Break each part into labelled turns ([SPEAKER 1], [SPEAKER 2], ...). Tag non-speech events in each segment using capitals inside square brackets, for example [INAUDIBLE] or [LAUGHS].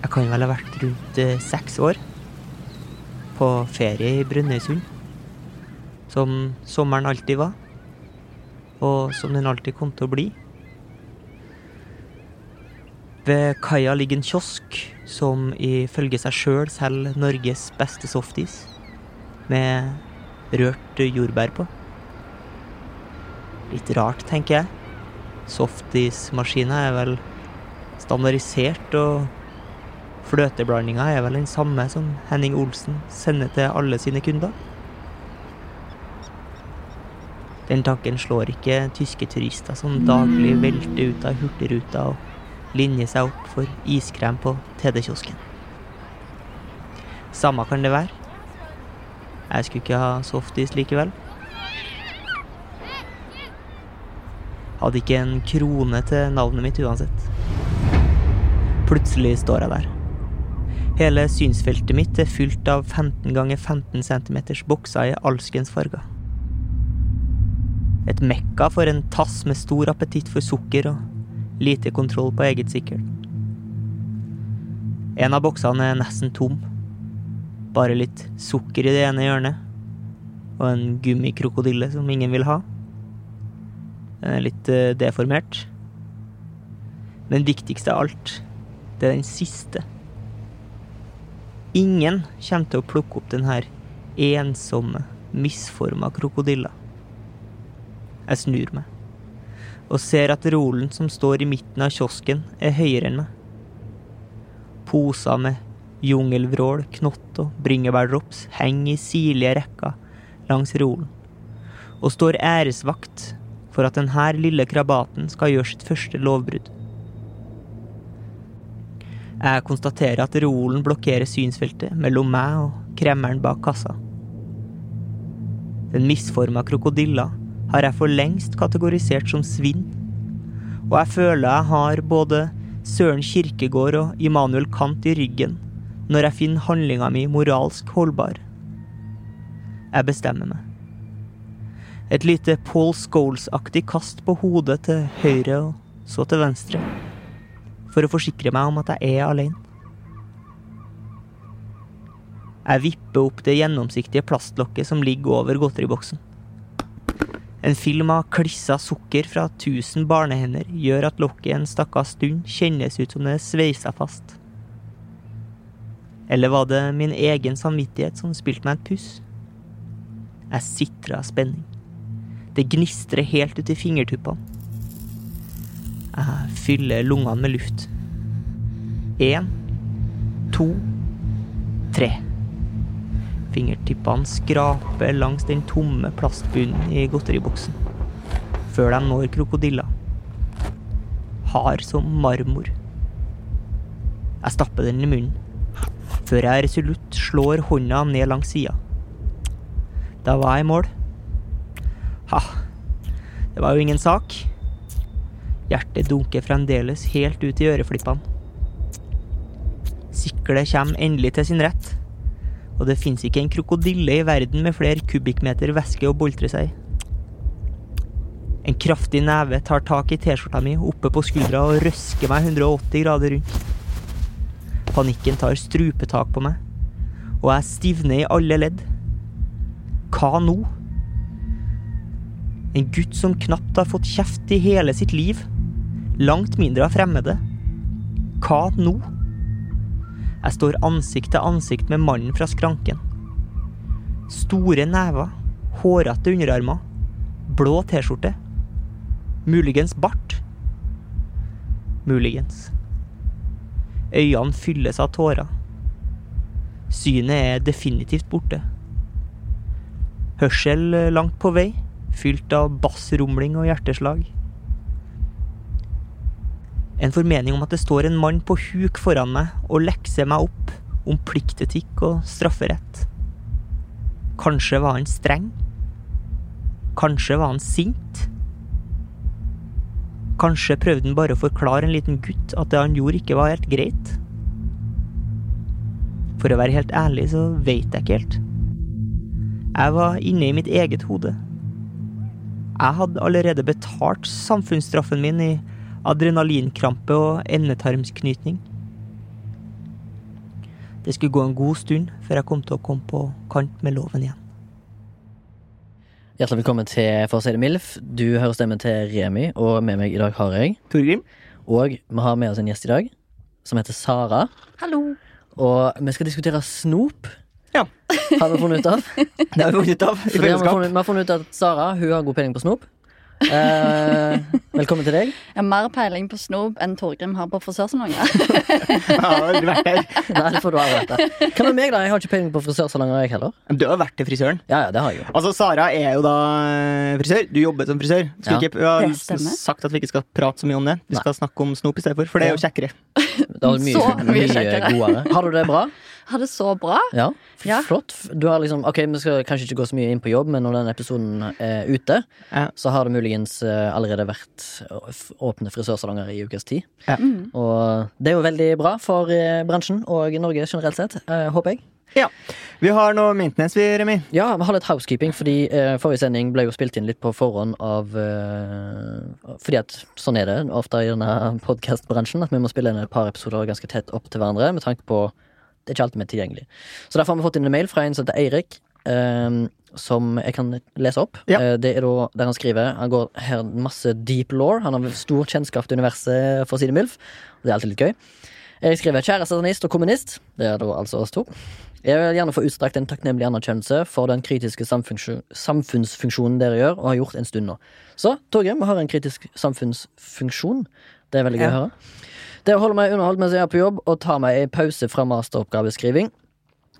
[SPEAKER 1] Jeg kan vel ha vært rundt eh, seks år. På ferie i Brønnøysund. Som sommeren alltid var. Og som den alltid kom til å bli. Ved kaia ligger en kiosk som ifølge seg sjøl selger Norges beste softis. Med rørt jordbær på. Litt rart, tenker jeg. Softismaskina er vel standardisert og Fløteblandinga er vel den samme som Henning Olsen sender til alle sine kunder? Den tanken slår ikke tyske turister som daglig velter ut av Hurtigruta og linjer seg opp for iskrem på TD-kiosken. Samme kan det være. Jeg skulle ikke ha softis likevel. Hadde ikke en krone til navnet mitt uansett. Plutselig står jeg der. Hele synsfeltet mitt er fylt av 15 ganger 15 cm bokser i alskens farger. Et mekka for en tass med stor appetitt for sukker og lite kontroll på eget sikkerhet. En av boksene er nesten tom. Bare litt sukker i det ene hjørnet. Og en gummikrokodille som ingen vil ha. Den er litt eh, deformert. Men viktigst av alt, det er den siste. Ingen kommer til å plukke opp den her ensomme, misforma krokodilla. Jeg snur meg og ser at rolen som står i midten av kiosken, er høyere enn meg. Poser med jungelvrål, knott og bringebærdrops henger i sirlige rekker langs rolen, og står æresvakt for at denne lille krabaten skal gjøre sitt første lovbrudd. Jeg konstaterer at rolen blokkerer synsfeltet mellom meg og kremmeren bak kassa. Den misforma krokodilla har jeg for lengst kategorisert som svinn. Og jeg føler jeg har både Søren Kirkegård og Immanuel Kant i ryggen når jeg finner handlinga mi moralsk holdbar. Jeg bestemmer meg. Et lite Paul Scholes-aktig kast på hodet til høyre og så til venstre for å forsikre meg om at jeg er alene. Jeg vipper opp det gjennomsiktige plastlokket som ligger over godteriboksen. En film av klissa sukker fra tusen barnehender gjør at lokket en stakkars stund kjennes ut som det er sveisa fast. Eller var det min egen samvittighet som spilte meg et puss? Jeg sitrer av spenning. Det gnistrer helt ut i fingertuppene. Jeg fyller lungene med luft. Én, to, tre. Fingertippene skraper langs den tomme plastbunnen i godteriboksen. Før de når krokodilla. Hard som marmor. Jeg stapper den i munnen. Før jeg resolutt slår hånda ned langs sida. Da var jeg i mål. Ha, det var jo ingen sak. Hjertet dunker fremdeles helt ut i øreflippene. Siklet kommer endelig til sin rett, og det fins ikke en krokodille i verden med flere kubikkmeter væske å boltre seg i. En kraftig neve tar tak i T-skjorta mi oppe på skuldra og røsker meg 180 grader rundt. Panikken tar strupetak på meg, og jeg stivner i alle ledd. Hva nå? En gutt som knapt har fått kjeft i hele sitt liv. Langt mindre av fremmede. Hva nå? Jeg står ansikt til ansikt med mannen fra skranken. Store never, hårete underarmer, blå T-skjorte. Muligens bart. Muligens. Øynene fylles av tårer. Synet er definitivt borte. Hørsel eh, langt på vei, fylt av bassrumling og hjerteslag. En formening om at det står en mann på huk foran meg og lekser meg opp om pliktetikk og strafferett. Kanskje var han streng? Kanskje var han sint? Kanskje prøvde han bare å forklare en liten gutt at det han gjorde, ikke var helt greit? For å være helt ærlig, så veit jeg ikke helt. Jeg var inne i mitt eget hode. Jeg hadde allerede betalt samfunnsstraffen min i adrenalinkrampe og endetarmsknytning. Det skulle gå en god stund før jeg kom til å komme på kant med loven igjen.
[SPEAKER 2] Hjertelig velkommen til For å si det MILF. Du hører stemmen til Remi, og med meg i dag har jeg
[SPEAKER 1] Torgrim?
[SPEAKER 2] Og vi har med oss en gjest i dag, som heter Sara.
[SPEAKER 3] Hallo.
[SPEAKER 2] Og vi skal diskutere snop,
[SPEAKER 1] Ja.
[SPEAKER 2] har vi funnet ut
[SPEAKER 1] [LAUGHS]
[SPEAKER 2] av.
[SPEAKER 1] Det har vi funnet ut av
[SPEAKER 2] Så det har
[SPEAKER 1] i
[SPEAKER 2] vi,
[SPEAKER 1] fellesskap.
[SPEAKER 2] funnet, vi har funnet ut at Sara hun har god peiling på snop. Eh, velkommen til deg.
[SPEAKER 3] Jeg har mer peiling på snop enn Torgrim har på frisørsalonger.
[SPEAKER 1] [LAUGHS]
[SPEAKER 3] [LAUGHS]
[SPEAKER 1] Jeg har aldri vært der.
[SPEAKER 2] Nei, det får du aldri vite. Hva med meg, da? Jeg har ikke peiling på frisørsalonger, jeg heller.
[SPEAKER 1] Men Du har vært til frisøren.
[SPEAKER 2] Ja, ja, det har jeg jo.
[SPEAKER 1] Altså, Sara er jo da eh, frisør. Du jobber som frisør. Skulle
[SPEAKER 2] Ja.
[SPEAKER 1] ikke, vi har
[SPEAKER 3] Det stemmer.
[SPEAKER 1] sagt at vi ikke skal prate så mye om det. Vi
[SPEAKER 2] Nei.
[SPEAKER 1] skal snakke om snop i stedet for, for det er jo kjekkere.
[SPEAKER 2] Det var mye,
[SPEAKER 3] Så mye
[SPEAKER 2] mye,
[SPEAKER 3] kjekkere.
[SPEAKER 2] godere. Har du det bra?
[SPEAKER 3] Har det så bra.
[SPEAKER 1] [LAUGHS]
[SPEAKER 2] Ja. F-
[SPEAKER 3] Ja.
[SPEAKER 2] Flott. Du har liksom, ok, Vi skal kanskje ikke gå så mye inn på jobb, men når den episoden er ute,
[SPEAKER 1] Ja.
[SPEAKER 2] så har det muligens eh, allerede vært å- f- åpne frisørsalonger i ukes tid.
[SPEAKER 1] Ja.
[SPEAKER 3] Mm.
[SPEAKER 2] Og det er jo veldig bra for eh, bransjen og Norge generelt sett, eh, håper jeg.
[SPEAKER 1] Ja. Vi har noe maintenance, vi, Remi.
[SPEAKER 2] Ja, vi har litt housekeeping, fordi eh, forrige sending ble jo spilt inn litt på forhånd av eh, Fordi at sånn er det ofte i denne podkastbransjen, at vi må spille inn et par episoder ganske tett opp til hverandre med tanke på Det er ikke alltid vi er tilgjengelig. Så derfor har vi fått inn en mail fra en som heter Eirik. eh, som jeg kan lese opp.
[SPEAKER 1] Ja.
[SPEAKER 2] Eh, Det er da der han skriver Han går her masse deep law. Han har stor kjennskap til universet, for å si det mildt. Det er alltid litt gøy. Jeg skriver kjære satanist og kommunist. Det er da altså oss to. Jeg vil gjerne få utstrakt en takknemlig anerkjennelse for den kritiske samfunksjo- samfunnsfunksjonen dere gjør, og har gjort en stund nå. Så Torgrim vi har en kritisk samfunnsfunksjon. Det er veldig gøy
[SPEAKER 1] Ja.
[SPEAKER 2] å høre. Det å holde meg underholdt mens jeg er på jobb, og ta meg en pause fra masteroppgaveskriving.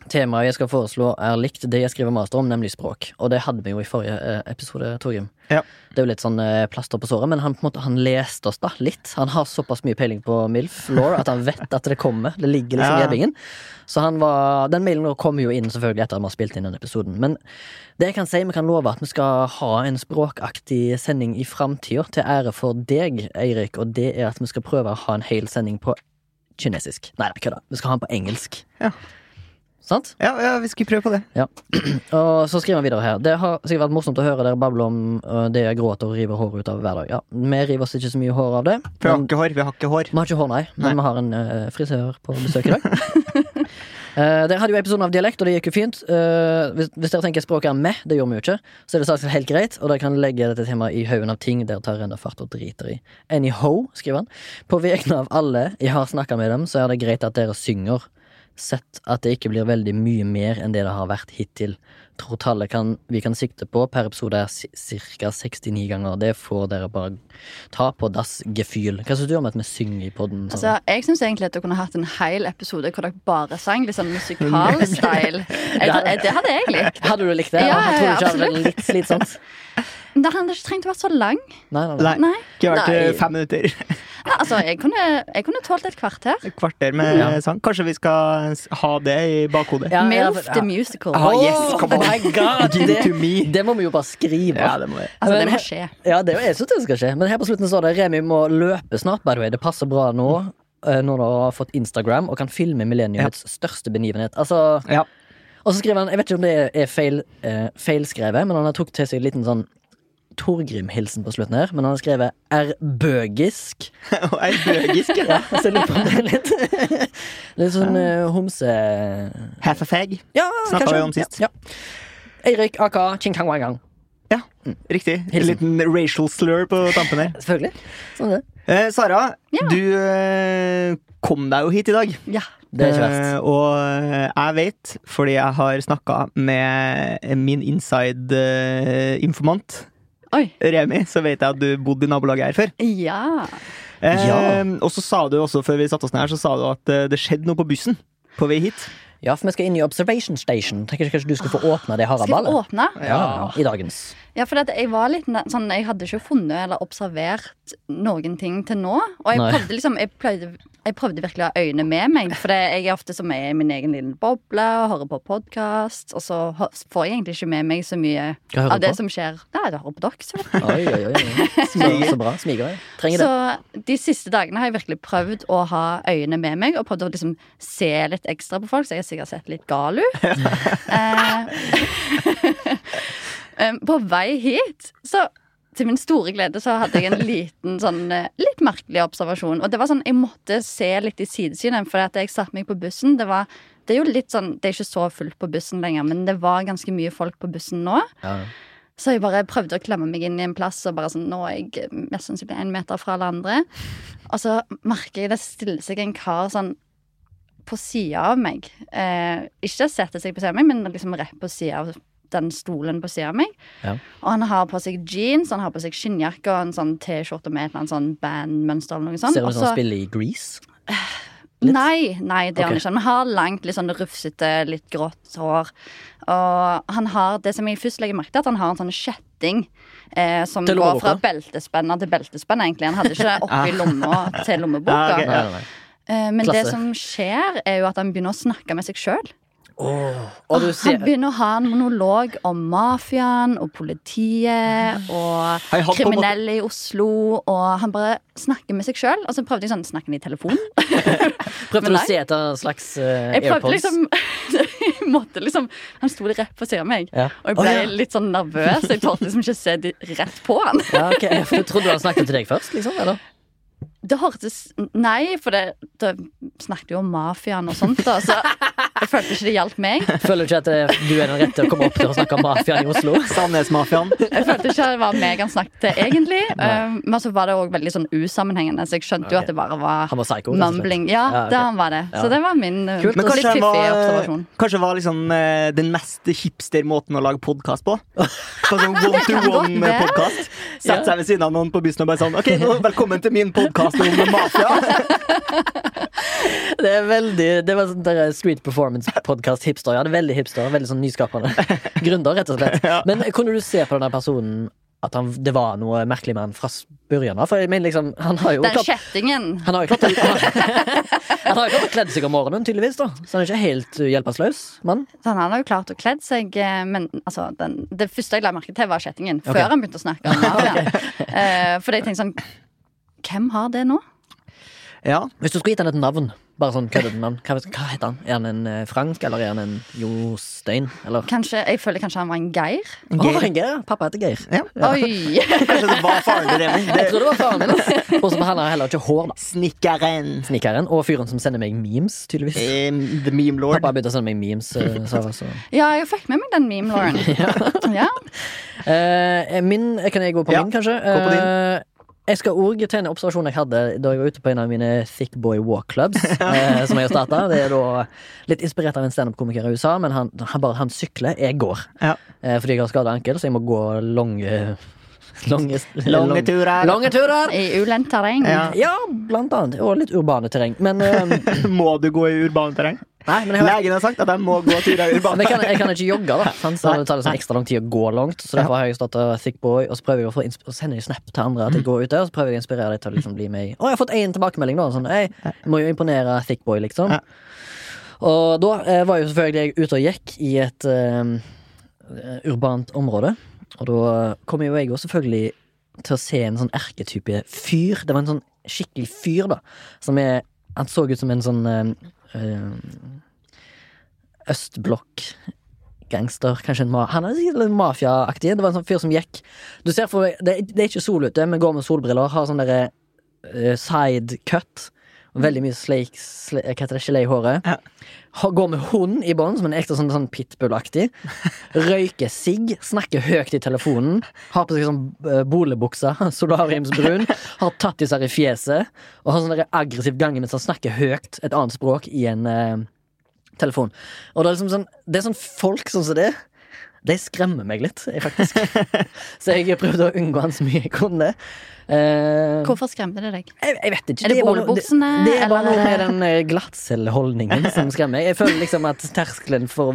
[SPEAKER 2] Temaet jeg skal foreslå, er likt det jeg skriver master om, nemlig språk. Og det hadde vi jo i forrige eh, episode, Torgrim.
[SPEAKER 1] Ja.
[SPEAKER 2] Det er jo litt sånn eh, plaster på såret, men han, på en måte, han leste oss da litt. Han har såpass mye peiling på MILF law at han vet at det kommer. Det ligger liksom i
[SPEAKER 1] Ja.
[SPEAKER 2] ebbingen. Så han var, den mailen kom jo inn selvfølgelig etter at vi har spilt inn den episoden. Men det jeg kan si, vi kan love at vi skal ha en språkaktig sending i framtida, til ære for deg, Eirik, og det er at vi skal prøve å ha en hel sending på kinesisk. Nei, nei, kødda. Vi skal ha den på engelsk.
[SPEAKER 1] Ja.
[SPEAKER 2] Sant?
[SPEAKER 1] Ja, ja, vi skulle prøve på det.
[SPEAKER 2] Og så skriver han videre her. Det har sikkert vært morsomt å høre dere bable om øh, det jeg gråter og river håret ut av hver dag. Ja, vi river oss ikke så mye hår av det.
[SPEAKER 1] For vi har
[SPEAKER 2] men-
[SPEAKER 1] ikke hår. Vi har ikke hår.
[SPEAKER 2] vi har ikke hår, nei, men
[SPEAKER 1] Nei.
[SPEAKER 2] vi har en eh, frisør på besøk i dag. Eh, dere hadde jo episoden av dialekt, og det gikk jo fint. Eh, hvis, hvis dere tenker språket er med, det gjør vi jo ikke, så er det sagt helt greit, og dere kan legge dette temaet i haugen av ting dere tar rennende fart og driter i. Anyhow, skriver han. På vegne av alle jeg har snakka med dem, så er det greit at dere synger. Sett at det ikke blir veldig mye mer enn det det har vært hittil. Tror tallet kan, vi kan sikte på per episode er ca. 69 ganger. Det får dere bare Ta på das gefühl. Hva syns du om at vi synger i poden?
[SPEAKER 3] Altså, jeg syns egentlig at du kunne hatt en hel episode hvor dere bare sang litt sånn
[SPEAKER 2] [LAUGHS]
[SPEAKER 3] musikalstyle. Jeg- jeg- Det hadde jeg likt.
[SPEAKER 2] hadde du likt det?
[SPEAKER 3] Ja,
[SPEAKER 2] jeg tror
[SPEAKER 3] ja,
[SPEAKER 2] ikke det hadde vært litt slitsomt. [LAUGHS]
[SPEAKER 3] Men Det hadde ikke trengt å være så lang.
[SPEAKER 2] Nei, nei, nei.
[SPEAKER 1] Nei.
[SPEAKER 3] Nei.
[SPEAKER 1] Ikke vært
[SPEAKER 3] Nei.
[SPEAKER 1] eh, fem minutter. [LAUGHS]
[SPEAKER 3] Nei, Altså, jeg kunne, jeg kunne tålt et kvarter.
[SPEAKER 1] Et kvarter med
[SPEAKER 2] Ja.
[SPEAKER 1] sang. Kanskje vi skal s- ha det i bakhodet.
[SPEAKER 2] Ja, ja,
[SPEAKER 3] MILF
[SPEAKER 2] for-
[SPEAKER 3] the
[SPEAKER 2] ja.
[SPEAKER 3] Musical.
[SPEAKER 1] Ah, yes,
[SPEAKER 2] Åh,
[SPEAKER 1] come on.
[SPEAKER 2] my God,
[SPEAKER 1] Give it
[SPEAKER 2] det,
[SPEAKER 1] to me.
[SPEAKER 2] det må vi jo bare skrive.
[SPEAKER 1] Ja, det må vi. [LAUGHS]
[SPEAKER 3] Altså, det
[SPEAKER 2] Men-
[SPEAKER 3] må skje.
[SPEAKER 2] Ja, det er jo jeg synes det skal skje. Men her på slutten står det Remi må løpe snart, by the way. Det passer bra nå. eh, Når du har fått Instagram og kan filme millenniumets største begivenhet. Altså,
[SPEAKER 1] Ja.
[SPEAKER 2] og så skriver han Jeg vet ikke om det er feil, eh, feilskrevet, men han har tok til seg en liten sånn Torgrim-hilsen på slutten her. Men han har skrevet ærbøgisk.
[SPEAKER 1] Og er bøgisk, ja.
[SPEAKER 2] Ja, så jeg lurer på om det er litt Litt sånn eh, homse...
[SPEAKER 1] Half a fag.
[SPEAKER 2] Ja,
[SPEAKER 1] Snakka
[SPEAKER 2] kanskje.
[SPEAKER 1] vi om sist.
[SPEAKER 2] Ja. ja. Eirik aka Chinkang Wangang.
[SPEAKER 1] Ja, riktig. En
[SPEAKER 2] Hilsen.
[SPEAKER 1] liten racial slur på tampen her.
[SPEAKER 2] Selvfølgelig. Sånn er det.
[SPEAKER 1] Eh, Sara,
[SPEAKER 3] Ja.
[SPEAKER 1] du eh, kom deg jo hit i dag.
[SPEAKER 3] Ja.
[SPEAKER 2] Det er ikke verst.
[SPEAKER 1] Eh, og eh, jeg vet, fordi jeg har snakka med min inside-informant,
[SPEAKER 3] Oi.
[SPEAKER 1] Remi, så vet jeg at du bodde i nabolaget her før.
[SPEAKER 3] Ja.
[SPEAKER 1] Eh,
[SPEAKER 2] Ja.
[SPEAKER 1] Og så sa du også, før vi satte oss ned her, så sa du at eh, det skjedde noe på bussen på vei hit.
[SPEAKER 2] Ja, for vi skal inn i Observation Station. Tenker ikke kanskje du skulle få åpne det
[SPEAKER 3] Ah, Skal vi
[SPEAKER 2] haraballet?
[SPEAKER 3] åpne?
[SPEAKER 2] Ja, I dagens.
[SPEAKER 3] Ja, for at jeg var litt ne- sånn Jeg hadde ikke funnet eller observert noen ting til nå. Og jeg
[SPEAKER 2] Nei.
[SPEAKER 3] prøvde liksom Jeg prøvde, jeg prøvde virkelig å ha øynene med meg. For det- jeg er ofte som jeg er i min egen lille boble og hører på podkast. Og så hø- får jeg egentlig ikke med meg så mye
[SPEAKER 2] Hva
[SPEAKER 3] av
[SPEAKER 2] hører du
[SPEAKER 3] det
[SPEAKER 2] på?
[SPEAKER 3] som skjer. Nei, det hører på dere, selvfølgelig.
[SPEAKER 2] Oi, oi, oi,
[SPEAKER 3] [LAUGHS]
[SPEAKER 2] oi. Så, så bra. Smiger. jeg. Trenger det.
[SPEAKER 3] Så de siste dagene har jeg virkelig prøvd å ha øynene med meg, og prøvd å liksom se litt ekstra på folk, så jeg har sikkert sett litt
[SPEAKER 2] [LAUGHS]
[SPEAKER 3] gal ut. [LAUGHS] Eh, um, på vei hit, så til min store glede så hadde jeg en liten sånn eh, litt merkelig observasjon. Og det var sånn, jeg måtte se litt i sidesynet, for at jeg satte meg på bussen. Det var det er jo litt sånn, det er ikke så fullt på bussen lenger, men det var ganske mye folk på bussen nå.
[SPEAKER 2] Ja.
[SPEAKER 3] Så jeg bare prøvde å klemme meg inn i en plass, og bare sånn, nå er jeg mest sannsynlig en meter fra alle andre. Og så merker jeg det stiller seg en kar sånn på sida av meg. Eh, ikke setter seg på sida av meg, men liksom rett på sida av den stolen på sida av meg.
[SPEAKER 2] Ja.
[SPEAKER 3] Og han har på seg jeans, han har på seg skinnjakke og en sånn T-skjorte med et eller annet sånn bandmønster eller noe sånt.
[SPEAKER 2] Ser du sånn ut
[SPEAKER 3] sånn, Og
[SPEAKER 2] som
[SPEAKER 3] så-
[SPEAKER 2] han spiller i Grease? litt?
[SPEAKER 3] Nei, nei, det gjør han
[SPEAKER 2] Ok.
[SPEAKER 3] ikke. Han har langt, litt sånn rufsete, litt grått hår. Og han har det som jeg først legger merke til, at han har en sånn kjetting eh, som
[SPEAKER 2] Til Ah.
[SPEAKER 3] går fra
[SPEAKER 2] lommeboka?
[SPEAKER 3] beltespenner til beltespenner, egentlig. Han hadde ikke oppi lomma til
[SPEAKER 4] Ah,
[SPEAKER 3] lommeboka.
[SPEAKER 4] ok.
[SPEAKER 2] Nei, nei, nei.
[SPEAKER 3] eh, men
[SPEAKER 2] Klasse.
[SPEAKER 3] det som skjer, er jo at han begynner å snakke med seg sjøl.
[SPEAKER 2] Åh, Og du
[SPEAKER 3] Han
[SPEAKER 2] ser
[SPEAKER 3] begynner å ha en monolog om mafiaen og politiet og
[SPEAKER 4] Han hadde på en måte-
[SPEAKER 3] kriminelle i Oslo, og han bare snakker med seg sjøl. Og så prøvde jeg sånn Snakker han i telefonen?
[SPEAKER 2] Prøvde
[SPEAKER 3] Men
[SPEAKER 2] du å
[SPEAKER 3] nei.
[SPEAKER 2] se etter en slags eh,
[SPEAKER 3] Jeg prøvde
[SPEAKER 2] AirPods?
[SPEAKER 3] liksom [LAUGHS] jeg måtte liksom Han sto rett på siden av meg,
[SPEAKER 2] Ja.
[SPEAKER 3] og jeg ble
[SPEAKER 2] Å, ja.
[SPEAKER 3] litt sånn nervøs. Jeg torde liksom ikke se de rett på han.
[SPEAKER 2] Ja, ok, for Du trodde han snakket til deg først, liksom? Eller?
[SPEAKER 3] Det hørtes Nei, for det, det snakket jo om mafiaen og sånt, da, så jeg følte ikke det hjalp meg.
[SPEAKER 2] Føler du ikke at eh, du er den rette til å komme opp til å snakke om mafia i Oslo? [LAUGHS]
[SPEAKER 4] Sandnesmafiaen.
[SPEAKER 3] Jeg følte ikke det var meg han snakket til, egentlig.
[SPEAKER 2] Nei.
[SPEAKER 3] Um, Men så var det òg veldig sånn usammenhengende, så jeg skjønte jo
[SPEAKER 2] Ok.
[SPEAKER 3] at det bare var
[SPEAKER 2] Han var psycho. rett og slett.
[SPEAKER 3] mumbling. Ja,
[SPEAKER 2] Ja, ok.
[SPEAKER 3] det han var det.
[SPEAKER 2] Ja.
[SPEAKER 3] Så det var min uh,
[SPEAKER 2] Kult.
[SPEAKER 4] Men
[SPEAKER 3] litt
[SPEAKER 4] kanskje han
[SPEAKER 3] fiffige
[SPEAKER 4] var,
[SPEAKER 3] observasjon.
[SPEAKER 4] kanskje han var liksom, eh, den mest hipster-måten å lage podkast på? Sånn
[SPEAKER 2] [LAUGHS]
[SPEAKER 4] som
[SPEAKER 3] godt være.
[SPEAKER 4] one-to-one-podkast. Sette seg ved siden av noen på bussen og bare sånn OK, nå, velkommen til min podkast om
[SPEAKER 2] [LAUGHS]
[SPEAKER 4] mafia.
[SPEAKER 2] Det er veldig, det var sånn der Street Performance-podkast hipster. Ja, det er veldig hipster, veldig sånn nyskapende. Gründer, rett og slett.
[SPEAKER 4] Ja.
[SPEAKER 2] Men kunne du se på denne personen at han, det var noe merkelig med han fra s- begynnelsen av? For jeg mener liksom, han har jo
[SPEAKER 3] Den
[SPEAKER 2] klart
[SPEAKER 3] kjettingen.
[SPEAKER 2] han har jo klart å- Han har jo klart å [LAUGHS] kledd seg om morgenen, tydeligvis, da. så han er ikke helt uh, hjelpeløs mann.
[SPEAKER 3] Så han har jo klart å kledd seg, eh, men altså, den, det første jeg la merke til, var kjettingen. Før
[SPEAKER 2] Ok.
[SPEAKER 3] han begynte å snakke [LAUGHS] om mafiaen. Eh, for jeg tenkte sånn Hvem har det nå?
[SPEAKER 4] Ja,
[SPEAKER 2] Hvis du skulle gitt han et navn, bare sånn køddete navn, hva, hva heter han? Er han en eh, Frank, eller er han en Jostein, eller
[SPEAKER 3] Kanskje, Jeg føler kanskje han var en Geir.
[SPEAKER 2] Å, Geir. Pappa heter Geir.
[SPEAKER 3] Oi! [LAUGHS]
[SPEAKER 4] kanskje det var faren til Remi.
[SPEAKER 2] Jeg
[SPEAKER 4] Det-
[SPEAKER 2] tror det var faren min. ass. Og så har han heller ikke hår, da.
[SPEAKER 4] Snikkeren.
[SPEAKER 2] Snikkeren. Og fyren som sender meg memes, tydeligvis.
[SPEAKER 4] Eh, the meme lord.
[SPEAKER 2] Pappa begynte å sende meg memes.
[SPEAKER 4] [LAUGHS]
[SPEAKER 2] eh, Så, så.
[SPEAKER 3] Ja, jeg fikk med meg den
[SPEAKER 2] [LAUGHS]
[SPEAKER 3] meme, Lauren. Ja.
[SPEAKER 2] Eh, min, kan jeg gå på
[SPEAKER 4] Ja,
[SPEAKER 2] min, kanskje?
[SPEAKER 4] på din.
[SPEAKER 2] Eh, jeg skal òg til en observasjon jeg hadde da jeg var ute på en av mine Thick Boy Walk
[SPEAKER 4] [LAUGHS]
[SPEAKER 2] Clubs. eh, som jeg har startet. Det er da litt inspirert av en standup-komiker i USA, men han, han, bare, han sykler, jeg går.
[SPEAKER 4] Ja. [CLEARS THROAT]
[SPEAKER 2] Eh, fordi jeg har skada ankel, så jeg må gå lange [LAUGHS] Lange,
[SPEAKER 4] Lange turer.
[SPEAKER 2] lange turer!
[SPEAKER 3] I ulendt terreng.
[SPEAKER 4] Ja.
[SPEAKER 2] Ja, blant annet. Og litt urbane terreng. Men,
[SPEAKER 4] [LAUGHS]
[SPEAKER 2] eh, nei,
[SPEAKER 4] Må du gå i urbant terreng?
[SPEAKER 2] men jeg har
[SPEAKER 4] Legen har sagt at jeg må gå turer i urbant
[SPEAKER 2] Men jeg kan,
[SPEAKER 4] terreng.
[SPEAKER 2] jeg kan ikke jogge,
[SPEAKER 4] [LAUGHS]
[SPEAKER 2] da. Sant? Så
[SPEAKER 4] Nei,
[SPEAKER 2] det tar liksom ekstra lang tid å gå langt. Så derfor har jeg startet Thick Boy, og så prøver jeg å få innsp- og sender jeg snap til andre
[SPEAKER 4] Mm.
[SPEAKER 2] at jeg går ut der, og så prøver jeg å inspirere dem til å liksom bli med i Å, jeg har fått én tilbakemelding, da. Sånn, «Ei, jeg må jo imponere Thick Boy, liksom.
[SPEAKER 4] Ja.
[SPEAKER 2] Og da eh, var jo selvfølgelig jeg ute og gikk i et eh, urbant område, og da kom jo jeg òg selvfølgelig til å se en sånn erketype fyr. Det var en sånn skikkelig fyr, da, som er Han så ut som en sånn eh, eh, østblokk gangster, kanskje en ma Han er sikkert litt mafiaaktig. Det var en sånn fyr som gikk Du ser for deg, det, det er ikke sol ute, men går med solbriller, har sånn derre eh, side cut. og Veldig mye sleik, sle, hva heter det, gelé i håret.
[SPEAKER 4] Ja.
[SPEAKER 2] Ha- Går med hund i bånn, som en ekte sånn, sånn pitbull-aktig. Røyker sigg, snakker høyt i telefonen. Har på seg sånn eh, bolebukse, [LAUGHS] solariumsbrun. Har tattiser i fjeset. Og har sånn derre aggressivt gangende som snakker høyt et annet språk i en eh, telefon. Og det er liksom sånn Det er sånn folk sånn som det. De skremmer meg litt, eh, faktisk. så jeg prøvde å unngå han så mye jeg kunne. Eh,
[SPEAKER 3] Hvorfor skremte det deg?
[SPEAKER 2] jeg, jeg vet ikke.
[SPEAKER 3] Er det
[SPEAKER 2] bare noe-
[SPEAKER 3] bålbuksene?
[SPEAKER 2] Det er bare noe med
[SPEAKER 3] eller-
[SPEAKER 2] den eh, glattcelleholdningen som skremmer meg. Jeg føler liksom at terskelen for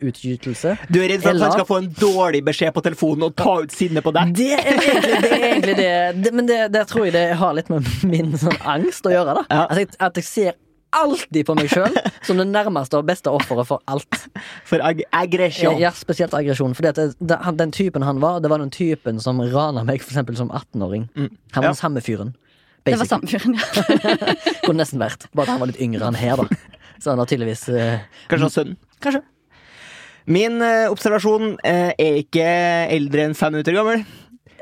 [SPEAKER 2] voldsutgytelse
[SPEAKER 1] Du er redd for at
[SPEAKER 2] Eller-
[SPEAKER 1] han skal få en dårlig beskjed på telefonen og ta ut sinnet på deg?
[SPEAKER 2] det er egentlig det, er egentlig det. det Men det, det tror jeg det har litt med min sånn angst å gjøre. da
[SPEAKER 1] Ja.
[SPEAKER 2] at, jeg, at jeg ser alltid på meg sjøl som det nærmeste og beste offeret for alt.
[SPEAKER 1] For ag aggresjon.
[SPEAKER 2] Ja, spesielt aggresjon. Fordi at det, det, han, den typen han var, det var den typen som rana meg for eksempel, som 18-åring. Han var
[SPEAKER 1] Ja.
[SPEAKER 2] den samme fyren.
[SPEAKER 3] Det
[SPEAKER 2] Basically.
[SPEAKER 3] var samme fyren, ja.
[SPEAKER 2] Kunne nesten vært. Bare at han var litt yngre enn her, da. Så han har tydeligvis eh,
[SPEAKER 1] Kanskje av sønnen.
[SPEAKER 2] Kanskje.
[SPEAKER 1] Min eh, observasjon eh, er ikke eldre enn fem minutter gammel.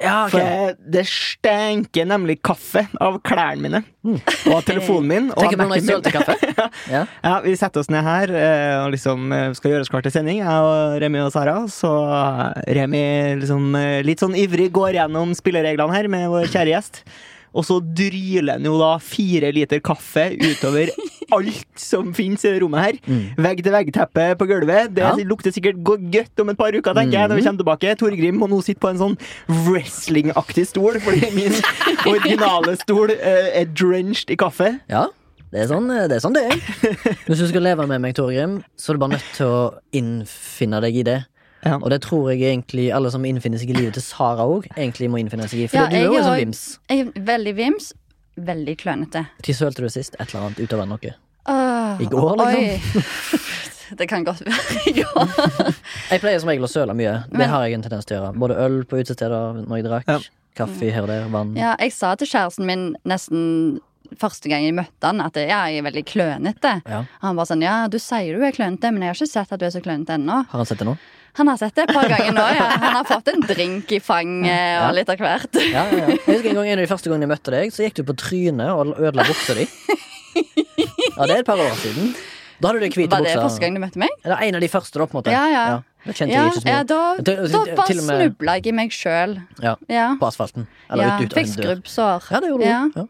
[SPEAKER 2] Ja, ok.
[SPEAKER 1] For eh, det stenker nemlig kaffe av klærne mine og av telefonen min. Og
[SPEAKER 2] Mm.
[SPEAKER 1] av
[SPEAKER 2] Tenker på når
[SPEAKER 1] Mac-en
[SPEAKER 2] jeg
[SPEAKER 1] min.
[SPEAKER 2] sølte kaffe. Ja.
[SPEAKER 1] Ja, Vi setter oss ned her eh, og liksom eh, skal gjøre oss klar til sending, jeg og Remi og Sara. Så eh, Remi liksom eh, litt sånn ivrig går gjennom spillereglene her med vår kjære gjest. Og så dryler han jo da fire liter kaffe
[SPEAKER 2] [LAUGHS]
[SPEAKER 1] utover alt som fins i det rommet her. Vegg-til-vegg-teppe på gulvet. Det
[SPEAKER 2] Mm. Ja. Mm.
[SPEAKER 1] lukter sikkert gå- godt om et par uker, tenker jeg. når vi kommer tilbake. Torgrim må nå sitte på en sånn wrestlingaktig stol, fordi
[SPEAKER 2] [LAUGHS]
[SPEAKER 1] min originale stol eh, er drenched i kaffe.
[SPEAKER 2] Ja, det er sånn det er. Sånn det er. Hvis du skal leve med meg, Torgrim, så er du bare nødt til å innfinne deg i det.
[SPEAKER 1] Ja.
[SPEAKER 2] Og det tror jeg egentlig alle som innfinner seg i livet til Sara òg, egentlig må innfinne seg i. For
[SPEAKER 3] Ja,
[SPEAKER 2] du er
[SPEAKER 3] jeg
[SPEAKER 2] jo en
[SPEAKER 3] er
[SPEAKER 2] sånn
[SPEAKER 3] også-
[SPEAKER 2] vims.
[SPEAKER 3] Jeg er veldig vims. Veldig klønete.
[SPEAKER 2] Når sølte du sist? Et eller annet utover noe?
[SPEAKER 3] Åh,
[SPEAKER 2] I går, liksom?
[SPEAKER 3] Oi. [LAUGHS] Det kan godt være. Ja.
[SPEAKER 2] Jeg pleier som regel å søle mye. Det
[SPEAKER 3] Men-
[SPEAKER 2] har jeg en tendens til å gjøre. Både øl på utesteder når jeg drakk,
[SPEAKER 1] Ja.
[SPEAKER 2] kaffe her og der, vann.
[SPEAKER 3] ja, jeg sa til kjæresten min nesten første gang jeg møtte han, at ja, jeg er veldig klønete.
[SPEAKER 2] Ja.
[SPEAKER 3] Han bare sånn ja, du sier du er klønete, men jeg har ikke sett at du er så klønete ennå.
[SPEAKER 2] Har han sett det nå?
[SPEAKER 3] Han har sett det et par ganger nå, ja. Han har fått en drink i fanget og litt av hvert.
[SPEAKER 2] Ja, ja, ja. Jeg husker en gang en av de første gangene jeg møtte deg, så gikk du på trynet og ødela buksa
[SPEAKER 3] [LAUGHS]
[SPEAKER 2] di. Ja, det er et par år siden. Da hadde du hvite
[SPEAKER 3] Var det
[SPEAKER 2] bukser.
[SPEAKER 3] første gang du møtte meg?
[SPEAKER 2] Det er en av de første, da, på en måte.
[SPEAKER 3] Ja, ja.
[SPEAKER 2] det kjente
[SPEAKER 3] Ja,
[SPEAKER 2] jeg ikke så mye.
[SPEAKER 3] ja da,
[SPEAKER 2] Jeg
[SPEAKER 3] da
[SPEAKER 2] tenker- til-
[SPEAKER 3] bare
[SPEAKER 2] til og med-
[SPEAKER 3] snubla jeg i meg sjøl.
[SPEAKER 2] Ja,
[SPEAKER 3] Ja.
[SPEAKER 2] På asfalten. Eller
[SPEAKER 3] ja.
[SPEAKER 2] ut, ut av
[SPEAKER 3] Fikk
[SPEAKER 2] en dør.
[SPEAKER 3] skrubbsår.
[SPEAKER 2] Ja, det gjorde du. Ja.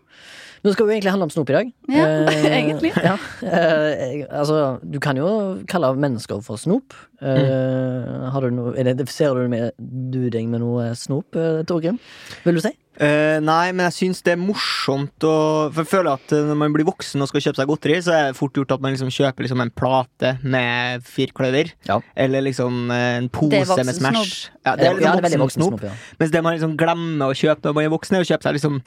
[SPEAKER 2] Nå skal vi jo egentlig handle om snop i dag.
[SPEAKER 3] Ja, [LAUGHS]
[SPEAKER 2] Eh,
[SPEAKER 3] egentlig.
[SPEAKER 2] [LAUGHS] Ja. Eh, altså, du kan jo kalle mennesker for snop. Eh,
[SPEAKER 3] Mm.
[SPEAKER 2] Har du noe Identifiserer du, med, du deg med noe snop, eh, Torgrim? Vil du si?
[SPEAKER 1] Eh, nei, men jeg syns det er morsomt å For jeg føler at eh, når man blir voksen og skal kjøpe seg godteri, så er det fort gjort at man liksom kjøper liksom en plate med firkløver.
[SPEAKER 2] Ja.
[SPEAKER 1] Eller liksom eh, en
[SPEAKER 3] Det er
[SPEAKER 1] pose med
[SPEAKER 3] voksensnobb.
[SPEAKER 1] Smash. Ja, det er
[SPEAKER 2] ja,
[SPEAKER 1] liksom
[SPEAKER 2] det er veldig voksen
[SPEAKER 1] voksensnop.
[SPEAKER 2] snop. Ja.
[SPEAKER 1] Mens det man liksom glemmer å kjøpe når man er voksen, er å kjøpe seg liksom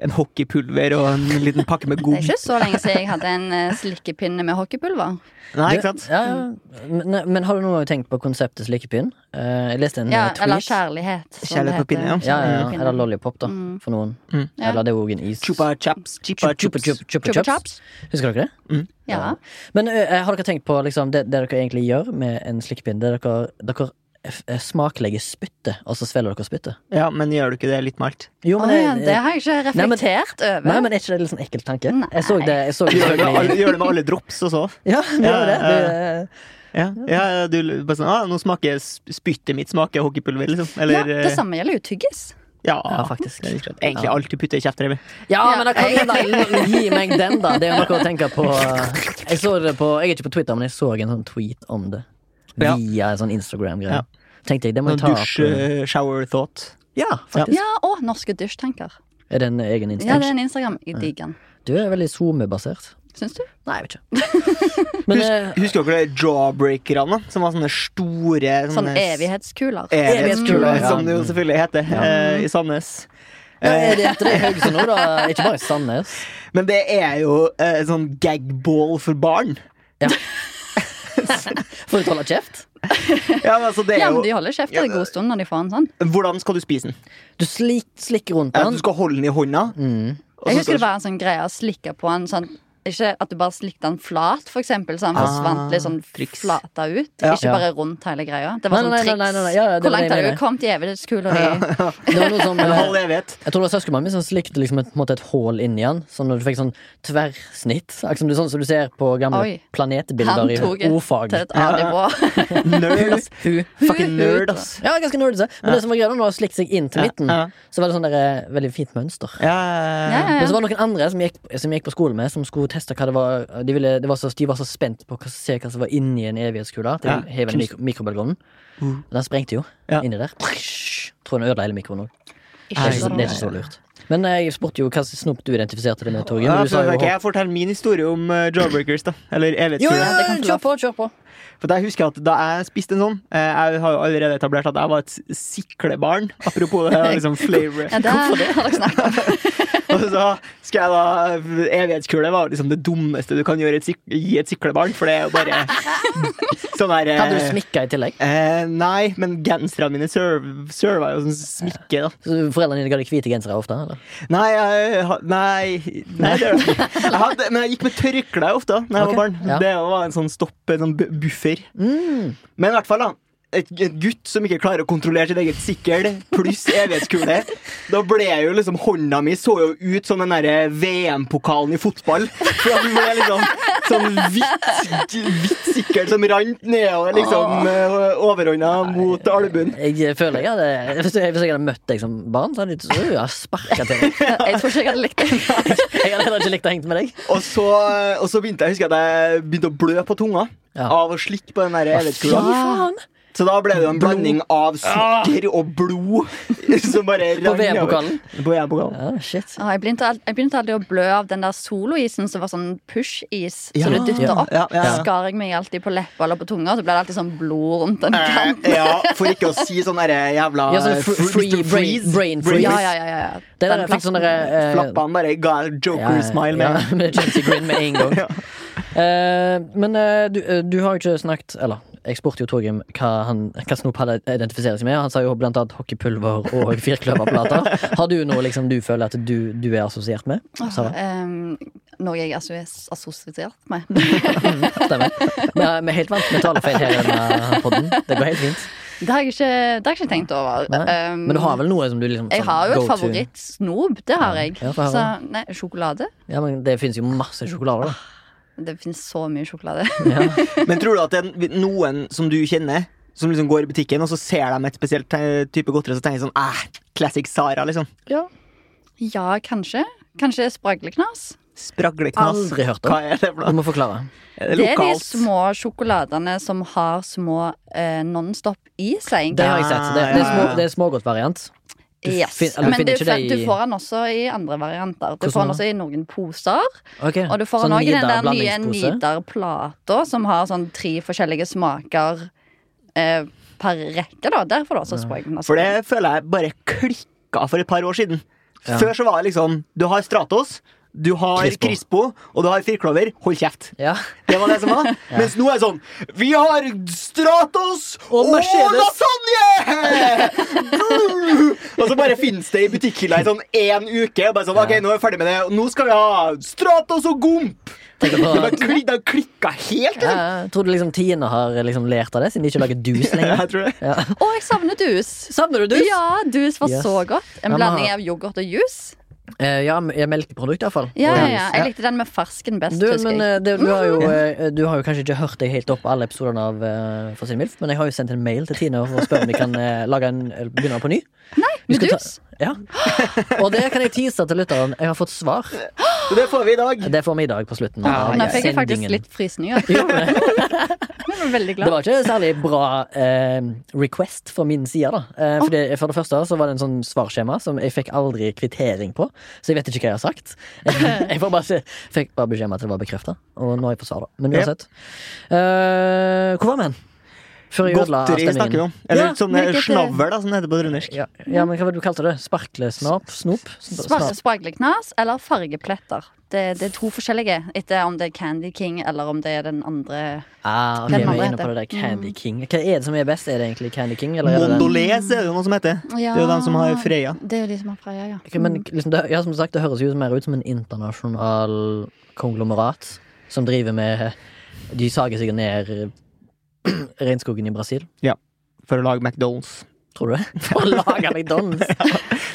[SPEAKER 1] en hockeypulver og en liten pakke
[SPEAKER 3] [LAUGHS]
[SPEAKER 1] med
[SPEAKER 3] Det er
[SPEAKER 1] gom.
[SPEAKER 3] ikke så lenge siden jeg hadde en eh, slikkepinne med hockeypulver.
[SPEAKER 1] Nei,
[SPEAKER 2] Du-
[SPEAKER 1] ikke sant?
[SPEAKER 2] Ja, ja. Men, men har du noen gang tenkt på konseptet slikepinn? Eh, jeg leste en
[SPEAKER 3] Ja,
[SPEAKER 2] eh, tweet.
[SPEAKER 3] eller kjærlighet. som det
[SPEAKER 1] Kjærlighet på
[SPEAKER 3] heter.
[SPEAKER 1] pinne,
[SPEAKER 2] Ja, ja, ja.
[SPEAKER 3] Kjærlighet på
[SPEAKER 2] Eller
[SPEAKER 3] pinne.
[SPEAKER 2] lollipop, da,
[SPEAKER 3] Mm.
[SPEAKER 2] for noen.
[SPEAKER 1] Mm.
[SPEAKER 3] Ja.
[SPEAKER 2] Eller det er jo også en is.
[SPEAKER 1] Chupa chaps, chupa
[SPEAKER 2] Chupa
[SPEAKER 1] chups.
[SPEAKER 2] chup- chupa
[SPEAKER 3] Chupa
[SPEAKER 2] chups.
[SPEAKER 3] chups.
[SPEAKER 2] Husker dere det?
[SPEAKER 3] Ja.
[SPEAKER 2] Men ø, har dere tenkt på liksom, det, det dere egentlig gjør med en slikkepinn? Det er dere, dere f- smaklegger spyttet, og så svelger dere spyttet.
[SPEAKER 1] Ja, men gjør du ikke det litt malt?
[SPEAKER 2] Jo,
[SPEAKER 3] Å, ja, det har jeg ikke
[SPEAKER 2] Nei, men-
[SPEAKER 3] reflektert over.
[SPEAKER 2] Nei, men Er ikke det litt sånn ekkel tanke?
[SPEAKER 3] Nei.
[SPEAKER 2] Jeg så det, jeg så det
[SPEAKER 1] Gjør det med alle,
[SPEAKER 2] selvfølgelig-
[SPEAKER 1] gjør det med alle drops og så?
[SPEAKER 2] [LAUGHS] Ja, det
[SPEAKER 1] Ja,
[SPEAKER 2] var det.
[SPEAKER 1] ja,
[SPEAKER 2] det.
[SPEAKER 1] Ja, ja ja, du bare sånn ah, Nå smaker sp- spyttet mitt smaker hockeypulver, liksom.
[SPEAKER 3] ja,
[SPEAKER 1] Eller
[SPEAKER 3] det samme gjelder jo tyggis.
[SPEAKER 1] Ja,
[SPEAKER 2] Ja, faktisk.
[SPEAKER 1] Det er litt greit. Egentlig
[SPEAKER 2] Ja.
[SPEAKER 1] alt du putter i kjeften din.
[SPEAKER 2] Ja,
[SPEAKER 3] Ja.
[SPEAKER 2] men da kan du gi meg den, da. Det er jo noe å tenke på. Jeg så det på Jeg er ikke på Twitter, men jeg så en sånn tweet om det.
[SPEAKER 1] Ja.
[SPEAKER 2] Via en sånn Instagram-greie.
[SPEAKER 1] Ja.
[SPEAKER 2] Tenkte jeg, det må jeg
[SPEAKER 1] Noen
[SPEAKER 2] ta opp.
[SPEAKER 1] dusj, eh, shower thought.
[SPEAKER 2] Ja, faktisk.
[SPEAKER 3] Ja, og norske dusjtanker.
[SPEAKER 2] Er det en egen
[SPEAKER 3] Ja,
[SPEAKER 2] Instagram?
[SPEAKER 3] det er en Instagram. Jeg digger den.
[SPEAKER 2] Du er veldig SoMe-basert.
[SPEAKER 3] Syns du?
[SPEAKER 2] Nei, jeg vet ikke. [LAUGHS] Men, eh,
[SPEAKER 1] Husk, husker dere jawbreakerne, som var sånne store
[SPEAKER 3] Sånn
[SPEAKER 1] sånne
[SPEAKER 3] evighetskuler.
[SPEAKER 1] evighetskuler,
[SPEAKER 2] Evighetskuler, ja.
[SPEAKER 1] som det jo selvfølgelig heter eh, i Sandnes.
[SPEAKER 2] Ja, er det etter det i Haugesund nå, da? Ikke bare i Sandnes.
[SPEAKER 1] Men det er jo eh, sånn gagball for barn.
[SPEAKER 2] For å holde kjeft.
[SPEAKER 1] Ja, men altså, det
[SPEAKER 3] Ja,
[SPEAKER 1] er
[SPEAKER 3] men de
[SPEAKER 1] jo
[SPEAKER 3] holder kjeft en god stund når de får en sånn.
[SPEAKER 1] Hvordan skal du spise den?
[SPEAKER 2] Du slik, slikker rundt
[SPEAKER 1] Ja,
[SPEAKER 2] den.
[SPEAKER 1] du skal holde den i hånda.
[SPEAKER 2] Mm.
[SPEAKER 1] og så
[SPEAKER 3] Jeg husker
[SPEAKER 1] skal-
[SPEAKER 3] det var en sånn greie å slikke på en sånn ikke at du bare slikte den flat, for eksempel, så den
[SPEAKER 1] Ah,
[SPEAKER 3] forsvant litt sånn
[SPEAKER 1] triks.
[SPEAKER 3] flata ut.
[SPEAKER 1] Ja.
[SPEAKER 3] Ikke
[SPEAKER 2] Ja.
[SPEAKER 3] bare rundt hele greia. Det var
[SPEAKER 2] Nei,
[SPEAKER 3] sånn
[SPEAKER 2] nei, nei,
[SPEAKER 3] triks.
[SPEAKER 2] nei, nei, nei. Ja, ja, det var
[SPEAKER 3] Hvor
[SPEAKER 2] det
[SPEAKER 3] langt
[SPEAKER 2] jeg
[SPEAKER 3] hadde
[SPEAKER 2] mener.
[SPEAKER 3] du kommet i evighetskula di?
[SPEAKER 2] Det var noe som,
[SPEAKER 1] En
[SPEAKER 2] eh,
[SPEAKER 1] halv evighet.
[SPEAKER 2] jeg tror det var søskenmannen min som slikte liksom et, på en måte et hål inni den. Sånn når du fikk sånn tverrsnitt. akkurat Som du, sånn som du ser på gamle
[SPEAKER 3] Oi.
[SPEAKER 2] planetbilder
[SPEAKER 3] Han tok
[SPEAKER 2] i
[SPEAKER 3] et-
[SPEAKER 2] ordfag.
[SPEAKER 3] Til et annet nivå.
[SPEAKER 1] Nerd,
[SPEAKER 3] [LAUGHS]
[SPEAKER 1] ass.
[SPEAKER 2] Hun.
[SPEAKER 1] Fucking nerd, ass.
[SPEAKER 2] Ja, ganske nerdete. Men det som var greia da, når hun slikket seg inn til
[SPEAKER 1] Ja,
[SPEAKER 2] midten,
[SPEAKER 1] ja.
[SPEAKER 2] så var det sånn der, eh, veldig fint mønster.
[SPEAKER 1] Ja,
[SPEAKER 3] Ja, ja,
[SPEAKER 2] Men så
[SPEAKER 3] ja.
[SPEAKER 2] var det noen andre som gikk, som gikk på skole med, som skulle teste hva det var De, ville, det var, så, de var så spent på å se hva som var inni en evighetskule. at De
[SPEAKER 1] Ja,
[SPEAKER 2] ville heve den
[SPEAKER 1] kunst.
[SPEAKER 2] mikro mikrobølgeovnen.
[SPEAKER 1] Mm.
[SPEAKER 2] Den sprengte jo
[SPEAKER 1] Ja.
[SPEAKER 2] inni der. Tror den ødela hele mikroen òg. Det
[SPEAKER 3] Ikke
[SPEAKER 2] er ikke
[SPEAKER 3] sånn.
[SPEAKER 2] det er ikke så lurt. Men eh, jeg spurte jo hva slags snop du identifiserte det med, Torgen.
[SPEAKER 1] Ja,
[SPEAKER 2] og du sa
[SPEAKER 1] for-
[SPEAKER 2] jo
[SPEAKER 1] ok, jeg forteller min historie om eh, Jawbreakers, da. Eller
[SPEAKER 2] Jo,
[SPEAKER 1] evighetskule.
[SPEAKER 2] ja,
[SPEAKER 3] det kan få
[SPEAKER 2] kjør på, kjør på.
[SPEAKER 1] For jeg husker at Da jeg spiste en sånn eh, Jeg har jo allerede etablert at jeg var et s- siklebarn. [LAUGHS] Apropos det, liksom flavor.
[SPEAKER 3] [LAUGHS] Ja, det har dere snakket om.
[SPEAKER 1] Og så skal jeg da Evighetskule var liksom det dummeste du kan gjøre et sik gi et siklebarn, for det er jo bare [LAUGHS] sånn her eh,
[SPEAKER 2] Hadde du smikka i tillegg?
[SPEAKER 1] Eh, nei, men genserne mine serv- serva jo som smikke, da.
[SPEAKER 2] Så Foreldrene dine ga deg hvite gensere ofte? Eller?
[SPEAKER 1] Nei, jeg, ha- nei, nei det gjør jeg
[SPEAKER 2] [LAUGHS]
[SPEAKER 1] ikke. Jeg hadde, men jeg gikk med tørkle ofte da når jeg
[SPEAKER 2] Ok,
[SPEAKER 1] var barn.
[SPEAKER 2] ja. Mm.
[SPEAKER 1] Det var en sånn stopp, en sånn bu- buffer. Men i hvert fall, da. Et, et gutt som ikke klarer å kontrollere sitt eget sikkel, pluss evighetskule. Da ble jo liksom hånda mi så jo ut som den derre VM-pokalen i fotball. For at den ble liksom sånn hvitt, hvitt sikkel som rant nedover liksom eh, overhånda mot albuen.
[SPEAKER 2] Jeg føler jeg hadde [LAUGHS] Hvis jeg, hvis jeg hadde møtt deg som barn, så hadde jeg, så hadde jeg sparka til deg. [LAUGHS]
[SPEAKER 3] Jeg tror ikke jeg hadde likt det.
[SPEAKER 2] Jeg hadde heller ikke likt å henge med deg.
[SPEAKER 1] Og så, og så begynte jeg, husker jeg at jeg begynte å blø på tunga
[SPEAKER 2] Ja.
[SPEAKER 1] av å slikke på den der
[SPEAKER 2] Fy
[SPEAKER 1] evighetskula.
[SPEAKER 2] faen!
[SPEAKER 1] Så da ble det jo en blanding av sukker og blod [LAUGHS] som bare
[SPEAKER 2] På
[SPEAKER 1] rant nedover.
[SPEAKER 2] VM-pokalen.
[SPEAKER 1] På VM-pokalen.
[SPEAKER 2] Ja, shit.
[SPEAKER 3] Ah, Jeg begynte, al- jeg begynte aldri å blø av den der soloisen som var sånn push-is.
[SPEAKER 1] Ja,
[SPEAKER 3] Så du dytter
[SPEAKER 1] ja,
[SPEAKER 3] opp.
[SPEAKER 1] ja, ja, ja.
[SPEAKER 3] Skar jeg meg alltid på leppa eller på tunga, så ble det alltid sånn blod rundt den
[SPEAKER 1] Eh,
[SPEAKER 3] kanten.
[SPEAKER 1] Ja, for ikke å si sånn derre jævla
[SPEAKER 2] Ja, sånn fr-
[SPEAKER 1] fr-
[SPEAKER 2] free
[SPEAKER 1] Mr. Freeze.
[SPEAKER 2] brain- brain freeze.
[SPEAKER 3] Ja, ja, ja, ja, ja.
[SPEAKER 2] Det der
[SPEAKER 3] Den
[SPEAKER 2] jeg fikk sånn
[SPEAKER 3] plassen.
[SPEAKER 2] derre eh,
[SPEAKER 1] Flappene bare ga
[SPEAKER 2] ja,
[SPEAKER 1] joker-smile med.
[SPEAKER 2] ja, med Chelsea Grin med [LAUGHS] en gang. Eh, men eh, du, eh, du har jo ikke snakket Eller jeg spurte jo Torgrim hva, han- hva Snop hadde identifisert seg med. Han sa jo blant annet hockeypulver og [LAUGHS] firkløverplater. Har du noe liksom, du føler at du, du er assosiert med? Sara?
[SPEAKER 3] Ehm, noe jeg er assos- assosiert med. [LAUGHS]
[SPEAKER 2] Stemmer. Vi er vi er helt vant med talefeil her i denne podden. Det går helt fint.
[SPEAKER 3] Det har jeg ikke, det har jeg ikke tenkt over.
[SPEAKER 2] Nei.
[SPEAKER 3] Ehm,
[SPEAKER 2] Men du har vel noe som du liksom
[SPEAKER 3] jeg
[SPEAKER 2] sånn
[SPEAKER 3] har jo et
[SPEAKER 2] go-to?
[SPEAKER 3] favorittsnob, det har jeg.
[SPEAKER 2] Ja, få høre.
[SPEAKER 3] så, nei, sjokolade.
[SPEAKER 2] Ja, men Det finnes jo masse sjokolader, da.
[SPEAKER 3] [LAUGHS] Det finnes så mye sjokolade. [LAUGHS]
[SPEAKER 1] [LAUGHS] Men tror du at det er noen som du kjenner, som liksom går i butikken, og så ser de et spesielt te- type godteri, så tenker de sånn eh, Classic Sara, liksom.
[SPEAKER 3] Ja, kanskje. Kanskje spragleknas.
[SPEAKER 1] Spragleknas.
[SPEAKER 2] Aldri hørt om.
[SPEAKER 1] Hva er det for
[SPEAKER 2] Du
[SPEAKER 1] noe?
[SPEAKER 2] må forklare.
[SPEAKER 1] Er
[SPEAKER 3] Det
[SPEAKER 1] det
[SPEAKER 3] er de
[SPEAKER 1] lokalt?
[SPEAKER 3] små sjokoladene som har små eh, Nonstop i seg.
[SPEAKER 2] Det har jeg sett. Det, det er, små, det er smågodtvariant. du
[SPEAKER 3] Yes.
[SPEAKER 2] fin- eller du
[SPEAKER 3] Men
[SPEAKER 2] finner
[SPEAKER 3] du,
[SPEAKER 2] ikke det
[SPEAKER 3] fin- du
[SPEAKER 2] i-
[SPEAKER 3] får den også i andre varianter. Du
[SPEAKER 2] Hvordan
[SPEAKER 3] får den
[SPEAKER 2] da?
[SPEAKER 3] også i noen poser.
[SPEAKER 2] Ok,
[SPEAKER 3] Og du får
[SPEAKER 2] sånn
[SPEAKER 3] den også i den
[SPEAKER 2] Nidar
[SPEAKER 3] der nye
[SPEAKER 2] blandingspose.
[SPEAKER 3] Nidar-plata som har sånn tre forskjellige smaker eh, per rekke, da. Der får du også spragleknas.
[SPEAKER 1] For det føler jeg bare klikka for et par år siden. Før så var det liksom Du har Stratos, du har
[SPEAKER 2] Crispo.
[SPEAKER 1] Crispo, og du har firklover. Hold kjeft.
[SPEAKER 2] Ja.
[SPEAKER 1] Det var det
[SPEAKER 3] [LAUGHS]
[SPEAKER 1] som var. Mens nå er det sånn Vi har Stratos og,
[SPEAKER 2] Mercedes.
[SPEAKER 1] lasagne! [LAUGHS] og så bare finnes det i butikkhylla i sånn én uke. Og bare sånn, ok, nå er vi ferdig med det og Nå skal vi ha Stratos og Gomp!
[SPEAKER 2] Tenker
[SPEAKER 1] Det
[SPEAKER 2] på-
[SPEAKER 1] bare klik, det klikka helt.
[SPEAKER 2] Ja,
[SPEAKER 1] Liksom.
[SPEAKER 2] ja. tror du liksom Tine har liksom lært av det, siden de
[SPEAKER 3] [LAUGHS]
[SPEAKER 2] ikke lager dus lenger?
[SPEAKER 1] Jeg tror det.
[SPEAKER 2] Ja.
[SPEAKER 3] Å, jeg savner dus!
[SPEAKER 2] Savner du dus?
[SPEAKER 3] Ja, dus var
[SPEAKER 2] Yes.
[SPEAKER 3] så godt. En
[SPEAKER 2] Ja, men-
[SPEAKER 3] blanding av yoghurt og juice.
[SPEAKER 2] Eh, ja, m- ja, melkeprodukt, iallfall.
[SPEAKER 3] Ja, ja, Mm. ja.
[SPEAKER 1] Ja.
[SPEAKER 3] Jeg likte den med fersken best,
[SPEAKER 2] Du,
[SPEAKER 3] husker
[SPEAKER 2] men
[SPEAKER 3] jeg.
[SPEAKER 2] eh, det, du, har jo, eh, du har jo kanskje ikke hørt deg helt opp alle episodene av eh, For sin milf, men jeg har jo sendt en mail til Tine og spør om vi kan eh, lage en, eller begynne på ny. Vi
[SPEAKER 3] Med
[SPEAKER 2] skal
[SPEAKER 3] dus?
[SPEAKER 2] Ja. Og det kan jeg tease til lytteren. Jeg har fått svar.
[SPEAKER 1] Så det får vi i dag.
[SPEAKER 2] Det får vi i dag på slutten.
[SPEAKER 1] Ja,
[SPEAKER 2] av
[SPEAKER 3] Nå fikk jeg faktisk
[SPEAKER 2] sendingen.
[SPEAKER 3] litt frysninger.
[SPEAKER 2] [LAUGHS] Jo, men
[SPEAKER 3] Jeg var veldig
[SPEAKER 2] Det
[SPEAKER 3] glad.
[SPEAKER 2] var ikke særlig bra eh, request fra min side. da eh, for, det, for det første så var det en sånn svarskjema som jeg fikk aldri kvittering på. Så jeg vet ikke hva jeg har sagt. jeg [LAUGHS] får bare se, fikk bare beskjed om at det var bekrefta, og nå har jeg fått svar. da Men
[SPEAKER 1] Ja.
[SPEAKER 2] uansett. Eh, hvor var vi hen? Før jeg ødela
[SPEAKER 1] Godteri snakker vi
[SPEAKER 2] stemningen.
[SPEAKER 1] om. Eller
[SPEAKER 2] Ja,
[SPEAKER 1] som det
[SPEAKER 3] hvilket, eh,
[SPEAKER 1] slaver, da, som det heter på trøndersk.
[SPEAKER 2] Ja, ja, men hva var det du kalte det? Sparklesnap? Snop?
[SPEAKER 3] Spar-
[SPEAKER 2] Snap.
[SPEAKER 3] Spragleknas eller fargepletter. Det, det er to forskjellige, etter om det er Candy King eller om det er den andre
[SPEAKER 2] Ah, ok,
[SPEAKER 3] Den
[SPEAKER 2] vi er
[SPEAKER 3] andre
[SPEAKER 2] inne på
[SPEAKER 3] heter.
[SPEAKER 2] det der
[SPEAKER 1] Mm.
[SPEAKER 2] Candy King. Hva er det som er best? Er det egentlig Candy King? Eller er det den-
[SPEAKER 1] Mondoles er det jo noe som heter. Det er jo den som har Freya.
[SPEAKER 3] Det er jo de som har Freya, ja.
[SPEAKER 2] Ok,
[SPEAKER 1] Mm.
[SPEAKER 2] Men liksom, det, ja, som sagt, det høres jo mer ut som en internasjonal konglomerat som driver med De sager seg ned [CLEARS THROAT] eh, regnskogen i Brasil.
[SPEAKER 1] For å lage McDonald's.
[SPEAKER 2] Tror du det? [LAUGHS] For å lage
[SPEAKER 1] [LAUGHS]
[SPEAKER 2] McDonald's!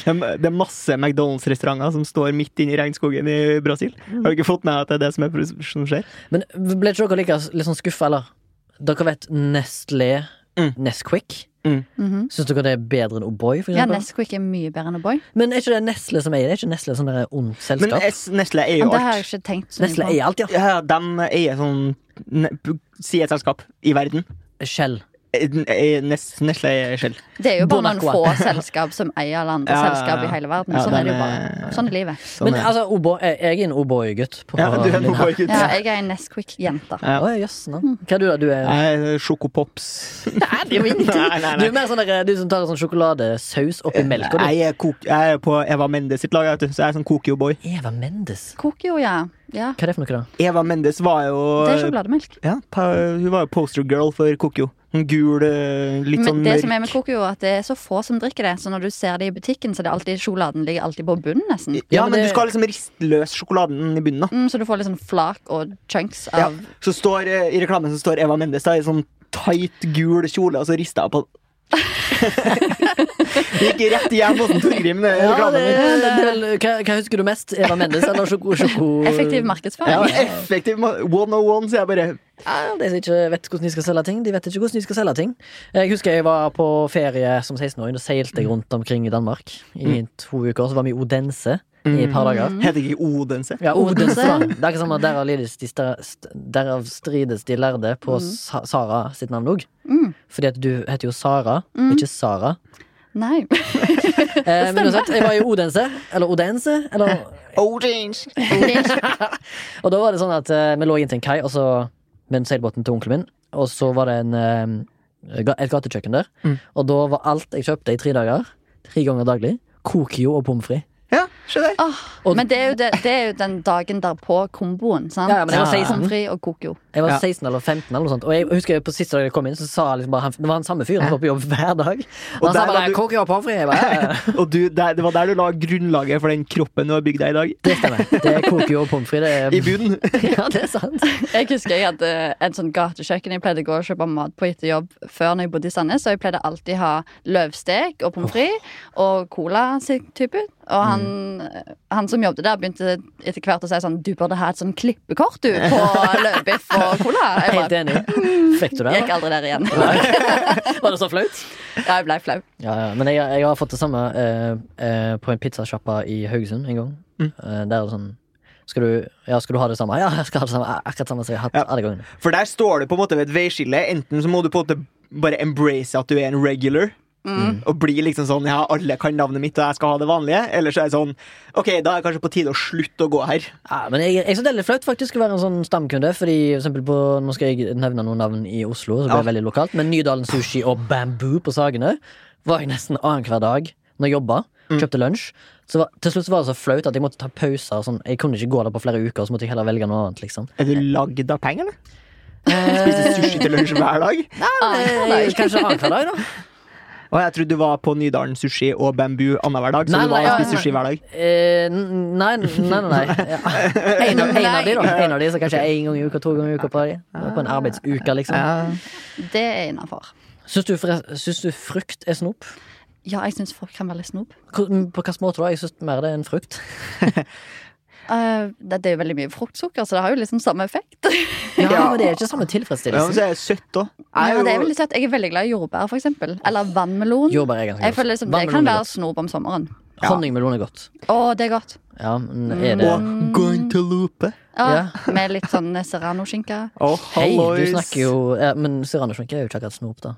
[SPEAKER 1] Det er det er masse McDonald's-restauranter som står midt inne i regnskogen i Brasil.
[SPEAKER 2] Mm.
[SPEAKER 1] Har du ikke fått med deg at det er det som, er, som skjer?
[SPEAKER 2] Men ble ikke dere like litt sånn skuffa, eller? Dere vet Nestlé,
[SPEAKER 1] Mm.
[SPEAKER 2] Nesquik.
[SPEAKER 3] Mhm.
[SPEAKER 2] Syns dere det er bedre enn O'boy? for
[SPEAKER 3] Ja,
[SPEAKER 2] eksempel?
[SPEAKER 3] Nesquik er mye bedre enn O'boy.
[SPEAKER 2] Men er ikke det Nestle som eier det? Er ikke Nestle sånn der ondt
[SPEAKER 1] Men
[SPEAKER 2] selskap?
[SPEAKER 1] S- Nestle eier
[SPEAKER 3] Men
[SPEAKER 1] jo
[SPEAKER 3] det har jeg
[SPEAKER 1] alt.
[SPEAKER 3] ikke tenkt så
[SPEAKER 2] Nestle
[SPEAKER 3] mye på.
[SPEAKER 2] eier alt, ja.
[SPEAKER 1] Ja, de eier sånn ne- p- Si et selskap i verden.
[SPEAKER 2] Shell.
[SPEAKER 1] Eh, n- eh, Nes- Nestle eier selv.
[SPEAKER 3] Det er jo bare noen
[SPEAKER 2] Bonacqua.
[SPEAKER 3] få selskap som eier alle
[SPEAKER 1] [LAUGHS]
[SPEAKER 3] andre
[SPEAKER 1] Ja, ja, ja.
[SPEAKER 3] selskap i hele verden.
[SPEAKER 1] Ja,
[SPEAKER 3] Sånn er det jo
[SPEAKER 1] den
[SPEAKER 3] bare.
[SPEAKER 1] er-
[SPEAKER 3] Sånn er livet.
[SPEAKER 1] Sånn
[SPEAKER 2] Men
[SPEAKER 1] er det.
[SPEAKER 2] altså, O'boy- jeg jeg er en O'boy-gutt. på
[SPEAKER 1] ja, du er
[SPEAKER 2] linja.
[SPEAKER 1] en Mm. O'boy-gutt.
[SPEAKER 3] Ja, jeg er en Nesquik-jente.
[SPEAKER 1] Ja.
[SPEAKER 2] Å, ja, jøss, nå. Hva er du, da? Du er,
[SPEAKER 1] Nei, Sjokopops.
[SPEAKER 2] Nei, det er jo ingenting.
[SPEAKER 1] [LAUGHS] Nei, nei,
[SPEAKER 2] Du
[SPEAKER 1] nei.
[SPEAKER 2] er mer sånn der, du som tar en sånn sjokoladesaus oppi melka, du.
[SPEAKER 1] Jeg er, kok jeg er på Eva Mendes sitt lag, vet du, så jeg er sånn kokio-boy.
[SPEAKER 2] Eva Mendes.
[SPEAKER 3] Kokio, ja. ja.
[SPEAKER 2] Hva er det for noe, da?
[SPEAKER 1] Eva Mendes var jo
[SPEAKER 3] Det er sjokolademelk.
[SPEAKER 1] Ja, pa, hun var jo poster girl for Kokyo. En gul, eh, litt
[SPEAKER 3] Men
[SPEAKER 1] sånn
[SPEAKER 3] det som
[SPEAKER 1] mørk
[SPEAKER 3] er med Kokio, er at det er så få som drikker det. Så når du ser det i butikken, så er det alltid sjokoladen ligger alltid på bunnen, nesten.
[SPEAKER 1] Ja,
[SPEAKER 2] Ja, men
[SPEAKER 1] men
[SPEAKER 2] det-
[SPEAKER 1] du skal liksom riste løs sjokoladen i bunnen, da.
[SPEAKER 3] Mm, så du får litt sånn flak og chunks
[SPEAKER 1] Ja.
[SPEAKER 3] av
[SPEAKER 1] Så står, eh, I reklamen så står Eva Mendes da, i sånn tight, gul kjole, og så rister jeg på den. Det Gikk rett hjem hos en Torgrim, den
[SPEAKER 2] Ja,
[SPEAKER 1] reklamen.
[SPEAKER 2] det,
[SPEAKER 1] min.
[SPEAKER 2] det, er vel- hva, hva husker du mest? Eva Mendes eller
[SPEAKER 1] [LAUGHS]
[SPEAKER 2] sjoko... sjoko...
[SPEAKER 3] effektiv
[SPEAKER 1] Ja,
[SPEAKER 3] markedsføring.
[SPEAKER 1] effektiv. ma- 101, sier jeg bare.
[SPEAKER 2] Ja, de som ikke vet hvordan de skal selge ting, de vet ikke hvordan de skal selge ting. Jeg husker jeg var på ferie som 16-åring, og seilte jeg rundt omkring i Danmark i
[SPEAKER 1] Mm.
[SPEAKER 2] to uker. Så var vi i Odense i et par dager.
[SPEAKER 1] Heter ikke Mm. Odense.
[SPEAKER 2] Ja, Odense.
[SPEAKER 3] Odense.
[SPEAKER 2] var det. Det er ikke sånn at derav, lides de sta- st- derav strides de lærde
[SPEAKER 1] Mm.
[SPEAKER 2] på Sa Sara sitt navn òg.
[SPEAKER 3] Mm.
[SPEAKER 2] Fordi at du heter jo Sara, ikke Sara.
[SPEAKER 3] Nei.
[SPEAKER 2] Eh, men uansett, jeg var i Odense, eller Odense, eller
[SPEAKER 1] Orange.
[SPEAKER 2] Og da var det sånn at eh, vi lå inn til en kai og så, med seilbåten til onkelen min, og så var det en, eh, ga- et gatekjøkken der.
[SPEAKER 1] Mm.
[SPEAKER 2] Og da var alt jeg kjøpte i tre dager, tre ganger daglig, Kokio og pommes frites.
[SPEAKER 1] Ja, se der.
[SPEAKER 3] Åh,
[SPEAKER 2] Og-
[SPEAKER 3] Ah, men det er, jo det, det er jo den dagen derpå-komboen, sant?
[SPEAKER 2] Ja, ja, men
[SPEAKER 1] jeg var
[SPEAKER 2] 16.
[SPEAKER 3] Pommes frites og Kokio.
[SPEAKER 2] Jeg var
[SPEAKER 1] Ja.
[SPEAKER 2] 16 eller 15, eller noe sånt. og jeg husker på siste dag jeg kom inn, så sa jeg liksom bare han, det var han samme fyren som var på jobb hver dag. Og
[SPEAKER 1] Og
[SPEAKER 2] han sa
[SPEAKER 1] der var
[SPEAKER 2] bare
[SPEAKER 1] du-
[SPEAKER 2] Kokio og pommes frites. Jeg bare, ja, ja.
[SPEAKER 1] Og du, der, det var der du la grunnlaget for den kroppen du har bygd deg i dag.
[SPEAKER 2] Det stemmer. Det er Kokio og pommes frites.
[SPEAKER 1] I [LAUGHS]
[SPEAKER 2] det er-
[SPEAKER 1] bunnen.
[SPEAKER 2] Ja, det er sant.
[SPEAKER 3] Jeg husker jeg hadde en sånn gatekjøkken jeg pleide å gå og kjøpe mat på etter jobb før når jeg bodde i Sandnes, og jeg pleide alltid ha løvstek og pommes frites og cola sin type. Og han,
[SPEAKER 2] Mm.
[SPEAKER 3] han som jobbet der, begynte etter hvert å si sånn Du burde ha et sånn klippekort, du,
[SPEAKER 2] [LAUGHS]
[SPEAKER 3] på løvbiff og cola. Jeg
[SPEAKER 2] Helt
[SPEAKER 3] bare,
[SPEAKER 2] enig. Fikk
[SPEAKER 3] [LAUGHS]
[SPEAKER 2] du det? eller?
[SPEAKER 3] gikk aldri der igjen.
[SPEAKER 2] Var det så flaut?
[SPEAKER 3] Ja, jeg ble flau.
[SPEAKER 2] Ja, ja. Men jeg, jeg har fått det samme eh, eh, på en pizzasjappa i Haugesund en gang.
[SPEAKER 1] Mm.
[SPEAKER 2] Eh, der er det sånn skal du, ja, skal du ha det samme? Ja, jeg skal ha det samme. Akkurat samme som jeg har hatt
[SPEAKER 1] Ja.
[SPEAKER 2] alle gangene.
[SPEAKER 1] For der står du på en måte ved et veiskille. Enten så må du på en måte bare embrace at du er en regular.
[SPEAKER 2] Mm.
[SPEAKER 1] Og bli liksom sånn Ja, alle kan navnet mitt, og jeg skal ha det vanlige. Eller så er det sånn Ok, da er det kanskje på tide å slutte å gå her.
[SPEAKER 2] Ja, men jeg, jeg synes det er litt flaut faktisk å være en sånn stamkunde. Fordi for eksempel på, Nå skal jeg nevne noen navn i Oslo, så blir det
[SPEAKER 1] Ja.
[SPEAKER 2] veldig lokalt. Men Nydalen Sushi og Bamboo på Sagene var jeg nesten annenhver dag når jeg jobba.
[SPEAKER 1] Mm.
[SPEAKER 2] Kjøpte lunsj. Så var, til slutt så var det så flaut at jeg måtte ta pauser. Sånn, jeg kunne ikke gå der på flere uker, så måtte jeg heller velge noe annet. liksom
[SPEAKER 1] Er du lagd av penger, eller? Eh. Spiser sushi til lunsj hver dag?
[SPEAKER 2] Eh, Kanskje annenhver dag, da.
[SPEAKER 1] Og jeg trodde du var på Nydalen Sushi og Bambu annenhver dag. Så
[SPEAKER 2] Nei,
[SPEAKER 1] du var
[SPEAKER 2] nei,
[SPEAKER 1] og
[SPEAKER 2] nei,
[SPEAKER 1] spiste sushi hver dag.
[SPEAKER 2] Eh, n- nei, nei, nei, nei. Ja. En, av- en av de, da. En av de, så kanskje en gang i uka, to ganger i uka på, de. på en arbeidsuke, liksom.
[SPEAKER 3] Det er innafor.
[SPEAKER 2] Syns du, forre- syns du frukt er snop?
[SPEAKER 3] Ja, jeg syns folk kan være litt snob.
[SPEAKER 2] Hvor- På hvilken måte da? Jeg syns mer det er en frukt.
[SPEAKER 3] Eh, det, det er jo veldig mye fruktsukker, så det har jo liksom samme [LAUGHS] effekt.
[SPEAKER 2] Ja, men det er ikke samme
[SPEAKER 1] Ja, men
[SPEAKER 2] tilfredsstillelse.
[SPEAKER 1] så er jeg søtt òg.
[SPEAKER 3] Ja, det er veldig søtt. Jeg er veldig glad i jordbær, for eksempel. Eller vannmelon.
[SPEAKER 2] Jordbær er ganske
[SPEAKER 3] Jeg
[SPEAKER 2] godt.
[SPEAKER 3] føler liksom, det kan
[SPEAKER 2] Vannmelon er
[SPEAKER 3] være
[SPEAKER 2] godt.
[SPEAKER 3] snop om sommeren.
[SPEAKER 2] Honningmelon er godt.
[SPEAKER 3] Å, det er godt.
[SPEAKER 2] Ja, men er det
[SPEAKER 1] Og guantelope.
[SPEAKER 3] Ja,
[SPEAKER 2] Ja.
[SPEAKER 3] [LAUGHS] Med litt sånn serranoskinke.
[SPEAKER 1] Å,
[SPEAKER 2] Hei, du
[SPEAKER 1] hallois.
[SPEAKER 2] snakker jo ja, Men serranoskinke er jo ikke akkurat snop, da.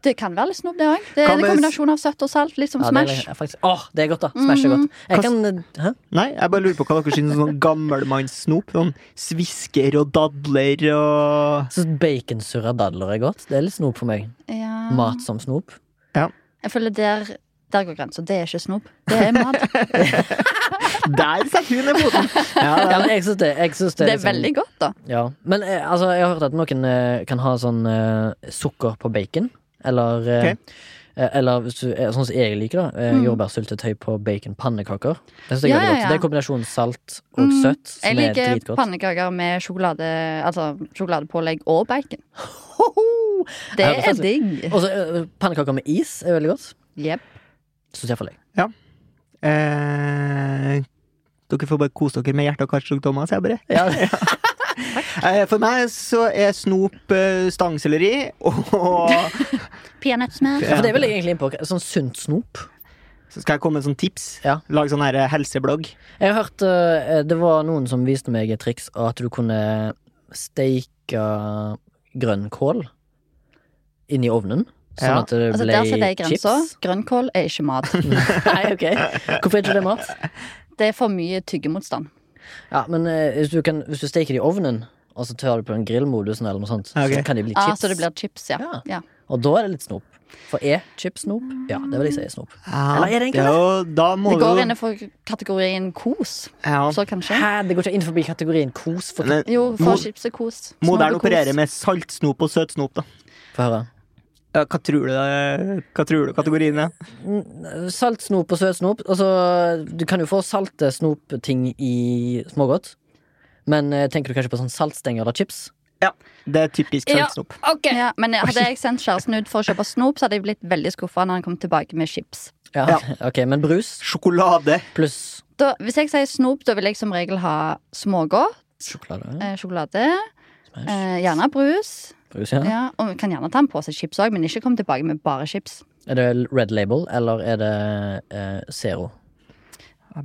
[SPEAKER 3] Det kan være litt snop, det òg. Det er
[SPEAKER 1] Hva
[SPEAKER 3] en
[SPEAKER 1] med-
[SPEAKER 3] kombinasjon av søtt og salt. Litt som
[SPEAKER 2] Ja, det
[SPEAKER 3] Smash. Mm.
[SPEAKER 2] er, faktisk, åh, det er godt, da. Smash er godt. Jeg kan Hæ?
[SPEAKER 1] Nei, jeg bare lurer på hva dere syns om sånn gammelmannssnop. Sånn svisker og dadler og
[SPEAKER 2] Syns baconsurra dadler er godt. Det er litt snop for meg.
[SPEAKER 3] Ja.
[SPEAKER 2] Mat som snop.
[SPEAKER 3] Jeg føler der, der går grensa. Det er ikke snop. Det er mat.
[SPEAKER 2] [LAUGHS]
[SPEAKER 1] Der setter hun ned foten!
[SPEAKER 3] [LAUGHS]
[SPEAKER 2] Ja, men jeg syns det, jeg synes det,
[SPEAKER 3] Det er
[SPEAKER 2] liksom-
[SPEAKER 3] veldig godt, da.
[SPEAKER 2] Ja, men eh, altså, jeg har hørt at noen eh, kan ha sånn eh, sukker på bacon. Eller, eh,
[SPEAKER 1] Ok.
[SPEAKER 2] eh, eller hvis du- eh, sånn som jeg liker, da. Eh,
[SPEAKER 3] Mm.
[SPEAKER 2] Jordbærsyltetøy på bacon-pannekaker. Det synes jeg
[SPEAKER 3] Ja,
[SPEAKER 2] er veldig
[SPEAKER 3] ja,
[SPEAKER 2] godt.
[SPEAKER 3] ja.
[SPEAKER 2] Det er kombinasjonen salt og
[SPEAKER 3] Mm.
[SPEAKER 2] søtt som
[SPEAKER 3] Jeg
[SPEAKER 2] er
[SPEAKER 3] liker
[SPEAKER 2] dritgodt.
[SPEAKER 3] pannekaker med sjokolade, altså, sjokoladepålegg og bacon.
[SPEAKER 2] Hoho!
[SPEAKER 3] Det
[SPEAKER 2] Ja, det er
[SPEAKER 3] er digg.
[SPEAKER 2] Og så eh, pannekaker med is er veldig godt.
[SPEAKER 3] Jep.
[SPEAKER 2] Syns iallfall jeg. [LAUGHS]
[SPEAKER 1] Eh, dere får bare kose dere med hjerte- og karsykdommer, sier jeg bare.
[SPEAKER 2] Ja.
[SPEAKER 1] Eh, For meg så er snop eh, stangselleri og
[SPEAKER 3] Peanøttsmør.
[SPEAKER 2] Ja, for det vil jeg egentlig inn på. Sånn sunt snop.
[SPEAKER 1] Så skal jeg komme med sånn tips.
[SPEAKER 2] Ja.
[SPEAKER 1] Lag sånn her eh, helseblogg.
[SPEAKER 2] Jeg har hørt eh, Det var noen som viste meg et triks og at du kunne steike grønnkål inni ovnen. Sånn
[SPEAKER 1] Ja.
[SPEAKER 2] at det
[SPEAKER 3] Altså,
[SPEAKER 2] ble
[SPEAKER 3] der setter jeg
[SPEAKER 2] chips. [LAUGHS]
[SPEAKER 3] grensa. Grønnkål er ikke mat.
[SPEAKER 2] Nei, ok. Hvorfor er ikke det mat?
[SPEAKER 3] Det er for mye tyggemotstand.
[SPEAKER 2] Ja, men eh, hvis, du kan, hvis du steker det i ovnen, og så tør du på den grillmodusen, eller noe sånt,
[SPEAKER 1] Ok.
[SPEAKER 2] så kan de bli
[SPEAKER 3] Ah,
[SPEAKER 2] chips.
[SPEAKER 3] så det blir chips,
[SPEAKER 2] Ja.
[SPEAKER 3] ja. ja.
[SPEAKER 2] Og da er det litt snop. For er chips snop? Ja, det vil jeg si er snop.
[SPEAKER 1] Ja,
[SPEAKER 2] Eller er det egentlig
[SPEAKER 1] jo, da må
[SPEAKER 3] Det går
[SPEAKER 1] du-
[SPEAKER 3] innenfor kategorien kos,
[SPEAKER 1] ja.
[SPEAKER 3] så kanskje.
[SPEAKER 2] Hæ, det går ikke inn forbi kategorien kos for
[SPEAKER 1] Men
[SPEAKER 3] Jo,
[SPEAKER 1] Mo-
[SPEAKER 3] for chips er kos.
[SPEAKER 1] Modern
[SPEAKER 3] Smak er
[SPEAKER 1] opererer
[SPEAKER 3] kos.
[SPEAKER 1] med saltsnop og søtsnop, da.
[SPEAKER 2] Få høre.
[SPEAKER 1] Ja, Hva tror du, det- hva tror du kategorien er?
[SPEAKER 2] Mm, Salt snop og søt snop. Altså, du kan jo få salte snopting i smågodt. Men eh, tenker du kanskje på sånn saltstenger eller chips?
[SPEAKER 1] Det er typisk
[SPEAKER 3] Ja.
[SPEAKER 1] saltsnop.
[SPEAKER 3] Ja, men hadde jeg sendt kjæresten ut for å kjøpe snop, så hadde jeg blitt veldig skuffa når han kom tilbake med chips.
[SPEAKER 2] Ja, ok, Men brus
[SPEAKER 1] Sjokolade.
[SPEAKER 2] pluss
[SPEAKER 3] Da, hvis jeg sier snop, da vil jeg som regel ha smågodt,
[SPEAKER 2] sjokolade?
[SPEAKER 3] eh, sjokolade,
[SPEAKER 2] Smash.
[SPEAKER 3] eh, gjerne brus.
[SPEAKER 2] Brus, ja.
[SPEAKER 3] Ja, og vi kan gjerne ta en pose chips òg, men ikke kom tilbake med bare chips.
[SPEAKER 2] Er det Red Label, eller er det eh, Zero?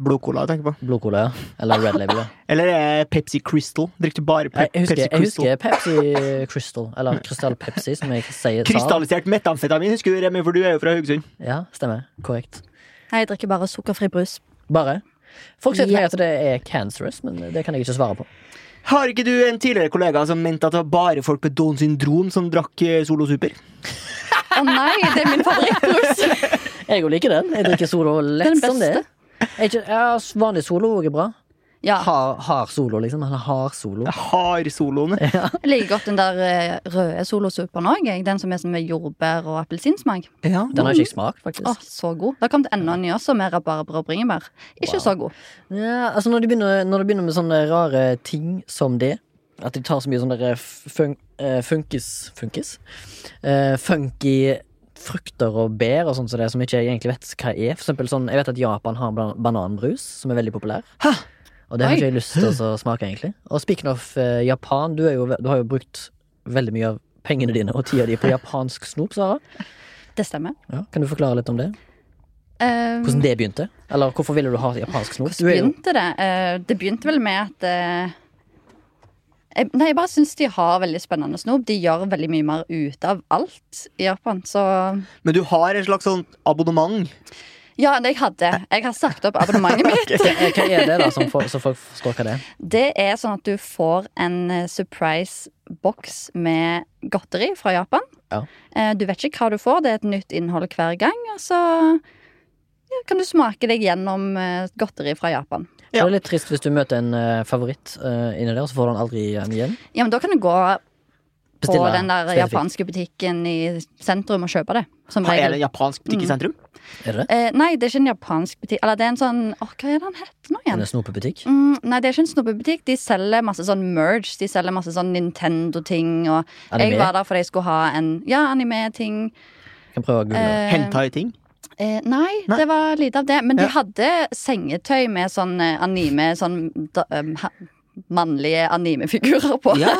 [SPEAKER 1] Blodcola, jeg tenker på.
[SPEAKER 2] Blodcola, ja. Eller Red Label, ja.
[SPEAKER 1] Eller er det Pepsi Crystal? Drikker du bare pe
[SPEAKER 2] Jeg husker,
[SPEAKER 1] Pepsi
[SPEAKER 2] jeg
[SPEAKER 1] Crystal?
[SPEAKER 2] husker Pepsi Crystal, eller Krystall Pepsi, som jeg sier. sa.
[SPEAKER 1] Krystallisert metamfetamin, husker du, Remi, for du er jo fra Haugesund.
[SPEAKER 2] Ja, stemmer. Korrekt.
[SPEAKER 3] Nei, jeg drikker bare sukkerfri brus.
[SPEAKER 2] Bare. Folk sier til
[SPEAKER 3] Ja.
[SPEAKER 2] meg at det er cancerous, men det kan jeg ikke svare på.
[SPEAKER 1] Har ikke du en tidligere kollega som mente at det var bare folk med Downs syndrom som drakk eh, Solo Super?
[SPEAKER 3] Å nei, det er min favorittbrus! [LAUGHS]
[SPEAKER 2] Jeg jo liker den. Jeg drikker solo lett
[SPEAKER 3] Den
[SPEAKER 2] som det.
[SPEAKER 3] beste.
[SPEAKER 2] Er ikke, ja, vanlig solo er bra.
[SPEAKER 3] Ja,
[SPEAKER 2] Har, har solo, liksom. Han har solo. [LAUGHS]
[SPEAKER 1] Hardsoloene.
[SPEAKER 3] Jeg liker godt den der eh, røde solosuperen òg. Den som er sånn med jordbær og appelsinsmak.
[SPEAKER 1] Ja.
[SPEAKER 2] Den har ikke jeg smakt, faktisk.
[SPEAKER 3] Å, så god. Det har kommet enda en ny også, med rabarbra og bringebær. Ikke
[SPEAKER 2] Wow.
[SPEAKER 3] så god.
[SPEAKER 2] Ja, altså når de, begynner, når de begynner med sånne rare ting som det, at de tar så mye sånne der fun, eh, funkis Funkis? Eh, funky frukter og bær og sånt som det, som ikke jeg egentlig vet hva er. For eksempel sånn, jeg vet at Japan har ban- bananbrus, som er veldig populær. Og det har
[SPEAKER 3] Oi.
[SPEAKER 2] ikke jeg lyst til å smake, egentlig. Og speaking of eh, Japan, du, er jo, ve- du har jo brukt veldig mye av pengene dine og tida di på japansk snop, Sara.
[SPEAKER 3] Det stemmer.
[SPEAKER 2] Ja, kan du forklare litt om det?
[SPEAKER 3] Eh,
[SPEAKER 2] Hvordan det begynte? Eller hvorfor ville du ha japansk snop? Du er jo
[SPEAKER 3] begynte det? Eh, det begynte vel med at eh, jeg, Nei, jeg bare syns de har veldig spennende snop. De gjør veldig mye mer ut av alt i Japan, så
[SPEAKER 1] Men du har et slags sånn abonnement.
[SPEAKER 3] Ja, jeg hadde. Jeg har sagt opp abonnementet mitt.
[SPEAKER 2] Eh, Hva er det, da, som
[SPEAKER 3] [LAUGHS]
[SPEAKER 2] for, så folk forstår hva det er?
[SPEAKER 3] Det er sånn at du får en eh, surprise boks med godteri fra Japan.
[SPEAKER 2] Ja.
[SPEAKER 3] Eh, Du vet ikke hva du får, det er et nytt innhold hver gang. Og så ja, kan du smake deg gjennom eh, godteri fra Japan.
[SPEAKER 2] Så Det er litt trist hvis du møter en eh, favoritt eh, inni der, og så får du den aldri igjen. igjen.
[SPEAKER 3] Ja, men da kan du gå på
[SPEAKER 2] Bestille
[SPEAKER 3] den der
[SPEAKER 2] spesifikt.
[SPEAKER 3] japanske butikken i sentrum og kjøpe det. Som
[SPEAKER 1] Er det
[SPEAKER 3] regel.
[SPEAKER 1] en japansk butikk
[SPEAKER 2] Mm.
[SPEAKER 1] i sentrum?
[SPEAKER 2] Er det det?
[SPEAKER 3] Eh, nei, det er ikke en japansk butikk. Eller det er en sånn åh, Hva er det han heter nå igjen?
[SPEAKER 2] En snopebutikk?
[SPEAKER 3] Mm, nei, det er ikke en snobbebutikk. De selger masse sånn merge. De selger masse sånn Nintendo-ting. Og
[SPEAKER 2] Anime?
[SPEAKER 3] jeg var der fordi jeg skulle ha en ja, anime-ting.
[SPEAKER 2] Kan prøve å google det.
[SPEAKER 3] Eh,
[SPEAKER 1] Hentai-ting?
[SPEAKER 3] eh, nei,
[SPEAKER 1] Nei.
[SPEAKER 3] det var lite av det. Men
[SPEAKER 1] Ja.
[SPEAKER 3] de hadde sengetøy med sånn eh, anime Sånn da, um, ha, mannlige animefigurer på.
[SPEAKER 1] Ja!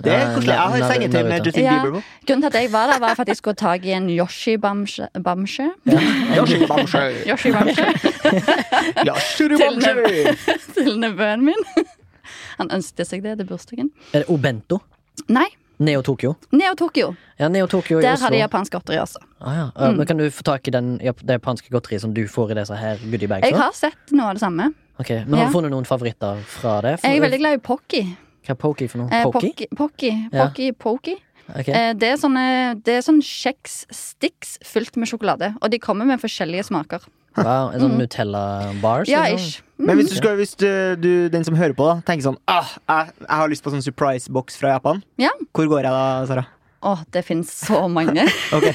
[SPEAKER 1] Det er
[SPEAKER 2] Ja,
[SPEAKER 1] koselig. Jeg har
[SPEAKER 2] nar-
[SPEAKER 1] sengetøy med
[SPEAKER 2] narita.
[SPEAKER 1] Justin
[SPEAKER 3] Ja.
[SPEAKER 1] Bieber på.
[SPEAKER 3] Grunnen til at jeg var der, var for at jeg skulle ha tak i en Yoshi-bamse. Bamse?
[SPEAKER 1] Yoshi Bamsøy.
[SPEAKER 2] [LAUGHS]
[SPEAKER 3] Yoshi-bamse
[SPEAKER 1] Yoshi
[SPEAKER 3] Til-
[SPEAKER 1] Bamsøy.
[SPEAKER 3] til nevøen min. [LAUGHS] Han ønsket seg det til bursdagen.
[SPEAKER 2] Er det Obento?
[SPEAKER 3] Nei,
[SPEAKER 2] Neo Tokyo?
[SPEAKER 3] Neo Tokyo.
[SPEAKER 2] Ja, Neo Tokyo i
[SPEAKER 3] Der har
[SPEAKER 2] Oslo.
[SPEAKER 3] de Mm. japansk godteri også.
[SPEAKER 2] ah, ja. Eh, Men kan du få tak i den, jap det japanske godteriet som du får i disse her goodiebags?
[SPEAKER 3] Jeg har sett noe av det samme.
[SPEAKER 2] Ok, Men har
[SPEAKER 3] Ja.
[SPEAKER 2] du funnet noen favoritter fra det? For-
[SPEAKER 3] Jeg er veldig glad i Pocky.
[SPEAKER 2] Hva er Poki for noe?
[SPEAKER 3] Eh,
[SPEAKER 2] Poki?
[SPEAKER 3] Pocky, Pocky,
[SPEAKER 2] Ja.
[SPEAKER 3] Pocky, Pocky.
[SPEAKER 2] Ok.
[SPEAKER 3] Eh, det er sånne, det er sånn kjeks-sticks fylt med sjokolade. Og de kommer med forskjellige smaker.
[SPEAKER 2] Wow, en sånn Nutella-bars?
[SPEAKER 3] mm. Ja,
[SPEAKER 2] liksom?
[SPEAKER 3] ish.
[SPEAKER 1] Men hvis, du
[SPEAKER 3] Mm.
[SPEAKER 1] skal, hvis du, du, den som hører på, da, tenker sånn ah, jeg, jeg har lyst på sånn surprise-boks fra Japan.
[SPEAKER 3] Ja.
[SPEAKER 1] Hvor går jeg da, Sara?
[SPEAKER 3] Å, det finnes så
[SPEAKER 2] [LAUGHS]
[SPEAKER 3] mange.
[SPEAKER 1] Ok.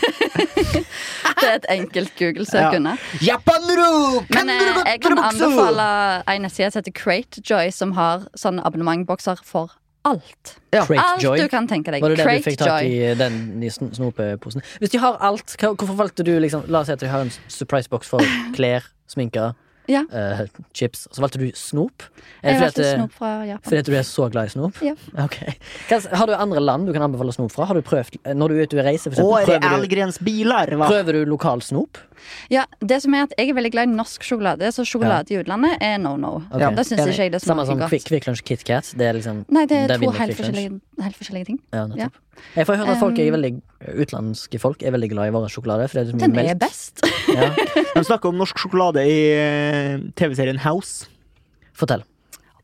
[SPEAKER 3] [LAUGHS] Det er et enkelt
[SPEAKER 1] Ja.
[SPEAKER 3] Google-søk unna.
[SPEAKER 1] Japanro!
[SPEAKER 3] Men eh, jeg kan
[SPEAKER 1] Kandrubuksu!
[SPEAKER 3] anbefale ei nettside som heter Cratejoy, som har sånne abonnementbokser for alt.
[SPEAKER 2] Crate
[SPEAKER 3] Alt
[SPEAKER 2] Joy.
[SPEAKER 3] du kan tenke deg.
[SPEAKER 2] Var det det du
[SPEAKER 3] Crate
[SPEAKER 2] fikk tak
[SPEAKER 3] Joy.
[SPEAKER 2] i den i sn- snopeposen?
[SPEAKER 3] [LAUGHS]
[SPEAKER 2] Hvis de har alt, hva- hvorfor valgte du liksom La oss si at de har en surprise box for klær, sminke,
[SPEAKER 3] Ja.
[SPEAKER 2] eh, chips. Og så valgte du snop. Er det
[SPEAKER 3] Jeg har
[SPEAKER 2] fordi,
[SPEAKER 3] alltid
[SPEAKER 2] at,
[SPEAKER 3] snop fra Japan.
[SPEAKER 2] fordi at du er så glad i snop? [LAUGHS]
[SPEAKER 3] Ja.
[SPEAKER 2] Ok. Hva, har du andre land du kan anbefale snop fra? Har du prøvd, eh, Når du er ute og reiser, for eksempel,
[SPEAKER 1] Åre
[SPEAKER 2] prøver, du,
[SPEAKER 1] Elgrens biler, hva?
[SPEAKER 2] prøver du lokal snop?
[SPEAKER 3] Ja, det som er at Jeg er veldig glad i norsk sjokolade, så sjokolade i utlandet er no no.
[SPEAKER 2] Ok.
[SPEAKER 3] Da syns
[SPEAKER 2] Enig.
[SPEAKER 3] ikke jeg det
[SPEAKER 2] Samme
[SPEAKER 3] smaker
[SPEAKER 2] som
[SPEAKER 3] godt.
[SPEAKER 2] Quick, quick Lunch Kit Kat. Det er liksom
[SPEAKER 3] Nei, det
[SPEAKER 2] der
[SPEAKER 3] er to
[SPEAKER 2] vinner
[SPEAKER 3] helt
[SPEAKER 2] Quick Lunch.
[SPEAKER 3] forskjellige, helt forskjellige ting.
[SPEAKER 2] Ja, nettopp. Jeg får høre at folk er veldig, utenlandske folk er veldig glad i vår sjokolade. For det er så mye
[SPEAKER 3] Den
[SPEAKER 2] melk.
[SPEAKER 3] er best.
[SPEAKER 2] Ja.
[SPEAKER 1] De snakker om norsk sjokolade i eh, TV-serien House.
[SPEAKER 2] Fortell.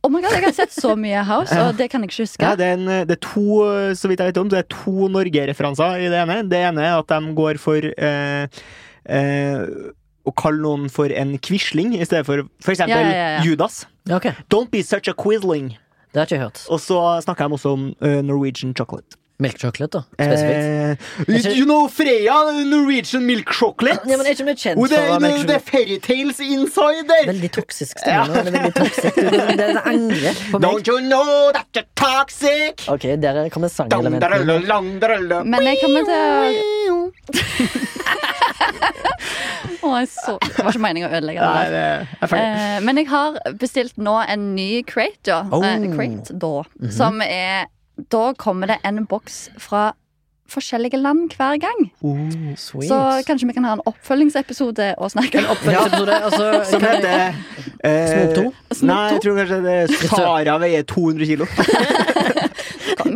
[SPEAKER 3] Oh my god, Jeg har sett så mye House, og det kan jeg ikke huske.
[SPEAKER 1] Ja, det, er en, det er to eh, så vidt jeg vet om, det er to Norge-referanser i det ene. Det ene er at de går for eh, eh, å kalle noen for en quisling i stedet for for eksempel
[SPEAKER 3] Ja, ja, ja.
[SPEAKER 1] Judas.
[SPEAKER 2] Ja, ok. Det
[SPEAKER 1] Don't be such a quisling.
[SPEAKER 2] har ikke jeg hørt.
[SPEAKER 1] Og så snakker de også om eh, Norwegian chocolate.
[SPEAKER 2] Milk chocolate, da? Spesifikt.
[SPEAKER 1] Eh, you, you know Freya, Norwegian milk chocolate?
[SPEAKER 2] ja, men er ikke vi kjent
[SPEAKER 1] Oh,
[SPEAKER 2] for
[SPEAKER 1] det,
[SPEAKER 2] å være
[SPEAKER 1] det,
[SPEAKER 2] milk
[SPEAKER 1] det er
[SPEAKER 2] chocolate?
[SPEAKER 1] fairytales inside there!
[SPEAKER 2] Veldig toksisk stemme nå. Det er veldig toksisk. Det er- Det er et angrep på meg.
[SPEAKER 1] Don't you know that you're toxic?
[SPEAKER 2] Ok, der kom det sangelementet.
[SPEAKER 1] Dang-daralla-lang-daralla.
[SPEAKER 3] Men eh, jeg kommer til å Å, jeg så... Det var ikke meningen å ødelegge det.
[SPEAKER 1] Nei,
[SPEAKER 3] der.
[SPEAKER 1] det er ferdig.
[SPEAKER 3] Eh, men jeg har bestilt nå en ny crate, da. Eh,
[SPEAKER 2] Oh.
[SPEAKER 3] crate, da Som er Da kommer det en boks fra forskjellige land hver gang.
[SPEAKER 1] Oh,
[SPEAKER 2] Sweet.
[SPEAKER 3] Så kanskje vi kan ha en oppfølgingsepisode og snakke om
[SPEAKER 2] Oppfølgingsepisode, altså,
[SPEAKER 1] [LAUGHS] Som heter eh,
[SPEAKER 2] Snop to?
[SPEAKER 1] Nei, jeg tror kanskje det er Sara veier
[SPEAKER 2] [LAUGHS]
[SPEAKER 1] 200 kilo.
[SPEAKER 3] Kan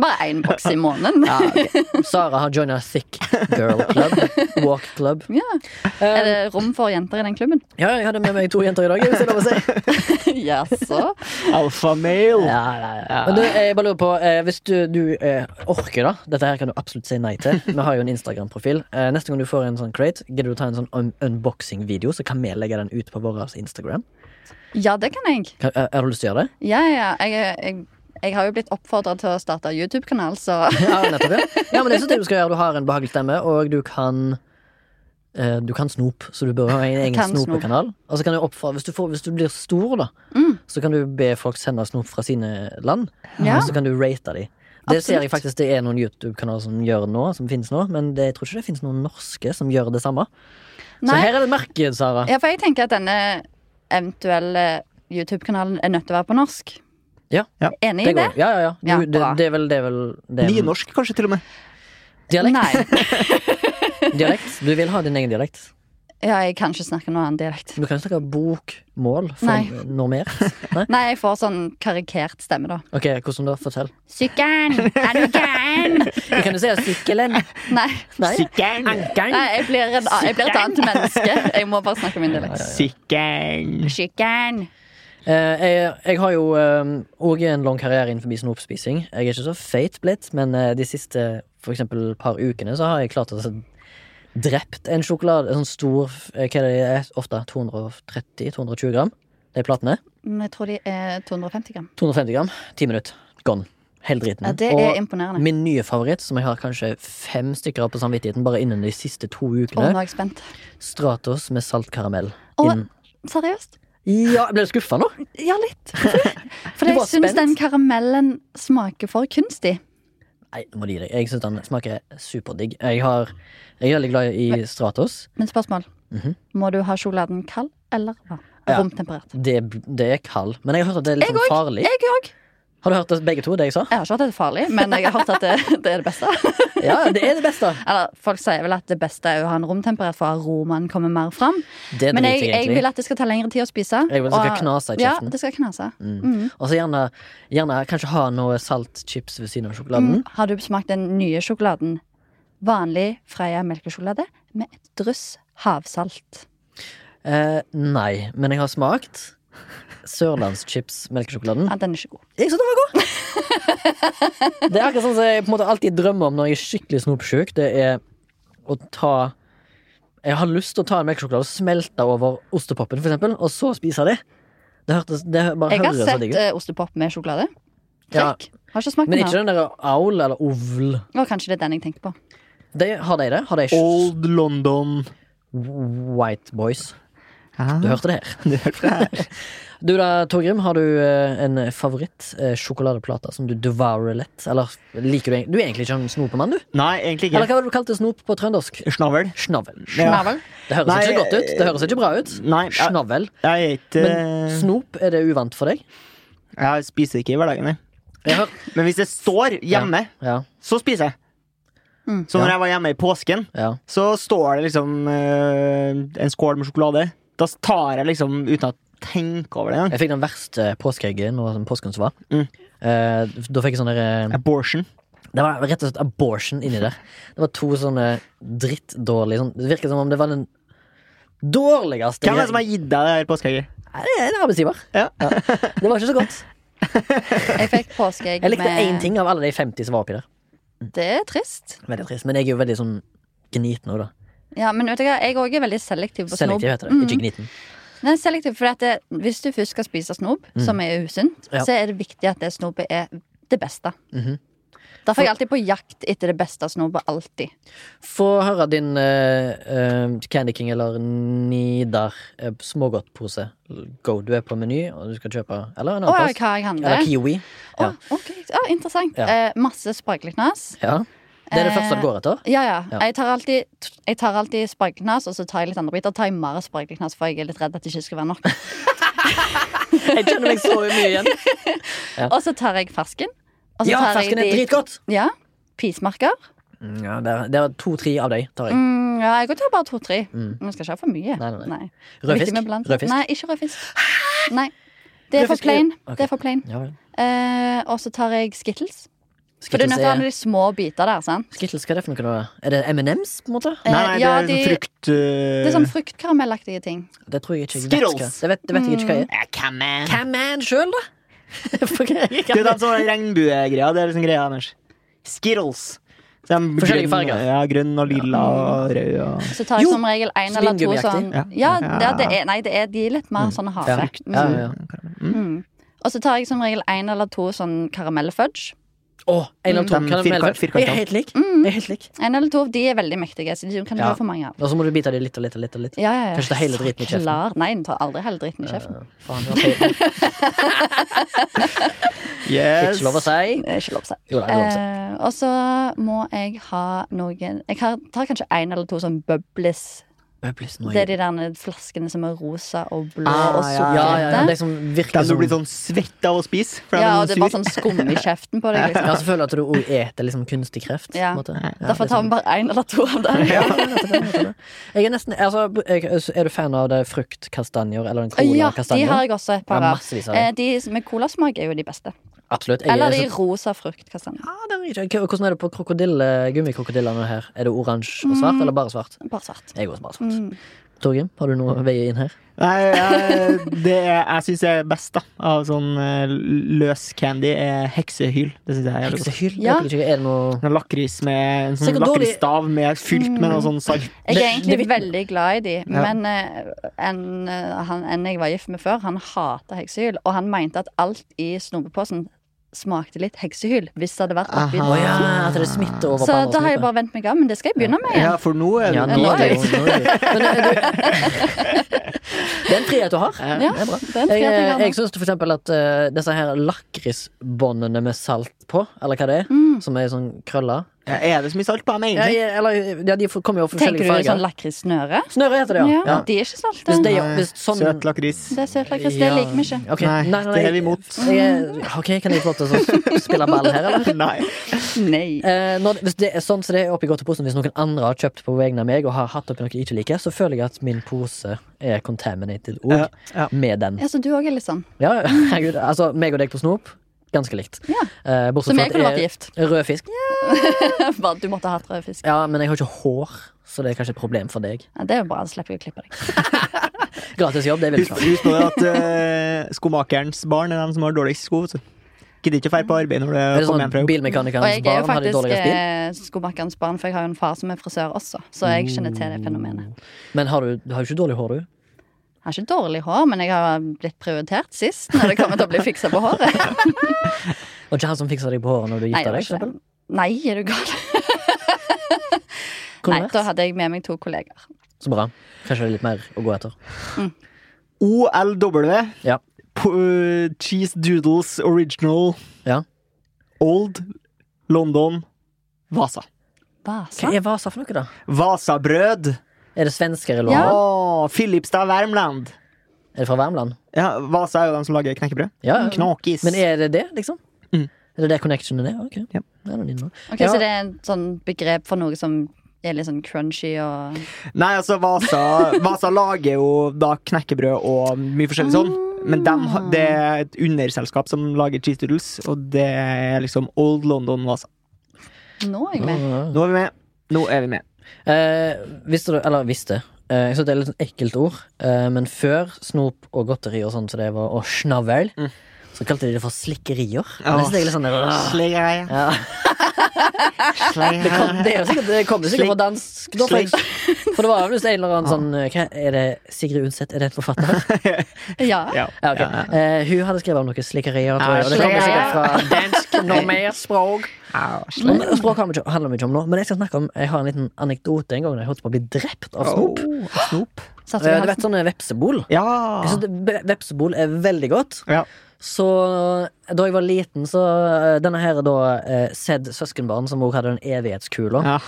[SPEAKER 3] [LAUGHS] Bare én boks i måneden.
[SPEAKER 2] ja, ok. Sara har joina Thick Girl Club. Walk Club.
[SPEAKER 3] Ja. Er det rom for jenter i den klubben?
[SPEAKER 2] Ja, jeg hadde med meg to jenter i dag. Hvis jeg lov å si.
[SPEAKER 3] Jaså?
[SPEAKER 1] Alfa male.
[SPEAKER 2] [LAUGHS] Ja, ja, ja. Men du, jeg bare lurer på eh, Hvis du, du eh, orker da Dette her kan du absolutt si nei til Vi har jo en Instagram-profil eh, Neste gang du får en sånn crate Gidder du å ta en sånn un unboxing-video Så kan vi legge den ut på vår Instagram
[SPEAKER 3] Ja, det kan jeg.
[SPEAKER 2] kan, eh, Har du lyst til å gjøre det?
[SPEAKER 3] Ja, ja. Jeg, jeg, jeg har jo blitt oppfordra til å starte YouTube-kanal,
[SPEAKER 2] [LAUGHS]
[SPEAKER 3] så
[SPEAKER 2] Ja, nettopp ja Ja, men det synes jeg du skal gjøre Du har en behagelig stemme Og du kan eh, Du kan snop Så du bør ha en egen
[SPEAKER 3] Kan snop.
[SPEAKER 2] snopekanal Og så kan du oppfra hvis du, får, hvis du blir stor da Så kan du be folk sende snop fra sine land
[SPEAKER 3] Mm. Ja.
[SPEAKER 2] Og så kan du rate dem det ser jeg
[SPEAKER 3] Absolutt.
[SPEAKER 2] faktisk det er noen YouTube-kanaler som gjør nå, som finnes nå, men det, jeg tror ikke det finnes noen norske som gjør det samme. Så
[SPEAKER 3] Nei.
[SPEAKER 2] her er det marked, Sara.
[SPEAKER 3] Ja, for jeg tenker at denne eventuelle YouTube-kanalen er nødt til å være på norsk.
[SPEAKER 2] Ja.
[SPEAKER 1] Ja.
[SPEAKER 3] Enig i det?
[SPEAKER 2] går. Ja, ja, ja. Du,
[SPEAKER 3] Ja,
[SPEAKER 2] det,
[SPEAKER 3] bra.
[SPEAKER 2] det er vel, det er vel det er en
[SPEAKER 1] Nynorsk, kanskje, til og med.
[SPEAKER 2] Dialekt.
[SPEAKER 3] Nei.
[SPEAKER 2] dialekt. Du vil ha din egen dialekt.
[SPEAKER 3] Ja, jeg kan ikke snakke noen annen dialekt.
[SPEAKER 2] Du kan snakke bokmål for
[SPEAKER 3] Nei. [LAUGHS]
[SPEAKER 2] normert. Nei?
[SPEAKER 3] Nei, jeg får sånn karikert stemme, da.
[SPEAKER 2] Ok, hvordan da? Fortell.
[SPEAKER 3] Sykkelen! Er du gæren?
[SPEAKER 2] Jeg kan jo si sykkelen.
[SPEAKER 3] Nei.
[SPEAKER 2] Nei.
[SPEAKER 1] Sikkern.
[SPEAKER 2] Ankeren.
[SPEAKER 3] Nei, jeg blir, en, jeg blir et annet menneske. Jeg må bare snakke min dialekt.
[SPEAKER 1] Sikkern.
[SPEAKER 3] Sykkelen!
[SPEAKER 2] Eh, jeg, jeg har jo òg en lang karriere innenfor snopspising. Jeg er ikke så feit blitt, men eh, de siste for eksempel, par ukene så har jeg klart å drept en sjokolade En sånn stor eh, Hva er det de er? Ofte 230-220 gram, de platene.
[SPEAKER 3] Men Mm, jeg tror de er 250 gram.
[SPEAKER 2] 250 gram, 10 minutter. Gone. Helt driten.
[SPEAKER 3] Ja, det
[SPEAKER 2] Og
[SPEAKER 3] er imponerende.
[SPEAKER 2] min nye favoritt, som jeg har kanskje fem stykker av på samvittigheten bare innen de siste to
[SPEAKER 3] Å, nå
[SPEAKER 2] ukene,
[SPEAKER 3] er jeg spent.
[SPEAKER 2] Stratos med saltkaramell.
[SPEAKER 3] Å,
[SPEAKER 2] Inn.
[SPEAKER 3] seriøst?
[SPEAKER 2] Ja, ble du skuffa nå?
[SPEAKER 3] Ja, litt. [LAUGHS] For
[SPEAKER 2] Du
[SPEAKER 3] jeg
[SPEAKER 2] var
[SPEAKER 3] syns
[SPEAKER 2] spent.
[SPEAKER 3] den karamellen smaker for kunstig.
[SPEAKER 2] Nei, nå må du gi deg. Jeg syns den smaker superdigg. Jeg, har, jeg er veldig glad i Stratos.
[SPEAKER 3] Men spørsmål.
[SPEAKER 2] Mhm.
[SPEAKER 3] Må du ha sjokoladen kald eller varm?
[SPEAKER 2] Ja.
[SPEAKER 3] Romtemperert.
[SPEAKER 2] Det, det er kald, men jeg har hørt at det er litt
[SPEAKER 3] Jeg
[SPEAKER 2] sånn
[SPEAKER 3] òg.
[SPEAKER 2] farlig.
[SPEAKER 3] Jeg òg.
[SPEAKER 2] Har du hørt det begge to, det jeg sa?
[SPEAKER 3] Jeg har ikke hørt at det er farlig, men jeg har hørt at det, det er
[SPEAKER 2] [LAUGHS]
[SPEAKER 3] det beste.
[SPEAKER 2] Ja, det er det beste.
[SPEAKER 3] Eller folk sier vel at det beste er å ha en romtemperert, for aromaen kommer mer fram.
[SPEAKER 2] [LAUGHS] Det
[SPEAKER 3] Men
[SPEAKER 2] driter jeg
[SPEAKER 3] jeg, jeg vil
[SPEAKER 2] egentlig.
[SPEAKER 3] at det skal ta lengre tid å spise.
[SPEAKER 2] Jeg vil at det skal knase i
[SPEAKER 3] ja,
[SPEAKER 2] kjeften.
[SPEAKER 3] det skal knase.
[SPEAKER 2] Mm. Og så gjerne, gjerne kanskje ha noe saltchips ved siden av sjokoladen.
[SPEAKER 3] Mm. Har du smakt den nye sjokoladen? Vanlig Freia melkesjokolade med et dryss havsalt.
[SPEAKER 2] Eh, nei, men jeg har smakt sørlandschips melkesjokoladen.
[SPEAKER 3] Ja, den er ikke god.
[SPEAKER 2] Jeg syns den
[SPEAKER 3] [LAUGHS]
[SPEAKER 2] var god! Det er akkurat sånn som jeg på en måte alltid drømmer om når jeg er skikkelig snopsjuk. Det er å ta Jeg har lyst til å ta en melkesjokolade og smelte over ostepopen, for eksempel, og så spise det. Det, hørtes, det bare
[SPEAKER 3] Jeg har
[SPEAKER 2] høres så digg ut.
[SPEAKER 3] sett eh, ostepop med sjokolade.
[SPEAKER 2] Ja,
[SPEAKER 3] Trekk. Har ikke smakt
[SPEAKER 2] men
[SPEAKER 3] den.
[SPEAKER 2] ikke
[SPEAKER 3] her.
[SPEAKER 2] den der aul eller ovl.
[SPEAKER 3] Å, kanskje det er den jeg tenker på.
[SPEAKER 2] Det, har de det? Har de
[SPEAKER 1] Old London.
[SPEAKER 2] White Boys?
[SPEAKER 1] Ah,
[SPEAKER 2] [LAUGHS] Du hørte det her.
[SPEAKER 1] du hørte det her.
[SPEAKER 2] Du da, Torgrim, har du eh, en favoritt eh, sjokoladeplate som du devourer lett? Eller liker du egentlig Du er egentlig ikke en snopemann, du?
[SPEAKER 1] Nei, egentlig
[SPEAKER 2] Eller
[SPEAKER 1] ikke.
[SPEAKER 2] hva var det du kalte snop på trøndersk?
[SPEAKER 1] Snavel.
[SPEAKER 2] Snavel.
[SPEAKER 1] Ja.
[SPEAKER 3] Snavel.
[SPEAKER 2] Det høres
[SPEAKER 1] Nei, eh,
[SPEAKER 2] ikke godt ut. Det høres ikke bra ut.
[SPEAKER 1] Nei, jeg,
[SPEAKER 2] Snavel.
[SPEAKER 1] jeg er ikke
[SPEAKER 2] Men snop, er det uvant for deg?
[SPEAKER 1] Jeg spiser ikke i hverdagen, jeg.
[SPEAKER 2] Jeg hører
[SPEAKER 1] Men hvis det står hjemme,
[SPEAKER 2] Ja.
[SPEAKER 1] så spiser jeg.
[SPEAKER 3] Mm.
[SPEAKER 1] Så når
[SPEAKER 2] Ja.
[SPEAKER 1] jeg var hjemme i påsken,
[SPEAKER 2] ja.
[SPEAKER 1] så står det liksom eh, en skål med sjokolade. Da tar jeg liksom uten å tenke over det engang.
[SPEAKER 2] Jeg fikk den verste påskeeggen nå som påsken som var.
[SPEAKER 1] Mm.
[SPEAKER 2] Eh, da fikk jeg sånn der eh,
[SPEAKER 1] Abortion.
[SPEAKER 2] Det var rett og slett abortion inni der. Det var to sånne drittdårlige sånn, Det virket som om det var den dårligste
[SPEAKER 1] Hvem er det som har gitt deg det her påskeegget?
[SPEAKER 2] Nei, det er En arbeidsgiver.
[SPEAKER 1] Ja.
[SPEAKER 2] Det var ikke så
[SPEAKER 3] [LAUGHS]
[SPEAKER 2] godt.
[SPEAKER 3] Jeg fikk påskeegg
[SPEAKER 2] [LAUGHS] Jeg likte én
[SPEAKER 3] med
[SPEAKER 2] ting av alle de 50 som var oppi der.
[SPEAKER 3] Det er trist.
[SPEAKER 2] Veldig trist. Men jeg er jo veldig sånn gniten òg, da.
[SPEAKER 3] Ja, men vet du hva, jeg òg er veldig selektiv på snobb.
[SPEAKER 2] Selektiv heter det.
[SPEAKER 3] Mm.
[SPEAKER 2] Ikke gniten.
[SPEAKER 3] Nei, selektiv, for at det, Hvis du først skal spise snobb, som er usunt,
[SPEAKER 2] Mm. Ja.
[SPEAKER 3] så er det viktig at det snobbet er det beste.
[SPEAKER 2] Mhm.
[SPEAKER 3] Derfor er jeg alltid på jakt etter det beste snobbet. Alltid.
[SPEAKER 2] Få høre din eh, eh, Candy King eller Nidar eh, smågodtpose. Go. Du er på Meny, og du skal kjøpe Eller en annen
[SPEAKER 3] Å,
[SPEAKER 2] plass.
[SPEAKER 3] hva jeg handler.
[SPEAKER 2] Eller Kiwi. ja.
[SPEAKER 3] Å, ok, Å, interessant.
[SPEAKER 2] Ja.
[SPEAKER 3] Eh, masse spargelknas.
[SPEAKER 2] Ja. Det er det
[SPEAKER 3] Eh,
[SPEAKER 2] første du går
[SPEAKER 3] [LAUGHS]
[SPEAKER 2] etter?
[SPEAKER 3] Ja, ja.
[SPEAKER 2] Ja.
[SPEAKER 3] Jeg tar alltid, jeg tar alltid spargelknas, og så tar jeg litt andre biter. Tar jeg mer spargelknas, for jeg er litt redd at det ikke skal være nok.
[SPEAKER 2] Jeg kjenner meg så mye igjen. Ja.
[SPEAKER 3] Og så tar jeg fersken. Og så
[SPEAKER 2] [LAUGHS] Ja,
[SPEAKER 3] tar jeg
[SPEAKER 2] fersken er
[SPEAKER 3] de-
[SPEAKER 2] dritgodt! Mm,
[SPEAKER 3] Ja. Pismarker.
[SPEAKER 2] Ja, det er, det er to-tre av deg tar jeg.
[SPEAKER 3] Mm, ja, jeg tar bare to-tre.
[SPEAKER 2] Mm.
[SPEAKER 3] Men jeg skal ikke ha for mye.
[SPEAKER 2] Nei, nei, nei.
[SPEAKER 3] Det er
[SPEAKER 2] Rød
[SPEAKER 3] viktig
[SPEAKER 2] fisk.
[SPEAKER 3] med blanding.
[SPEAKER 2] Rød fisk.
[SPEAKER 3] Nei, ikke rød fisk. Nei. Det er
[SPEAKER 2] Rød
[SPEAKER 3] for
[SPEAKER 2] fisk er-
[SPEAKER 3] plain.
[SPEAKER 2] Ok.
[SPEAKER 3] Det er for plain.
[SPEAKER 2] Ja vel.
[SPEAKER 3] Eh, og så tar jeg Skittles. For du er
[SPEAKER 2] Skittles,
[SPEAKER 3] nødt til å ha
[SPEAKER 2] er,
[SPEAKER 3] de små biter der. sant?
[SPEAKER 2] Skittles, hva er det for noe? da? Er det M&M's, på en måte?
[SPEAKER 3] Eh,
[SPEAKER 1] Nei, nei, det
[SPEAKER 3] ja,
[SPEAKER 1] er sånn
[SPEAKER 3] de-
[SPEAKER 1] frukt eh,
[SPEAKER 3] Det er sånn fruktkaramelaktige ting.
[SPEAKER 2] Det tror jeg ikke jeg vet
[SPEAKER 1] Skittles.
[SPEAKER 2] hva Det vet, det vet jeg ikke hva er.
[SPEAKER 1] Ja, come on.
[SPEAKER 3] Mm.
[SPEAKER 2] Hvem er han sjøl, da? [LAUGHS] For hva er
[SPEAKER 1] Det er
[SPEAKER 2] det?
[SPEAKER 1] den sånn regnbuegreia. Det er liksom greia deres. Skittles. Så de
[SPEAKER 2] Forskjellige
[SPEAKER 1] grønn-
[SPEAKER 2] farger.
[SPEAKER 1] Ja, grønn og lilla og rød og
[SPEAKER 3] Så tar jeg
[SPEAKER 2] Jo,
[SPEAKER 3] som regel én eller to sånn.
[SPEAKER 2] slingummiaktig.
[SPEAKER 3] Ja,
[SPEAKER 1] Ja.
[SPEAKER 3] det, det er, nei, det er de er litt mer sånn
[SPEAKER 2] Ja.
[SPEAKER 3] harde.
[SPEAKER 2] Ja,
[SPEAKER 3] Mm.
[SPEAKER 2] ja, ja.
[SPEAKER 3] Mm. Og så tar jeg som regel én eller to sånn karamellfudge.
[SPEAKER 2] Å, en eller to
[SPEAKER 1] Mm,
[SPEAKER 2] kan du
[SPEAKER 1] firkant-
[SPEAKER 2] melde
[SPEAKER 1] firkant.
[SPEAKER 2] Jeg er helt lik.
[SPEAKER 3] Mm.
[SPEAKER 2] Jeg er helt lik.
[SPEAKER 3] En eller to, de er veldig mektige, så de kan du
[SPEAKER 2] Ja.
[SPEAKER 3] ha for mange av.
[SPEAKER 2] Og så må du bite av de litt og litt og litt. Og litt.
[SPEAKER 3] Ja, ja, ja.
[SPEAKER 2] Kanskje det hele
[SPEAKER 3] Så
[SPEAKER 2] driten i kjeften.
[SPEAKER 3] Klar. Nei, den tar aldri hele driten i kjeften.
[SPEAKER 2] Eh, faen, det var feil.
[SPEAKER 1] Yes.
[SPEAKER 2] Ikke lov å si.
[SPEAKER 3] Det er ikke lov å si.
[SPEAKER 2] Jo da, det er lov å si.
[SPEAKER 3] Eh, og så må jeg ha noen Jeg har, tar kanskje én eller to sånn bubbles.
[SPEAKER 2] Bubbles nå,
[SPEAKER 3] Det er
[SPEAKER 2] jeg-
[SPEAKER 3] de der flaskene som er rosa og blå
[SPEAKER 1] Ah,
[SPEAKER 3] og
[SPEAKER 2] Ja, ja, ja,
[SPEAKER 3] sukkerete. Ja,
[SPEAKER 2] de som virker
[SPEAKER 1] Den du
[SPEAKER 2] som
[SPEAKER 1] blir sånn svett av å spise. For
[SPEAKER 3] og det
[SPEAKER 1] den
[SPEAKER 3] er
[SPEAKER 1] er
[SPEAKER 3] bare
[SPEAKER 1] sur.
[SPEAKER 3] sånn skum i kjeften på
[SPEAKER 2] [LAUGHS]
[SPEAKER 3] deg.
[SPEAKER 2] Ja,
[SPEAKER 3] Liksom.
[SPEAKER 2] så føler jeg at du også eter liksom kunstig kreft. på en
[SPEAKER 3] Ja.
[SPEAKER 2] måte. sånn- Ja, det
[SPEAKER 3] Derfor
[SPEAKER 2] er sånn.
[SPEAKER 3] tar vi bare én eller to
[SPEAKER 2] [LAUGHS]
[SPEAKER 3] av dem.
[SPEAKER 2] Ja, nettopp det, nettopp det. [LAUGHS] Jeg er nesten altså, jeg, Er du fan av det fruktkastanjer eller den
[SPEAKER 3] Ja, de
[SPEAKER 2] cola-kastanjen?
[SPEAKER 3] har jeg også et par
[SPEAKER 2] Ja,
[SPEAKER 3] av.
[SPEAKER 2] massevis av
[SPEAKER 3] Eh,
[SPEAKER 2] det.
[SPEAKER 3] De med colasmak er jo de beste.
[SPEAKER 2] Absolutt. Jeg
[SPEAKER 3] Eller
[SPEAKER 2] er
[SPEAKER 3] de
[SPEAKER 2] så-
[SPEAKER 3] rosa fruktkastanjene.
[SPEAKER 2] ja, det er ikke- Hvordan er det på krokodille, gummikrokodillene her? Er det oransje og svart, eller bare svart?
[SPEAKER 3] Bare svart.
[SPEAKER 2] Jeg går også bare svart.
[SPEAKER 3] Mm.
[SPEAKER 2] Torgrim, har du noe å veie inn her?
[SPEAKER 1] Nei, jeg, det er, jeg syns jeg er best da av sånn eh, løs candy, er heksehyl. Det syns jeg er jævlig godt.
[SPEAKER 2] Heksehyl?
[SPEAKER 3] Ja.
[SPEAKER 2] Jeg liker ikke- Er det noe
[SPEAKER 1] Sånn Lakris med en
[SPEAKER 2] Så
[SPEAKER 1] sånn
[SPEAKER 2] ikke dårlig-
[SPEAKER 1] lakrisstav med fylt med noe sånn salt.
[SPEAKER 3] Jeg
[SPEAKER 2] Det-
[SPEAKER 3] er egentlig
[SPEAKER 2] det-
[SPEAKER 3] veldig glad i de,
[SPEAKER 1] Ja.
[SPEAKER 3] men eh, en, eh, han, en jeg var gift med før, han hata heksehyl, og han mente at alt i snopeposen smakte litt heksehyl hvis det hadde vært
[SPEAKER 1] Aha.
[SPEAKER 3] oppi
[SPEAKER 2] Å
[SPEAKER 1] Å
[SPEAKER 2] ja, at det smitter over
[SPEAKER 3] Så da har jeg bare vent meg av, men det skal jeg begynne
[SPEAKER 2] Mm.
[SPEAKER 3] med
[SPEAKER 1] Ja,
[SPEAKER 3] igjen.
[SPEAKER 1] for nå er det
[SPEAKER 2] ja,
[SPEAKER 1] ja,
[SPEAKER 2] nå
[SPEAKER 3] nå
[SPEAKER 2] er det
[SPEAKER 3] er
[SPEAKER 2] jo nå er det jo- Men, eh, du- [LAUGHS] Det er en frihet du har.
[SPEAKER 3] Ja,
[SPEAKER 2] Det er bra.
[SPEAKER 3] det er en frihet
[SPEAKER 2] Jeg,
[SPEAKER 3] jeg har
[SPEAKER 2] eh,
[SPEAKER 3] nå.
[SPEAKER 2] jeg syns for eksempel at eh, disse her lakrisbåndene med salt på, eller hva det er, som er sånn krølla
[SPEAKER 1] Er det så mye salt på dem,
[SPEAKER 2] ja,
[SPEAKER 1] egentlig?
[SPEAKER 2] jeg- eller, ja, de får- kommer jo i forskjellige
[SPEAKER 3] Tenker du sånn
[SPEAKER 2] farger.
[SPEAKER 3] lakrissnøre?
[SPEAKER 2] Snøre heter det, ja. ja.
[SPEAKER 3] De er ikke salte.
[SPEAKER 2] Hvis det,
[SPEAKER 3] Det
[SPEAKER 1] Nei,
[SPEAKER 2] hvis sånn,
[SPEAKER 1] Søt
[SPEAKER 2] [LAUGHS]
[SPEAKER 1] lakris.
[SPEAKER 3] er søt lakris, det
[SPEAKER 2] Ja.
[SPEAKER 3] liker vi ikke.
[SPEAKER 2] Ok,
[SPEAKER 1] Nei, det er vi
[SPEAKER 2] jeg-
[SPEAKER 1] imot.
[SPEAKER 2] Jeg, er- ok, kan jeg få lov til å så- spille ball her, eller?
[SPEAKER 1] Nei.
[SPEAKER 3] Nei.
[SPEAKER 2] Eh, når, hvis det er sånn som det er oppi godteposen, hvis noen andre har kjøpt på vegne av meg, og har hatt oppi noe jeg ikke liker, så føler jeg at min pose er contaminated òg,
[SPEAKER 1] Ja, ja.
[SPEAKER 2] med den.
[SPEAKER 3] Ja, så du òg er litt sånn. [LAUGHS]
[SPEAKER 2] Ja, [LAUGHS] ja, herregud, altså meg og deg på snop Ganske likt
[SPEAKER 3] Ja.
[SPEAKER 2] Eh, Bortsett
[SPEAKER 3] Så vi kunne
[SPEAKER 2] fra at
[SPEAKER 3] vært
[SPEAKER 2] jeg
[SPEAKER 3] gift.
[SPEAKER 2] er rød fisk
[SPEAKER 3] Bare Du måtte ha hatt rød fisk.
[SPEAKER 2] Ja, men jeg har ikke hår Så det er kanskje et problem for deg
[SPEAKER 3] Ja, det er jo bra, da slipper jeg å klippe deg.
[SPEAKER 2] Gratis jobb, det vil jeg
[SPEAKER 1] Husk,
[SPEAKER 2] ikke ha.
[SPEAKER 1] husk på det at eh, skomakerens barn er dem som har dårligst sko. vet du. Gidder ikke å dra på arbeid
[SPEAKER 2] Er
[SPEAKER 1] når du
[SPEAKER 2] det
[SPEAKER 1] kommer
[SPEAKER 2] sånn
[SPEAKER 1] hjem fra jobb.
[SPEAKER 3] Og
[SPEAKER 2] bilmekanikernes
[SPEAKER 3] jeg er jo
[SPEAKER 2] barn har de
[SPEAKER 3] faktisk
[SPEAKER 2] dårligere bil?
[SPEAKER 3] eh, skomakerens barn, for jeg har jo en far som er frisør også, så
[SPEAKER 2] Mm.
[SPEAKER 3] jeg kjenner til det fenomenet.
[SPEAKER 2] Men har du, du har jo ikke dårlig hår du?
[SPEAKER 3] Jeg har ikke dårlig hår, men jeg har blitt prioritert sist når det kommer til å bli fiksa på håret.
[SPEAKER 2] Og ikke han som fikser deg på håret når du
[SPEAKER 3] Nei,
[SPEAKER 2] gifter
[SPEAKER 3] det var
[SPEAKER 2] deg? for
[SPEAKER 3] ikke det.
[SPEAKER 2] eksempel?
[SPEAKER 3] Nei, er du gal? Nei,
[SPEAKER 2] Kunne
[SPEAKER 3] da
[SPEAKER 2] vært.
[SPEAKER 3] hadde jeg med meg to kolleger.
[SPEAKER 2] Så bra, kanskje det er litt mer å gå etter
[SPEAKER 1] OLW
[SPEAKER 2] Ja.
[SPEAKER 1] po- øh, Cheese Doodles Original.
[SPEAKER 2] Ja.
[SPEAKER 1] Old London Vasa.
[SPEAKER 2] Hva
[SPEAKER 3] Vasa?
[SPEAKER 2] er Vasa for noe, da?
[SPEAKER 1] Vasabrød!
[SPEAKER 2] Er det svensker eller
[SPEAKER 3] Ja.
[SPEAKER 2] noe?
[SPEAKER 1] Å, Filipstad Värmland!
[SPEAKER 2] Er det fra Värmland?
[SPEAKER 1] Ja, Vasa er jo de som lager knekkebrød.
[SPEAKER 2] Ja, ja.
[SPEAKER 1] Knakis.
[SPEAKER 2] Mm. Men er det det, liksom?
[SPEAKER 1] Mm.
[SPEAKER 2] Er det det connectionen er? Ok.
[SPEAKER 1] Ja.
[SPEAKER 2] Det er noe din nå.
[SPEAKER 3] Ok,
[SPEAKER 2] Ja.
[SPEAKER 3] Så det er en sånn begrep for noe som er litt sånn crunchy og
[SPEAKER 1] Nei, altså, Vasa, Vasa lager jo da knekkebrød og mye forskjellig sånn. Men dem,
[SPEAKER 2] Ah.
[SPEAKER 1] ha- det er et underselskap som lager cheese doodles, og det er liksom Old London Vasa.
[SPEAKER 3] Nå er jeg med.
[SPEAKER 1] Nå er vi med. Nå er vi med.
[SPEAKER 2] Eh, visste du, eller visste eh, Jeg synes det er litt sånn ekkelt ord, eh, men før snop og godteri og sånn som det var, og snavel,
[SPEAKER 1] Mm.
[SPEAKER 2] så kalte de det for slikkerier. Og Det synes jeg er litt sånn rrr.
[SPEAKER 1] Sleia.
[SPEAKER 2] ja. Det kom, det er jo sikkert, det kom jo sikkert fra dansk, da, for, jeg, for det var jo visst en eller annen sånn eh, hva, Er det Sigrid Undset? Er det en forfatter? [LAUGHS]
[SPEAKER 3] Ja.
[SPEAKER 1] Ja.
[SPEAKER 2] Ja,
[SPEAKER 1] Ah,
[SPEAKER 2] ok. Eh, hun hadde skrevet om noe slikkerier, tror jeg. Og det kommer sikkert fra [LAUGHS]
[SPEAKER 1] Sleia. Dansk
[SPEAKER 2] normerspråk.
[SPEAKER 1] Au, sleia.
[SPEAKER 2] Men Språk har vi ikke- handler vi ikke om nå, men jeg skal snakke om Jeg har en liten anekdote en gang da jeg holdt på å bli drept av snop.
[SPEAKER 1] Åh, snop.
[SPEAKER 2] Eh,
[SPEAKER 3] Satte du
[SPEAKER 2] Du vet
[SPEAKER 3] halsen?
[SPEAKER 2] sånne vepsebol?
[SPEAKER 1] Ja.
[SPEAKER 2] Jeg synes Altså, det- ve- Vepsebol er veldig godt.
[SPEAKER 1] Ja.
[SPEAKER 2] Så da jeg var liten, så eh, Denne her er da eh, Sedd søskenbarn, som også hadde den evighetskula.
[SPEAKER 1] ja.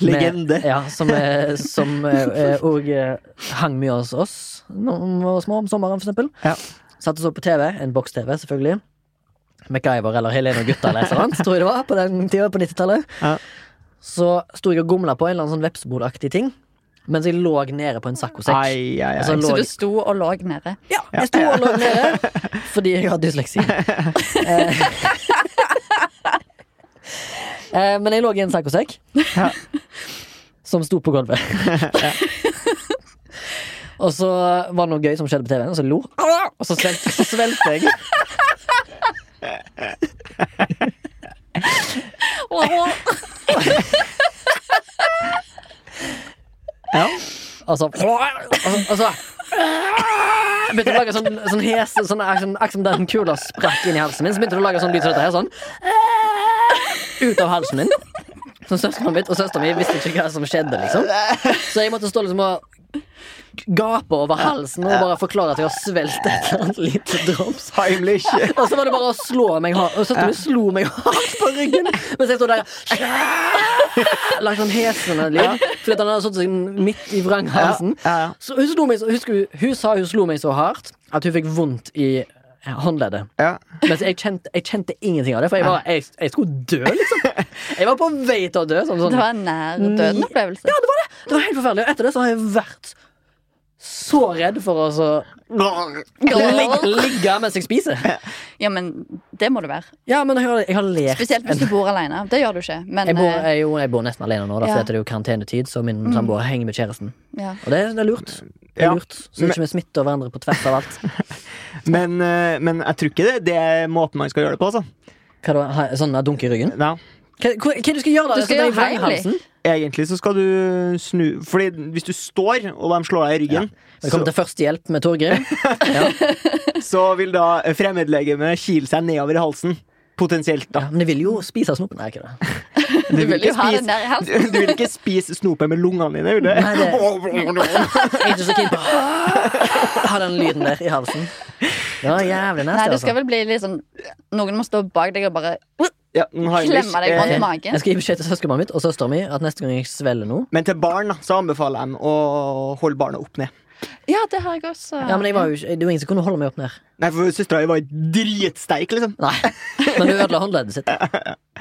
[SPEAKER 1] Legende.
[SPEAKER 2] Med, ja, som eh, som
[SPEAKER 1] [LAUGHS]
[SPEAKER 2] eh, eh, og eh, hang mye hos oss når vi var små om sommeren, for eksempel.
[SPEAKER 1] Ja.
[SPEAKER 2] Satt og så på TV, en boks-TV, selvfølgelig. MacGyver eller Helene og gutta eller et eller annet, tror jeg det var, på den tida, på 90-tallet.
[SPEAKER 1] Ja.
[SPEAKER 2] Så sto jeg og gomla på en eller annen sånn vepsebolaktig ting, mens jeg lå nede på en saccosekk.
[SPEAKER 1] Ai, ai, ai.
[SPEAKER 2] Altså,
[SPEAKER 3] Så
[SPEAKER 2] lå-
[SPEAKER 3] du sto og lå nede.
[SPEAKER 2] Ja, jeg sto og lå nede fordi jeg har dysleksi. Eh, [LAUGHS] eh, Men jeg lå i en saccosekk [LAUGHS]
[SPEAKER 1] Ja.
[SPEAKER 2] som sto på gulvet. [LAUGHS] Og så var det noe gøy som skjedde på TV-en, og så lo Au! Og så svelgte, så svelgte jeg.
[SPEAKER 1] Ja.
[SPEAKER 2] Og så, og så, og så altså, Begynte å lage sånn, sånn hes sånn, sånn, Akkurat som den kula sprakk inn i halsen min. Så begynte det å lage sånn lyd som dette her. Sånn. Ut av halsen min. Som søsteren mitt og søsteren min visste ikke hva som skjedde. liksom Så jeg måtte stå liksom og gape over halsen og bare forklare at jeg har svelget et eller annet lite drops.
[SPEAKER 1] Heimlich.
[SPEAKER 2] [LAUGHS] Og så var det bare å slå meg hardt. Og søsteren min slo meg hardt på ryggen mens jeg sto der. [LAUGHS] Lagt sånn hesende lyd. Fordi at han hadde satt seg midt i vranghalsen.
[SPEAKER 1] Ja, ja.
[SPEAKER 2] Så hun, slo meg, så- husker, hun- hun sa hun slo meg så hardt at hun fikk vondt i eh, håndleddet.
[SPEAKER 1] Ja.
[SPEAKER 2] Men jeg kjente, jeg kjente ingenting av det, for jeg, var, jeg, jeg skulle dø, liksom. Jeg var på vei til å dø. Sånn, sånn.
[SPEAKER 3] [LAUGHS] Det var en nær døden-opplevelse.
[SPEAKER 2] Ja, det var det! Det var helt forferdelig. Og etter det så har jeg vært så redd for å så ligge, ligge mens jeg spiser.
[SPEAKER 3] Ja, men det må du være.
[SPEAKER 2] Ja, men jeg har, jeg har lært
[SPEAKER 3] Spesielt hvis du bor alene. Det gjør du ikke. Men
[SPEAKER 2] jeg bor,
[SPEAKER 3] eh,
[SPEAKER 2] jeg, jo, jeg bor nesten alene nå, da,
[SPEAKER 3] Ja. Mm.
[SPEAKER 2] for det er jo karantenetid, så min samboer henger med kjæresten.
[SPEAKER 3] ja.
[SPEAKER 2] Og det, er- det er lurt. Det
[SPEAKER 1] Ja.
[SPEAKER 2] er lurt. Så ikke vi smitter hverandre på tvers av alt.
[SPEAKER 1] Men, eh, men jeg tror ikke det, det er måten man skal gjøre det på. Altså.
[SPEAKER 2] Hva da, ha- sånn eh, dunk i ryggen?
[SPEAKER 1] Ja.
[SPEAKER 2] Hva, hva, hva du skal gjøre da?
[SPEAKER 3] Du skal
[SPEAKER 2] Sette deg i
[SPEAKER 3] gjøre heimlich.
[SPEAKER 2] vranghalsen?
[SPEAKER 1] Egentlig så skal du snu Fordi hvis du står, og de slår deg i ryggen,
[SPEAKER 2] Velkommen til Førstehjelp med
[SPEAKER 3] [LAUGHS]
[SPEAKER 2] Torgrim.
[SPEAKER 1] så, så vil da fremmedlegemet kile seg nedover i halsen. Potensielt,
[SPEAKER 2] Ja,
[SPEAKER 1] da.
[SPEAKER 2] men de vil jo spise snopen. Nei, ikke det.
[SPEAKER 3] [LAUGHS] Du vil jo
[SPEAKER 1] ikke
[SPEAKER 3] ha
[SPEAKER 1] spise-
[SPEAKER 3] den der i
[SPEAKER 1] Du,
[SPEAKER 3] halsen.
[SPEAKER 1] du vil ikke spise snopet med lungene dine, vil du?
[SPEAKER 2] Nei, det- [LAUGHS] Jeg er ikke så keen på å [LAUGHS] ha den lyden der i halsen. Det var jævlig
[SPEAKER 3] Nei,
[SPEAKER 2] nasty,
[SPEAKER 3] du skal
[SPEAKER 2] altså.
[SPEAKER 3] vel bli litt sånn Noen må stå bak deg og bare
[SPEAKER 1] Ja, den har jeg
[SPEAKER 3] Klemme deg
[SPEAKER 1] lyst.
[SPEAKER 3] på
[SPEAKER 1] Eh,
[SPEAKER 3] den.
[SPEAKER 2] Jeg skal gi beskjed til søskenbarnet mitt og søsteren min at neste gang jeg svelger noe
[SPEAKER 1] Men til barn da, så anbefaler jeg dem å holde barna opp ned.
[SPEAKER 3] Ja, det har jeg også.
[SPEAKER 2] Ja, men jeg var jo ikke, Det var ingen som kunne holde meg opp ned.
[SPEAKER 1] Nei, for søstera var dritsteik, liksom.
[SPEAKER 2] Nei, Men hun ødela håndleddet sitt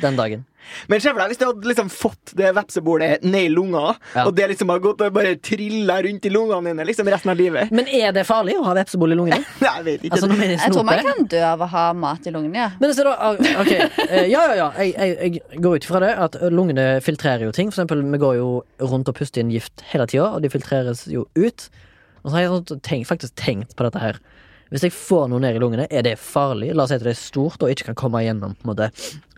[SPEAKER 2] den dagen.
[SPEAKER 1] Men se for deg hvis du hadde liksom fått det vepsebordet ned i lunga,
[SPEAKER 2] Ja.
[SPEAKER 1] og det liksom har gått og bare trilla rundt i lungene dine liksom resten av livet. [LAUGHS]
[SPEAKER 2] Men er det farlig å ha vepsebol i
[SPEAKER 3] [LAUGHS]
[SPEAKER 2] lungene?
[SPEAKER 1] Nei, jeg vet ikke.
[SPEAKER 2] Altså, når vi
[SPEAKER 3] Jeg tror man
[SPEAKER 2] snoper
[SPEAKER 3] kan dø av å ha mat i lungene. Ja.
[SPEAKER 2] men se da, ah, ok, eh, ja, ja, ja jeg, jeg, jeg går ut fra det at lungene filtrerer jo ting For eksempel, vi går jo rundt og puster inn gift hele tiden Og de filtreres jo ut Og så har jeg sånn tenkt, faktisk tenkt på dette her Hvis jeg får noe ned i lungene, er det farlig? La oss si at det er stort og ikke kan komme igjennom på en måte,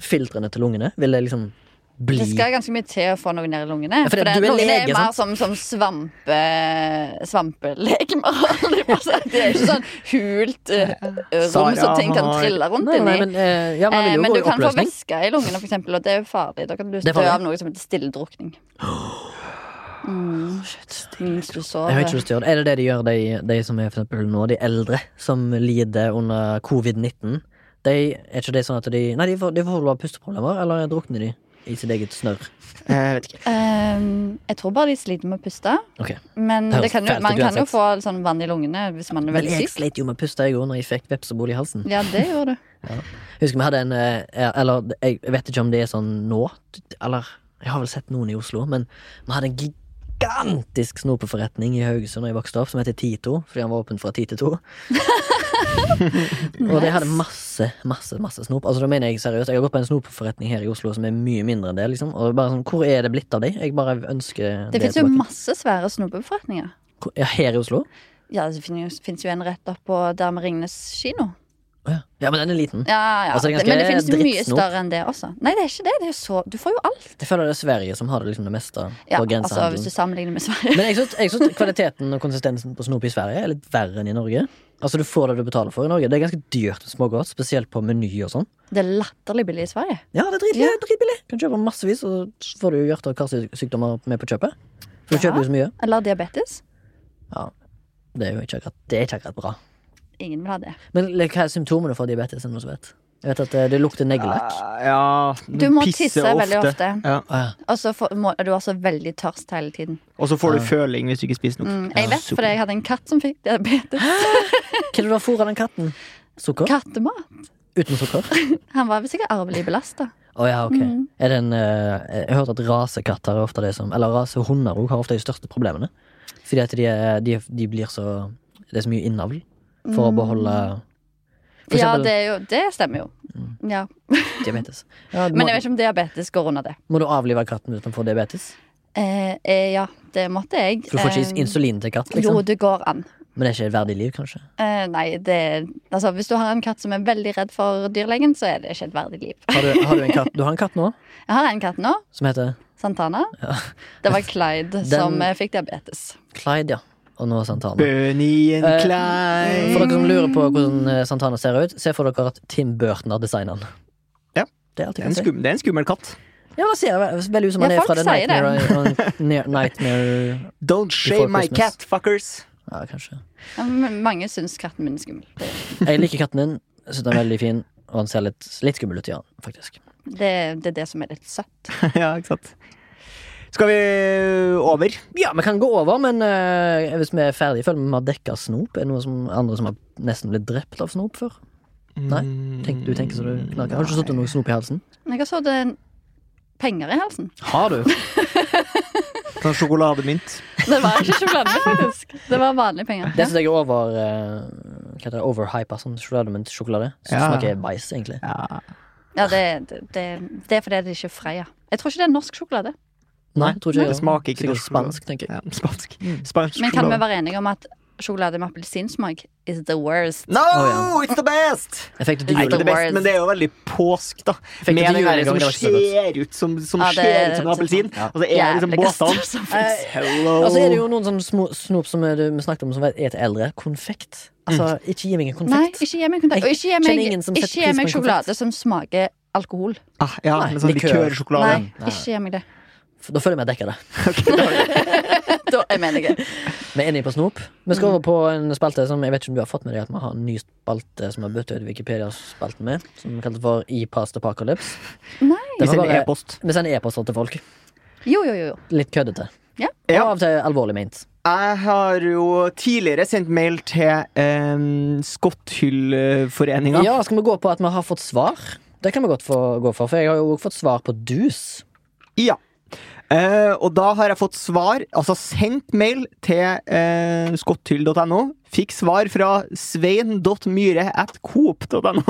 [SPEAKER 2] Filtrene til lungene Vil det liksom bli
[SPEAKER 3] Det skal ganske mye til å få noe ned i lungene.
[SPEAKER 2] for det-
[SPEAKER 3] for det,
[SPEAKER 2] du er
[SPEAKER 3] lungene
[SPEAKER 2] lege,
[SPEAKER 3] er mer som, som svampe, svampelegemer. [LAUGHS] holdt jeg på å si. Det er ikke sånn hult eh, rom som
[SPEAKER 1] Sara
[SPEAKER 3] ting kan
[SPEAKER 1] har-
[SPEAKER 3] trille rundt
[SPEAKER 2] Nei, nei,
[SPEAKER 3] inni.
[SPEAKER 2] men, eh, ja, man
[SPEAKER 3] Eh,
[SPEAKER 2] vil jo
[SPEAKER 3] Men
[SPEAKER 2] gå
[SPEAKER 3] du
[SPEAKER 2] i
[SPEAKER 3] kan få
[SPEAKER 2] oppløsning
[SPEAKER 3] væske i lungene, for eksempel, og det er jo farlig. Da kan du
[SPEAKER 2] er
[SPEAKER 3] dø
[SPEAKER 2] farlig. [GASPS]
[SPEAKER 3] av noe som heter stilledrukning. Mm. Mens du
[SPEAKER 2] Jeg vet ikke
[SPEAKER 3] sover.
[SPEAKER 2] hvordan de gjør det. Er det det de gjør, de, de som er for eksempel nå, de eldre som lider under covid-19? De, er ikke det sånn at de Nei, de får, de får vel bare pusteproblemer, eller drukner de i sitt eget snørr?
[SPEAKER 1] Jeg vet ikke.
[SPEAKER 3] Ehm, jeg tror bare de sliter med å puste.
[SPEAKER 2] Ok.
[SPEAKER 3] Men
[SPEAKER 2] Det høres
[SPEAKER 3] det kan jo,
[SPEAKER 2] fælt ut
[SPEAKER 3] man kan jo
[SPEAKER 2] uansett.
[SPEAKER 3] få sånn vann i lungene hvis man er
[SPEAKER 2] Men
[SPEAKER 3] veldig
[SPEAKER 2] jeg
[SPEAKER 3] syk.
[SPEAKER 2] sleit jo med å puste i går når jeg fikk vepsebol i halsen.
[SPEAKER 3] Ja, det
[SPEAKER 2] [LAUGHS]
[SPEAKER 3] gjør du.
[SPEAKER 2] Jeg husker vi hadde en eh, Eller jeg vet ikke om det er sånn nå, eller jeg har vel sett noen i Oslo, men vi hadde en gigantisk snopeforretning i Haugesund da jeg vokste opp, som heter Tito, fordi han var åpen fra ti til to.
[SPEAKER 3] [LAUGHS]
[SPEAKER 2] Og de hadde masse, masse masse snop. Altså da mener Jeg seriøst Jeg har gått på en snopforretning her i Oslo som er mye mindre enn det. liksom Og bare sånn, Hvor er det blitt av de? Jeg bare ønsker
[SPEAKER 3] Det fins jo
[SPEAKER 2] tilbake.
[SPEAKER 3] masse svære snopebeforretninger.
[SPEAKER 2] Hvor- ja, Her i Oslo?
[SPEAKER 3] Ja, det fins jo en rett oppå der med Ringnes kino.
[SPEAKER 2] Å Ja. ja, men den er liten.
[SPEAKER 3] Ja, ja.
[SPEAKER 2] Altså, det er ganske
[SPEAKER 3] men det finnes jo mye
[SPEAKER 2] drittsnop.
[SPEAKER 3] større enn det også. Nei, det er ikke det. det er jo så, du får jo alt.
[SPEAKER 2] Jeg føler det er Sverige som har det liksom det meste.
[SPEAKER 3] Ja,
[SPEAKER 2] på liksom.
[SPEAKER 3] altså,
[SPEAKER 2] grensehandelen.
[SPEAKER 3] hvis du sammenligner med Sverige. [LAUGHS]
[SPEAKER 2] Men jeg syns, jeg syns kvaliteten og konsistensen på snop i Sverige er litt verre enn i Norge. Altså Du får det du betaler for i Norge. Det er ganske dyrt med smågodt, spesielt på Meny og sånn.
[SPEAKER 3] Det er latterlig billig i Sverige.
[SPEAKER 2] Ja, det er dritbillig. dritbillig. Kan kjøpe massevis, og så får du hjerte- og karsykdommer med på kjøpet. For du
[SPEAKER 3] Ja.
[SPEAKER 2] kjøper jo så mye.
[SPEAKER 3] Eller diabetes.
[SPEAKER 2] Ja, Det er jo ikke akkurat, det er ikke akkurat bra.
[SPEAKER 3] Ingen vil ha det.
[SPEAKER 2] Men like, hva er symptomene for diabetes? er det noen som vet? Jeg vet at eh, det lukter neglelakk.
[SPEAKER 1] Ah. Ja,
[SPEAKER 3] Du må tisse veldig ofte.
[SPEAKER 1] Ja.
[SPEAKER 2] Ah, ja.
[SPEAKER 3] Og så får- må, er du også veldig tørst hele tiden.
[SPEAKER 1] Og så får du
[SPEAKER 2] Ja.
[SPEAKER 1] føling hvis du ikke spiser nok.
[SPEAKER 3] Mm, jeg
[SPEAKER 2] Ja,
[SPEAKER 3] vet,
[SPEAKER 1] sukker.
[SPEAKER 3] fordi jeg hadde en katt som fikk diabetes.
[SPEAKER 2] Hva er det du har fôret den katten? Sukker?
[SPEAKER 3] Kattemat.
[SPEAKER 2] Uten sukker?
[SPEAKER 3] Han var vel sikkert arvelig belasta.
[SPEAKER 2] Å ja, ok.
[SPEAKER 3] Mhm.
[SPEAKER 2] Er det en, eh, jeg har hørt at rasekatter er ofte det som Eller rasehunder også har ofte de største problemene. Fordi at de, er, de, de blir så Det er så mye innavl for å beholde For
[SPEAKER 3] Mm. Ja,
[SPEAKER 2] eksempel
[SPEAKER 3] det, er jo, det stemmer jo. Ja.
[SPEAKER 2] diabetes. Ja, må,
[SPEAKER 3] Men jeg vet ikke om diabetes går under det.
[SPEAKER 2] må du avlive katten uten å få diabetes?
[SPEAKER 3] Eh, eh, ja, det måtte jeg.
[SPEAKER 2] For du får
[SPEAKER 3] Eh,
[SPEAKER 2] ikke insulin til katt,
[SPEAKER 3] Jo,
[SPEAKER 2] liksom?
[SPEAKER 3] det går an.
[SPEAKER 2] Men det er ikke et verdig liv, kanskje?
[SPEAKER 3] Eh, nei, det Altså, hvis du har en katt som er veldig redd for dyrlegen, så er det ikke et verdig liv.
[SPEAKER 2] Har du, har du en katt Du har en katt nå
[SPEAKER 3] Jeg har en katt nå,
[SPEAKER 2] som heter
[SPEAKER 3] Santana. Det var Clyde som eh, fikk diabetes.
[SPEAKER 2] Clyde, ja. Og nå Santana.
[SPEAKER 1] Bønien
[SPEAKER 2] Eh,
[SPEAKER 1] Klein
[SPEAKER 2] For dere som lurer på hvordan eh, Santana ser ut, se for dere at Tim Burton har designet den.
[SPEAKER 1] Ja.
[SPEAKER 2] Det er alt
[SPEAKER 1] det
[SPEAKER 2] jeg kan
[SPEAKER 1] er, en
[SPEAKER 2] si.
[SPEAKER 1] skum, det er en skummel katt.
[SPEAKER 2] Ja, men det ser ve- veldig ut som
[SPEAKER 3] Ja,
[SPEAKER 2] han er fra
[SPEAKER 3] folk
[SPEAKER 2] The
[SPEAKER 3] sier
[SPEAKER 2] Nightmare, Nightmare, Nightmare
[SPEAKER 1] Don't shame my
[SPEAKER 2] Christmas.
[SPEAKER 1] cat, fuckers.
[SPEAKER 2] Ja, kanskje.
[SPEAKER 3] Ja, men Mange syns katten min er skummel. Det,
[SPEAKER 2] Jeg liker katten din. Jeg synes den er veldig fin, og han ser litt, litt skummel ut i han, faktisk.
[SPEAKER 3] det, det er det som er litt søtt.
[SPEAKER 1] [LAUGHS] ja, ikke sant. Skal vi eh, over?
[SPEAKER 2] Ja, vi kan gå over, men eh, hvis vi er ferdige, føler vi vi har dekka snop. Er det noen som, andre som har nesten blitt drept av snop før? Nei,
[SPEAKER 1] Mm.
[SPEAKER 2] Tenk, du tenker så du knaker. Har du ikke sittet noe snop i halsen?
[SPEAKER 3] Jeg har sådd en penger i halsen.
[SPEAKER 2] Har
[SPEAKER 3] [LAUGHS]
[SPEAKER 2] du?
[SPEAKER 1] Sånn sjokolademynt.
[SPEAKER 3] Det var ikke sjokolade, faktisk. Det var vanlige penger.
[SPEAKER 2] Det synes jeg er over uh, Hva heter det? Overhypa sånn sjokolademynt sjokolade. Som
[SPEAKER 1] Ja.
[SPEAKER 2] smaker bæsj, egentlig.
[SPEAKER 1] Ja.
[SPEAKER 3] Ja, det, det, det, det er fordi det ikke er Freia. Jeg tror ikke det er norsk sjokolade.
[SPEAKER 2] Nei, tror ikke
[SPEAKER 1] Det
[SPEAKER 2] jeg.
[SPEAKER 1] smaker ikke
[SPEAKER 2] Sikkert
[SPEAKER 1] norsk sjokolade.
[SPEAKER 2] spansk, tenker jeg.
[SPEAKER 1] ja spansk. Spansk
[SPEAKER 3] Men kan vi
[SPEAKER 1] sjokolade.
[SPEAKER 3] være enige om at sjokolade med appelsinsmak is the worst?
[SPEAKER 1] No,
[SPEAKER 2] Å,
[SPEAKER 1] it's the best!
[SPEAKER 2] Jeg fikk det til
[SPEAKER 1] Nei,
[SPEAKER 3] Nei,
[SPEAKER 2] jul.
[SPEAKER 1] ikke
[SPEAKER 3] the
[SPEAKER 1] det liksom best,
[SPEAKER 3] worst.
[SPEAKER 1] men det er jo veldig påsk, da.
[SPEAKER 2] Fikk det
[SPEAKER 1] Med
[SPEAKER 2] til
[SPEAKER 1] den
[SPEAKER 2] jul
[SPEAKER 1] der
[SPEAKER 2] en gang,
[SPEAKER 1] som
[SPEAKER 2] det var ikke så godt.
[SPEAKER 1] ser ut som, som,
[SPEAKER 3] Ja, det-
[SPEAKER 1] ser ut som en appelsin. Og så er det liksom
[SPEAKER 3] Jævligste
[SPEAKER 1] båtene.
[SPEAKER 3] som finnes.
[SPEAKER 1] Eh, Hello.
[SPEAKER 2] Altså er det jo noen sånn små snop som er, vi snakket om som er til eldre. Konfekt. Altså, ikke gi meg en
[SPEAKER 3] Nei,
[SPEAKER 2] konfekt.
[SPEAKER 3] ikke gi meg kontakt. Og ikke gi
[SPEAKER 2] Jeg
[SPEAKER 3] meg,
[SPEAKER 2] kjenner ingen som
[SPEAKER 3] ikke
[SPEAKER 2] setter
[SPEAKER 3] gi
[SPEAKER 2] pris på
[SPEAKER 3] meg
[SPEAKER 2] en
[SPEAKER 3] sjokolade som smaker alkohol.
[SPEAKER 1] ah, ja,
[SPEAKER 2] Nei,
[SPEAKER 1] med sånn
[SPEAKER 2] likør.
[SPEAKER 1] likørsjokolade. [LAUGHS]
[SPEAKER 3] Nei, ikke gi meg det.
[SPEAKER 2] For Da føler jeg meg dekka det.
[SPEAKER 3] [LAUGHS] Da er jeg med deg.
[SPEAKER 2] Vi er inne på snop. Vi skal over på en spalte som jeg vet ikke om du har fått med deg at vi har en ny spalte som vi har byttet ut Wikipedia-spalten med. Som vi kalte for E past apocalypse.
[SPEAKER 3] Nei.
[SPEAKER 2] Det
[SPEAKER 1] Vi
[SPEAKER 2] var
[SPEAKER 1] sender
[SPEAKER 2] bare-
[SPEAKER 1] e-post.
[SPEAKER 2] Vi sender e-poster til folk.
[SPEAKER 3] Jo, jo, jo. jo.
[SPEAKER 2] Litt køddete.
[SPEAKER 3] Ja.
[SPEAKER 2] Og
[SPEAKER 1] Ja.
[SPEAKER 2] av og til alvorlig ment.
[SPEAKER 1] Jeg har jo tidligere sendt mail til eh, Skotthyllforeninga.
[SPEAKER 2] Ja, skal vi gå på at vi har fått svar? Det kan vi godt få, gå for, for jeg har jo også fått svar på dus.
[SPEAKER 1] Ja. Eh, og da har jeg fått svar, altså sendt mail til uh, skotthyll.no. Fikk svar fra svein.myhre at coop.no.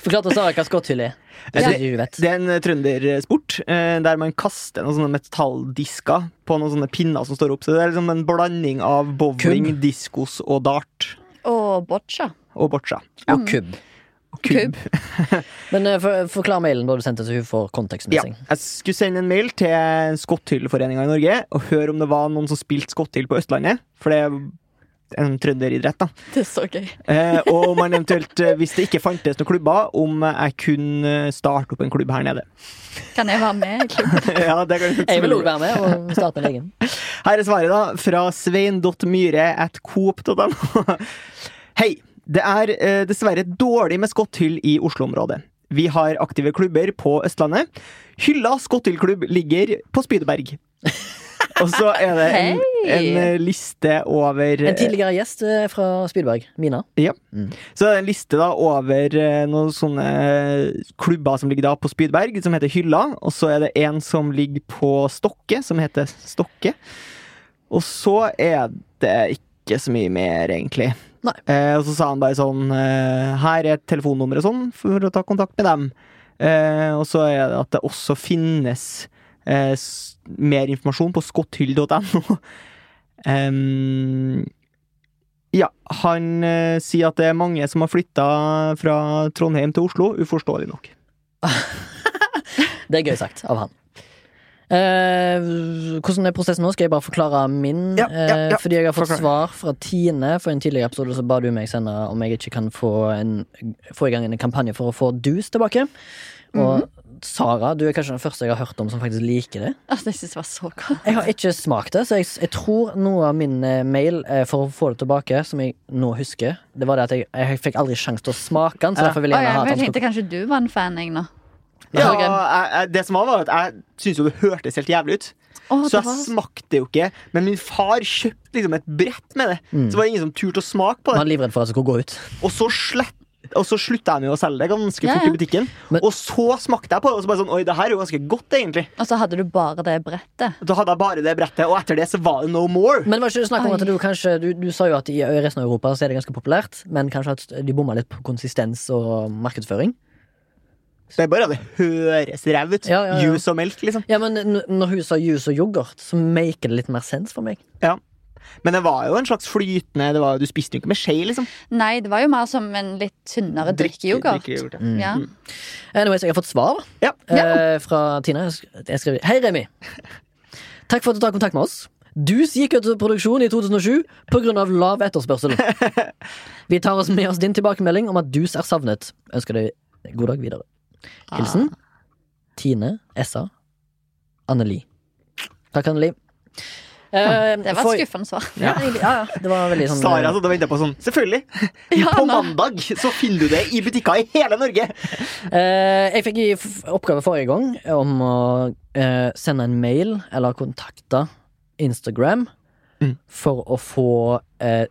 [SPEAKER 2] Forklarte Sara hva skotthyll er. Det
[SPEAKER 1] Ja.
[SPEAKER 2] er det du vet.
[SPEAKER 1] [LAUGHS] Det er en trøndersport eh, der man kaster noen sånne metalldisker på noen sånne pinner som står opp. Så det er liksom en blanding av bowling, diskos og dart
[SPEAKER 3] Og boccia.
[SPEAKER 1] og boccia.
[SPEAKER 2] Og kubb.
[SPEAKER 1] Og kubb.
[SPEAKER 2] Men eh, for, forklar mailen da du sendte, så hun får
[SPEAKER 1] Ja.
[SPEAKER 2] kontekstmessig.
[SPEAKER 1] Jeg skulle sende en mail til Skotthyllforeninga i Norge og høre om det var noen som spilte skotthyll på Østlandet. For det er en trønderidrett, da.
[SPEAKER 3] Det er så gøy.
[SPEAKER 1] Eh, og om man eh, eventuelt, eh, hvis det ikke fantes noen klubber, om jeg kunne starte opp en klubb her nede. [LAUGHS]
[SPEAKER 3] Kan Kan jeg være med? egentlig?
[SPEAKER 1] ja, det kan du
[SPEAKER 2] Jeg vil
[SPEAKER 1] selvfølgelig.
[SPEAKER 2] òg være med og starte en egen.
[SPEAKER 1] Her er svaret, da, fra svein.myhre.coop.no. [LAUGHS] Hei. Det er eh, dessverre dårlig med skotthyll i Oslo-området. Vi har aktive klubber på Østlandet. Hylla skotthyllklubb ligger på Spydeberg. Og så er det en,
[SPEAKER 3] Hei.
[SPEAKER 1] en eh, liste over
[SPEAKER 2] En tidligere gjest eh, fra Spydberg, Mina.
[SPEAKER 1] Så det er en liste da over eh, noen sånne klubber som ligger da på Spydberg, som heter Hylla. Og så er det en som ligger på Stokke, som heter Stokke. Og så er det ikke så mye mer, egentlig.
[SPEAKER 2] Nei.
[SPEAKER 1] Eh, og så sa han bare sånn eh, Her er et telefonnummer og sånn for å ta kontakt med dem. Eh, og så er det at det også finnes eh, s mer informasjon på skotthyll.no. [LAUGHS] Em, ja, han eh, sier at det er mange som har flytta fra Trondheim til Oslo, uforståelig nok.
[SPEAKER 2] Det er gøy sagt av han. Eh, hvordan er prosessen nå? Skal jeg bare forklare min?
[SPEAKER 1] Ja, ja, ja.
[SPEAKER 2] Eh, fordi jeg har fått
[SPEAKER 1] Forklar.
[SPEAKER 2] svar fra Tine. For en tidligere episode så ba du meg sende om jeg ikke kan få, en, få i gang en kampanje for å få dus tilbake. Og
[SPEAKER 1] Mhm.
[SPEAKER 2] Sara, du er kanskje den første jeg har hørt om som faktisk liker det.
[SPEAKER 3] Altså, jeg synes det var så godt.
[SPEAKER 2] Jeg har ikke smakt det, så jeg, jeg tror noe av min eh, mail eh, for å få det tilbake, som jeg nå husker, det var det at jeg, jeg fikk aldri sjanse til å smake den, så
[SPEAKER 1] Ja.
[SPEAKER 2] derfor vil
[SPEAKER 3] Å,
[SPEAKER 2] jeg gjerne
[SPEAKER 3] ja,
[SPEAKER 2] ha at
[SPEAKER 3] men jeg
[SPEAKER 2] den
[SPEAKER 3] tenkte kanskje du var en fan, jeg, nå.
[SPEAKER 1] Ja,
[SPEAKER 3] Torgrim.
[SPEAKER 1] jeg, jeg, det som var, var at jeg syntes jo det hørtes helt jævlig ut,
[SPEAKER 3] Å,
[SPEAKER 1] så
[SPEAKER 3] det
[SPEAKER 1] jeg
[SPEAKER 3] var...
[SPEAKER 1] smakte det jo ikke. Men min far kjøpte liksom et brett med det, så var det ingen som turte å smake på
[SPEAKER 2] Man
[SPEAKER 1] det.
[SPEAKER 2] er livredd for at det skal gå ut.
[SPEAKER 1] Og så slett og så slutta de jo å selge det ganske
[SPEAKER 3] Ja,
[SPEAKER 1] fort
[SPEAKER 3] ja.
[SPEAKER 1] i butikken.
[SPEAKER 2] Men-
[SPEAKER 1] og så smakte jeg på det, og så bare sånn Oi, det her er jo ganske godt, egentlig.
[SPEAKER 3] Og så hadde du bare det brettet.
[SPEAKER 1] Da hadde jeg bare det brettet, og etter det så var det no more.
[SPEAKER 2] Men var ikke det snakk om
[SPEAKER 3] Oi.
[SPEAKER 2] at du kanskje du, du sa jo at i resten av Europa så er det ganske populært, men kanskje at de bomma litt på konsistens og markedsføring?
[SPEAKER 1] Det er bare at det høres ræv ut.
[SPEAKER 2] Ja, ja, ja.
[SPEAKER 1] Juice og melk, liksom.
[SPEAKER 2] Ja, men n- når hun sa juice og yoghurt, så maker det litt mer sens for meg.
[SPEAKER 1] Men det var jo en slags flytende det var, Du spiste jo ikke med skje, liksom.
[SPEAKER 3] Nei, det var jo mer som en litt tynnere drikkeyoghurt. Mm.
[SPEAKER 1] drikkeyoghurt, ja.
[SPEAKER 2] Mm.
[SPEAKER 3] Ja.
[SPEAKER 2] Anyways, jeg har fått svar
[SPEAKER 1] Ja.
[SPEAKER 2] eh, fra Tina. Jeg sk- Jeg skrev Hei, Remi. Takk for at du tar kontakt med oss. Dus gikk ut av produksjon i 2007 pga. lav etterspørsel. Vi tar oss med oss din tilbakemelding om at dus er savnet. Ønsker deg god dag videre. Hilsen Tine Essa Anneli. Takk, Anneli. Eh,
[SPEAKER 3] Det var
[SPEAKER 2] for-
[SPEAKER 3] et skuffende svar. [LAUGHS]
[SPEAKER 2] Ja, egentlig, ja, ja. Det var veldig sånn
[SPEAKER 1] Sara satt og ventet på sånn.
[SPEAKER 2] [LAUGHS]
[SPEAKER 1] Selvfølgelig!
[SPEAKER 3] Ja,
[SPEAKER 1] på
[SPEAKER 3] nå.
[SPEAKER 1] mandag så finner du det i butikker i hele
[SPEAKER 2] [LAUGHS]
[SPEAKER 1] Norge!
[SPEAKER 2] Eh, jeg fikk i f- oppgave forrige gang om å eh, sende en mail eller kontakte Instagram
[SPEAKER 1] Mm.
[SPEAKER 2] for å få eh,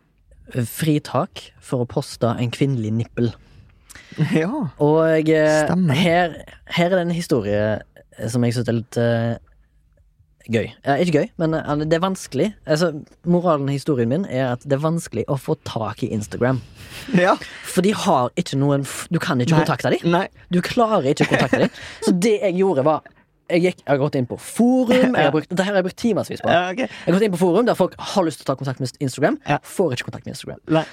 [SPEAKER 2] fritak for å poste en kvinnelig nippel.
[SPEAKER 1] Ja.
[SPEAKER 2] Og eh,
[SPEAKER 1] Stemmer.
[SPEAKER 2] her, her er det en historie som jeg syns er litt eh, gøy. Ja, ikke gøy, men eh, det er vanskelig. Altså, moralen i historien min er at det er vanskelig å få tak i Instagram.
[SPEAKER 1] ja.
[SPEAKER 2] For de har ikke noen f- Du kan ikke
[SPEAKER 1] Nei.
[SPEAKER 2] kontakte dem.
[SPEAKER 1] Nei.
[SPEAKER 2] Du klarer ikke å kontakte
[SPEAKER 1] [LAUGHS]
[SPEAKER 2] dem. Så det jeg gjorde, var Jeg, gikk, jeg har gått inn på forum. Jeg har brukt, dette har jeg brukt timevis på. Jeg
[SPEAKER 1] Ja, ok.
[SPEAKER 2] har gått inn på forum Der folk har lyst til å ta kontakt med Instagram,
[SPEAKER 1] Ja.
[SPEAKER 2] får ikke kontakt med Instagram.
[SPEAKER 1] Nei.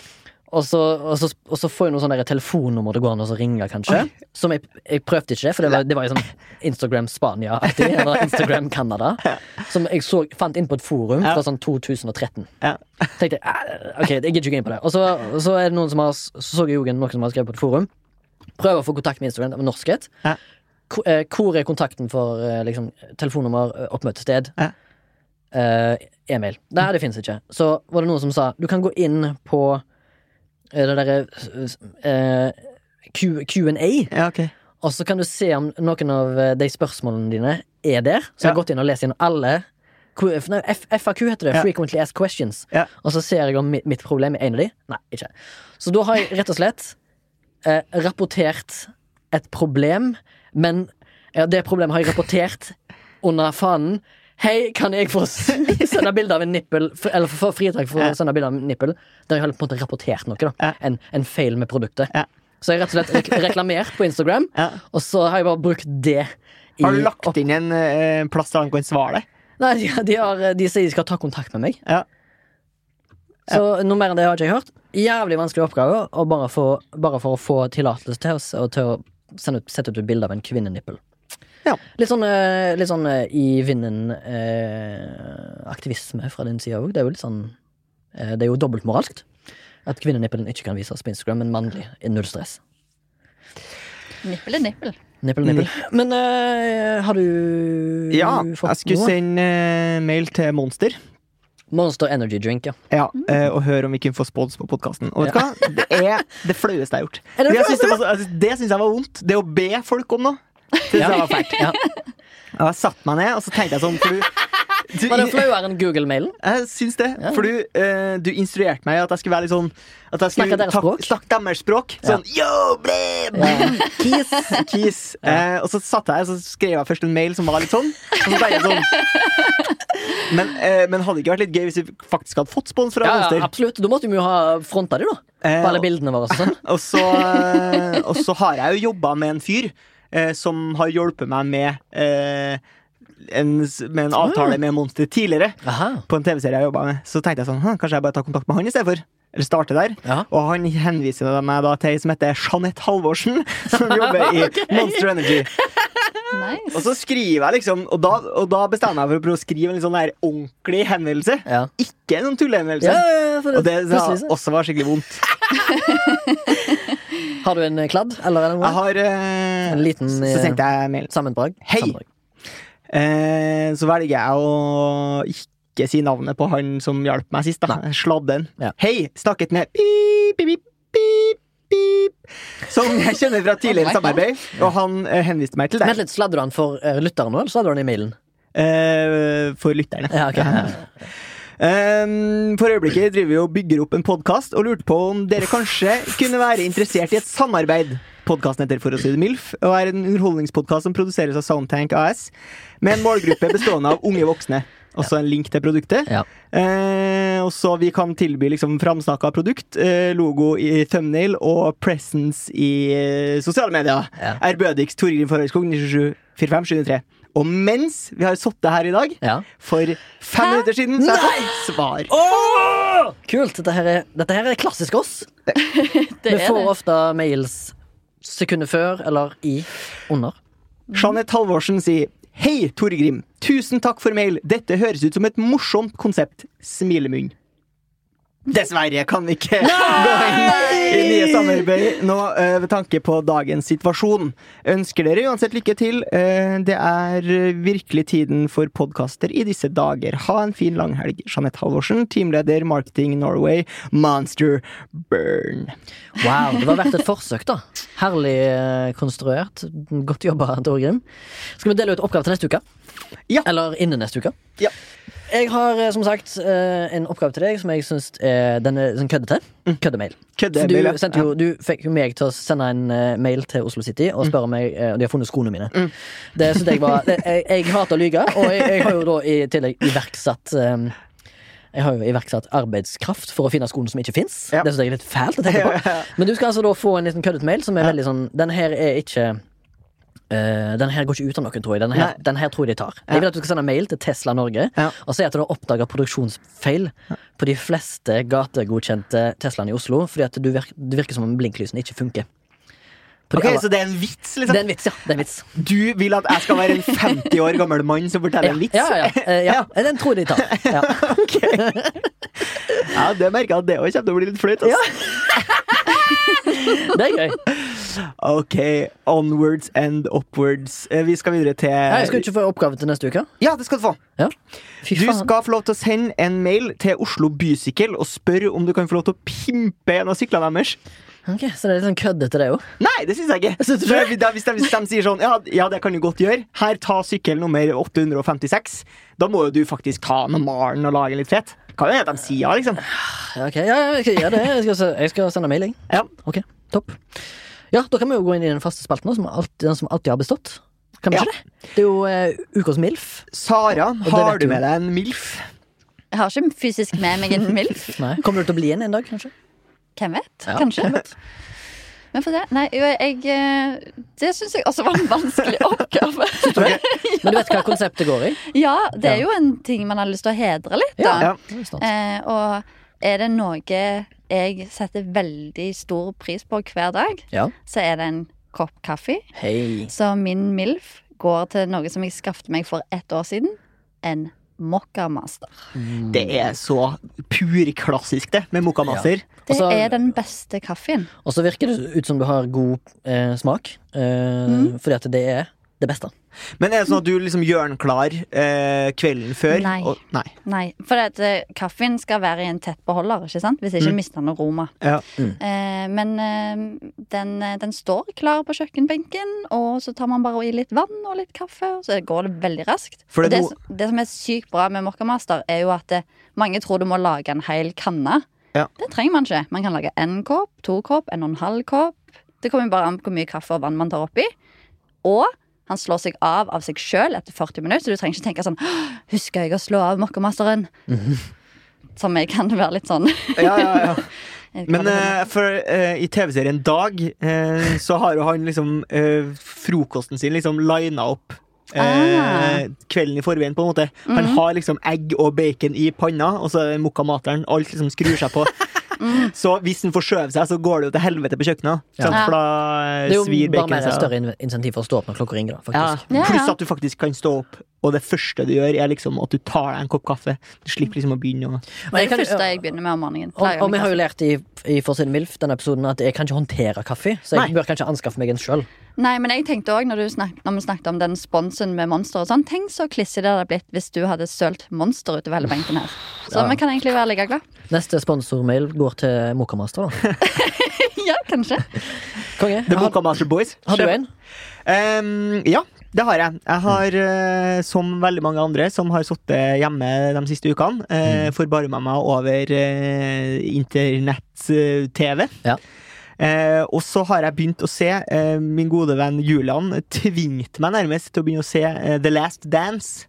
[SPEAKER 2] Og så, og så, og så får jeg noe sånn der telefonnummer det går an å så ringe, kanskje. Som jeg, jeg prøvde ikke, for det var, det var jo sånn Instagram Spania-aktig.
[SPEAKER 1] [LAUGHS]
[SPEAKER 2] Eller Instagram Canada. Som jeg så, fant inn på et forum
[SPEAKER 1] Ja.
[SPEAKER 2] fra sånn 2013.
[SPEAKER 1] Ja.
[SPEAKER 2] Tenkte jeg, "Ah, ok, jeg gidder ikke gå inn på det. Og så, og så er det noen som har, så så jeg jo noen som har skrevet på et forum. Prøver å få kontakt med Instagram med norskhet.
[SPEAKER 1] Ja.
[SPEAKER 2] Ko- eh, Hvor er kontakten for eh, liksom, telefonnummer, eh, oppmøtested?
[SPEAKER 1] Ja.
[SPEAKER 2] Eh, E-mail. Nei, det fins ikke. Så var det noen som sa du kan gå inn på eh, det derre eh, Q- Q&A,
[SPEAKER 1] Ja, ok.
[SPEAKER 2] og så kan du se om noen av eh, de spørsmålene dine er der. Så jeg har
[SPEAKER 1] Ja.
[SPEAKER 2] gått inn og lest inn alle. Q- nei, F- FAQ heter det.
[SPEAKER 1] Ja.
[SPEAKER 2] Frequently Asked Questions.
[SPEAKER 1] Ja.
[SPEAKER 2] Og så ser jeg om mitt, mitt problem er en av de. Nei, ikke. Så da har jeg rett og slett eh, rapportert et problem, men ja, det problemet har jeg rapportert under fanen. Hei, kan jeg få s-
[SPEAKER 1] [LAUGHS]
[SPEAKER 2] sende bilde av en nippel f- Eller få fritak for å
[SPEAKER 1] Ja.
[SPEAKER 2] sende bilde av en nippel? Der jeg har på en måte rapportert noe. da
[SPEAKER 1] Ja.
[SPEAKER 2] En, en feil med produktet.
[SPEAKER 1] Ja.
[SPEAKER 2] Så jeg har rett og slett rek reklamert på Instagram,
[SPEAKER 1] Ja.
[SPEAKER 2] og så har jeg bare brukt det i
[SPEAKER 1] Har du lagt inn en eh, plass der han kan svare deg?
[SPEAKER 2] Nei, de, de, har, eh, de sier de skal ta kontakt med meg.
[SPEAKER 1] Ja.
[SPEAKER 2] Så noe mer enn det har ikke jeg hørt. Jævlig vanskelig oppgave, og bare for, bare for å få tillatelse til, oss, og til å sende ut, sette ut et bilde av en kvinnenippel.
[SPEAKER 1] Ja.
[SPEAKER 2] Litt sånn, eh, litt sånn eh, i vinden eh, aktivisme fra din side òg. Det er jo litt sånn eh, Det er jo dobbeltmoralsk. At kvinnenippelen ikke kan vises på Instagram, men mannlig. Null stress.
[SPEAKER 3] Nippel er nippel.
[SPEAKER 2] Nippel, nippel. Men eh, har du
[SPEAKER 1] Mm. Ja, jeg
[SPEAKER 2] fått
[SPEAKER 1] skulle
[SPEAKER 2] noe?
[SPEAKER 1] sende eh, mail til Monster
[SPEAKER 2] Monster Energy Drink, ja.
[SPEAKER 1] ja, eh, og høre om vi kunne få spons på podkasten. Og vet du hva? Det er det flaueste jeg har gjort.
[SPEAKER 2] [LAUGHS] Er det
[SPEAKER 1] Fordi jeg
[SPEAKER 2] flaueste?
[SPEAKER 1] synes det var så- jeg synes- det syns jeg var vondt. Det å be folk om noe. Synes
[SPEAKER 2] Ja.
[SPEAKER 1] jeg var fælt. [LAUGHS]
[SPEAKER 2] ja.
[SPEAKER 1] Og jeg satte meg ned, og så tenkte jeg sånn for du,
[SPEAKER 2] [LAUGHS]
[SPEAKER 1] du,
[SPEAKER 2] Var det flauere enn Google-mailen?
[SPEAKER 1] Jeg syns det.
[SPEAKER 2] Ja.
[SPEAKER 1] For du, eh, du instruerte meg i at jeg skulle være litt sånn At jeg skulle
[SPEAKER 2] Snakke deres
[SPEAKER 1] tak-
[SPEAKER 2] språk?
[SPEAKER 1] snakke deres språk. Sånn yo, ble, ble, kiss,
[SPEAKER 2] [LAUGHS]
[SPEAKER 1] kiss. Eh, og så satt jeg og så skrev jeg først en mail som var litt sånn. Og så tenkte jeg sånn
[SPEAKER 2] [LAUGHS]
[SPEAKER 1] men, eh, men hadde det ikke vært litt gøy hvis vi faktisk hadde fått spons fra
[SPEAKER 2] Ja,
[SPEAKER 1] Monster?
[SPEAKER 2] ja, absolutt. Da måtte vi jo ha fronta de, da.
[SPEAKER 1] Eh,
[SPEAKER 2] På alle bildene våre. og Sånn.
[SPEAKER 1] Og så, eh, og så har jeg jo jobba med en fyr eh, som har hjulpet meg med, eh, en, s- med en
[SPEAKER 2] Ah.
[SPEAKER 1] avtale med Monster tidligere.
[SPEAKER 2] [LAUGHS] Aha.
[SPEAKER 1] På en TV-serie jeg jobbet med. Så tenkte jeg sånn, «Hm, kanskje jeg bare tar kontakt med han i stedet for. Eller starte der.
[SPEAKER 2] Ja.
[SPEAKER 1] Og han henviser meg da til ei som heter Jeanette Halvorsen, [LAUGHS] som jobber
[SPEAKER 2] [LAUGHS]
[SPEAKER 1] i Monster Energy. Og
[SPEAKER 3] Nice.
[SPEAKER 1] så skriver jeg liksom Og da, og da bestemmer jeg meg for å prøve å skrive en litt sånn der ordentlig henvendelse.
[SPEAKER 2] Ja.
[SPEAKER 1] Ikke en sånn tullehenvendelse.
[SPEAKER 2] Ja, ja, for
[SPEAKER 1] Og det, det
[SPEAKER 2] plutselig så-
[SPEAKER 1] også var skikkelig vondt.
[SPEAKER 2] Har du en eh, kladd? Eller er det noe?
[SPEAKER 1] Jeg har eh,
[SPEAKER 2] En liten,
[SPEAKER 1] Så
[SPEAKER 2] eh,
[SPEAKER 1] sendte jeg mail.
[SPEAKER 2] Sammendrag?
[SPEAKER 1] Hei!
[SPEAKER 2] Sammendrag.
[SPEAKER 1] Eh, så velger jeg å ikke si navnet på han som hjalp meg sist. da Sladden.
[SPEAKER 2] Ja.
[SPEAKER 1] Hei! Snakket med pip, pip, pip, pip, pip. Som jeg kjenner fra tidligere
[SPEAKER 3] Oh my God.
[SPEAKER 1] samarbeid. Og han eh, henviste meg til
[SPEAKER 2] Vent
[SPEAKER 1] deg.
[SPEAKER 2] litt, sladder du den for eh, lytteren nå, eller sladder du den i mailen?
[SPEAKER 1] Eh, for lytterne.
[SPEAKER 2] Ja, ok.
[SPEAKER 1] [LAUGHS] Eh, for øyeblikket driver vi og bygger opp en podkast og lurte på om dere kanskje kunne være interessert i et samarbeid. Podkasten heter For å si det MILF og er en underholdningspodkast som produseres av Soundtank AS med en målgruppe bestående av unge voksne. Også en link til produktet.
[SPEAKER 2] Ja.
[SPEAKER 1] Eh, og så vi kan tilby liksom framsnakka produkt, eh, logo i thumbnail og presence i eh, sosiale medier.
[SPEAKER 2] Ja.
[SPEAKER 1] Ærbødigst Torgrim Forhøgskog 927-4573. Og mens vi har sittet her i dag,
[SPEAKER 2] Ja.
[SPEAKER 1] for fem minutter siden, så har jeg fått svar.
[SPEAKER 2] Kult. Dette her, er, dette her er klassisk oss.
[SPEAKER 3] Det
[SPEAKER 2] Vi
[SPEAKER 3] er
[SPEAKER 2] får
[SPEAKER 3] det.
[SPEAKER 2] ofte mails sekundet før eller i under.
[SPEAKER 1] Jeanette Halvorsen sier Hei, Torgrim. Tusen takk for mail. Dette høres ut som et morsomt konsept. Smilemunn. Dessverre kan vi ikke gå inn i nye samarbeid nå eh, ved tanke på dagens situasjon. Ønsker dere uansett lykke til. Eh, det er eh, virkelig tiden for podkaster i disse dager. Ha en fin langhelg. Jeanette Halvorsen, teamleder Marketing Norway, Monster Burn.
[SPEAKER 2] Wow, Det var verdt et forsøk, da. Herlig eh, konstruert. Godt jobba, Torgrim. Skal vi dele ut oppgave til neste uke?
[SPEAKER 1] Ja.
[SPEAKER 2] Eller innen neste uke?
[SPEAKER 1] Ja.
[SPEAKER 2] Jeg har eh, som sagt eh, en oppgave til deg som jeg syns er den er sånn køddete. Køddemail. For
[SPEAKER 1] Køddemail, Mm. ja. Mm.
[SPEAKER 2] Du, sendte jo, du fikk jo meg til å sende en eh, mail til Oslo City og spørre meg eh, om de har funnet skoene mine. Det synes jeg var det, Jeg, jeg hater å lyge, og jeg, jeg har jo da i tillegg iverksatt eh, jeg har jo iverksatt arbeidskraft for å finne skoene som ikke fins.
[SPEAKER 1] Ja.
[SPEAKER 2] Det synes jeg er litt fælt å tenke
[SPEAKER 1] [LAUGHS]
[SPEAKER 2] på. Men du skal altså da få en liten køddet mail som er veldig sånn Den her er ikke eh, den her går ikke ut av noen, tror jeg. Den her,
[SPEAKER 1] Nei.
[SPEAKER 2] den her tror jeg de tar. Jeg vil at du skal sende mail til Tesla Norge
[SPEAKER 1] Ja.
[SPEAKER 2] og si at du har oppdaga produksjonsfeil på de fleste gategodkjente Teslaene i Oslo, fordi at du virker, det virker som om blinklysen ikke funker. På de
[SPEAKER 1] Ok,
[SPEAKER 2] aller-
[SPEAKER 1] Så det er en vits, liksom?
[SPEAKER 2] det er en vits, ja. Det er en vits.
[SPEAKER 1] Du vil at jeg skal være en 50 år gammel mann som forteller
[SPEAKER 2] Ja,
[SPEAKER 1] en vits?
[SPEAKER 2] ja, ja, ja.
[SPEAKER 1] [LAUGHS]
[SPEAKER 2] Eh, ja. Den tror jeg de tar. Ja.
[SPEAKER 1] Ja, det merker jeg at det òg kommer til å bli litt flaut. ass.
[SPEAKER 2] Det er gøy.
[SPEAKER 1] Ok, onwards and upwards. Eh, Vi skal videre til
[SPEAKER 2] Ja, jeg skal ikke få oppgave til neste uke.
[SPEAKER 1] Ja, det skal du få.
[SPEAKER 2] Ja. Fy
[SPEAKER 1] Du
[SPEAKER 2] faen.
[SPEAKER 1] skal få lov til å sende en mail til Oslo Bysykkel og spørre om du kan få lov til å pimpe en av syklene deres.
[SPEAKER 2] Ok, Så det er litt sånn køddete, det òg.
[SPEAKER 1] Nei, det syns jeg ikke. For da- Hvis de, hvis de sier sånn ja, ja, det kan du godt gjøre. Her, ta sykkel nummer 856. Da må jo du faktisk ta den og male den og lage den litt fet. Kan jo hende at de sier ja, liksom.
[SPEAKER 2] Ja, ok. ja, ja, jeg skal gjøre det. Jeg skal, se- jeg skal sende melding.
[SPEAKER 1] Ja.
[SPEAKER 2] Ok, topp. Ja, da kan vi jo gå inn i den faste spalten, nå, som alltid, den som alltid har bestått. Kan vi
[SPEAKER 1] Ja.
[SPEAKER 2] ikke det? Det er jo eh, ukas MILF.
[SPEAKER 1] Sara,
[SPEAKER 2] det
[SPEAKER 1] har
[SPEAKER 2] vet
[SPEAKER 1] du
[SPEAKER 2] du.
[SPEAKER 1] med deg en MILF?
[SPEAKER 3] Jeg har ikke fysisk med meg en MILF.
[SPEAKER 2] Nei. Kommer du til å bli en en dag, kanskje?
[SPEAKER 3] Hvem vet?
[SPEAKER 2] Ja,
[SPEAKER 3] Kanskje.
[SPEAKER 2] hvem vet?
[SPEAKER 3] Men for det, nei, jo, jeg, eh, det syns jeg også var en vanskelig oppgave.
[SPEAKER 2] Men du vet hva konseptet går i?
[SPEAKER 3] Ja, det er
[SPEAKER 2] Ja.
[SPEAKER 3] jo en ting man har lyst til å hedre litt, da.
[SPEAKER 1] Ja.
[SPEAKER 2] Det er jo sånn. sant.
[SPEAKER 3] Eh, og er det noe jeg setter veldig stor pris på hver dag,
[SPEAKER 2] Ja.
[SPEAKER 3] så er det en kopp kaffe.
[SPEAKER 2] Hei.
[SPEAKER 3] Så min MILF går til noe som jeg skaffet meg for ett år siden. En Mokkamaster.
[SPEAKER 1] Det er så purklassisk, det, med mokkamaser.
[SPEAKER 3] Det
[SPEAKER 2] Og så-
[SPEAKER 3] er den beste kaffen.
[SPEAKER 2] Og så virker det ut som du har god eh, smak, eh, fordi at det er det beste.
[SPEAKER 1] Men er det sånn at du liksom gjør den klar eh, kvelden før?
[SPEAKER 3] Nei.
[SPEAKER 1] Og, nei.
[SPEAKER 3] Nei, for at, eh, kaffen skal være i en tett beholder, ikke sant? Hvis
[SPEAKER 2] Mm.
[SPEAKER 3] ikke mister den aroma.
[SPEAKER 1] Ja.
[SPEAKER 3] Eh, men eh, den, eh, den står klar på kjøkkenbenken, og så tar man bare i litt vann og litt kaffe, og så går det veldig raskt.
[SPEAKER 1] For
[SPEAKER 3] Og
[SPEAKER 1] det
[SPEAKER 3] det,
[SPEAKER 1] er
[SPEAKER 3] som- det som er sykt bra med Mokkamaster, er jo at eh, mange tror du må lage en hel kanne.
[SPEAKER 1] Ja.
[SPEAKER 3] Det trenger man ikke. Man kan lage én kopp, to kopp, en og en halv kopp. Det kommer jo bare an på hvor mye kaffe og vann man tar oppi. Og han slår seg av av seg sjøl etter 40 minutter, så du trenger ikke tenke sånn «Åh, Husker jeg å slå av Mokkamasteren?
[SPEAKER 1] Mhm.
[SPEAKER 3] Som jeg kan være litt sånn. [LAUGHS]
[SPEAKER 1] Ja, ja, ja.
[SPEAKER 3] Jeg
[SPEAKER 1] Men
[SPEAKER 3] kaller det
[SPEAKER 1] eh, for, eh, i TV-serien Dag eh, så har jo han liksom eh, frokosten sin liksom lina opp. Eh,
[SPEAKER 3] Ah. Mhm.
[SPEAKER 1] kvelden i forveien, på en måte. Han har liksom egg og bacon i panna, og så er det mokkamateren. Alt liksom skrur seg på. Så hvis den forskjøver seg, så går det jo til helvete på kjøkkenet. sant?
[SPEAKER 3] Mhm. Ja.
[SPEAKER 1] For da eh,
[SPEAKER 2] Det er jo
[SPEAKER 1] svir
[SPEAKER 2] bare
[SPEAKER 1] baconet
[SPEAKER 2] mer
[SPEAKER 1] seg.
[SPEAKER 2] større in- insentiv for å stå opp når klokka ringer. Da, faktisk.
[SPEAKER 3] Ja, ja.
[SPEAKER 1] Pluss at du faktisk kan stå opp, og det første du gjør, er liksom at du tar deg en kopp kaffe. Du slipper liksom å begynne å
[SPEAKER 3] Det er
[SPEAKER 2] jeg
[SPEAKER 3] det
[SPEAKER 2] kan-
[SPEAKER 3] første jeg begynner med om morgenen.
[SPEAKER 2] Og,
[SPEAKER 3] Pleier å
[SPEAKER 2] og vi har
[SPEAKER 3] gjøre
[SPEAKER 2] jo lært i, i Forsiden Milf denne episoden at jeg kan ikke håndtere kaffe, så jeg
[SPEAKER 1] Nei.
[SPEAKER 2] bør kanskje anskaffe meg en sjøl.
[SPEAKER 3] det. Nei, men jeg tenkte òg, når, du snak- når vi snakket om den sponsen med Monster og sånn, tenk så klissig det hadde blitt hvis du hadde sølt Monster utover hele benken her. Så
[SPEAKER 2] Ja.
[SPEAKER 3] vi kan egentlig være like glad.
[SPEAKER 2] Neste sponsormail går til Mokamaster. da.
[SPEAKER 3] ja, kanskje.
[SPEAKER 2] Konge.
[SPEAKER 1] The
[SPEAKER 2] Har,
[SPEAKER 1] Book of Master Boys.
[SPEAKER 2] har du en?
[SPEAKER 1] Ehm, ja, det har jeg. Jeg har,
[SPEAKER 2] Mm.
[SPEAKER 1] eh, som veldig mange andre som har sittet hjemme de siste ukene,
[SPEAKER 2] Mm.
[SPEAKER 1] eh, forbarma meg over eh, internett-TV.
[SPEAKER 2] Ja.
[SPEAKER 1] Eh, og så har jeg begynt å se eh, min gode venn Julian tvingte meg nærmest til å begynne å se eh, The Last Dance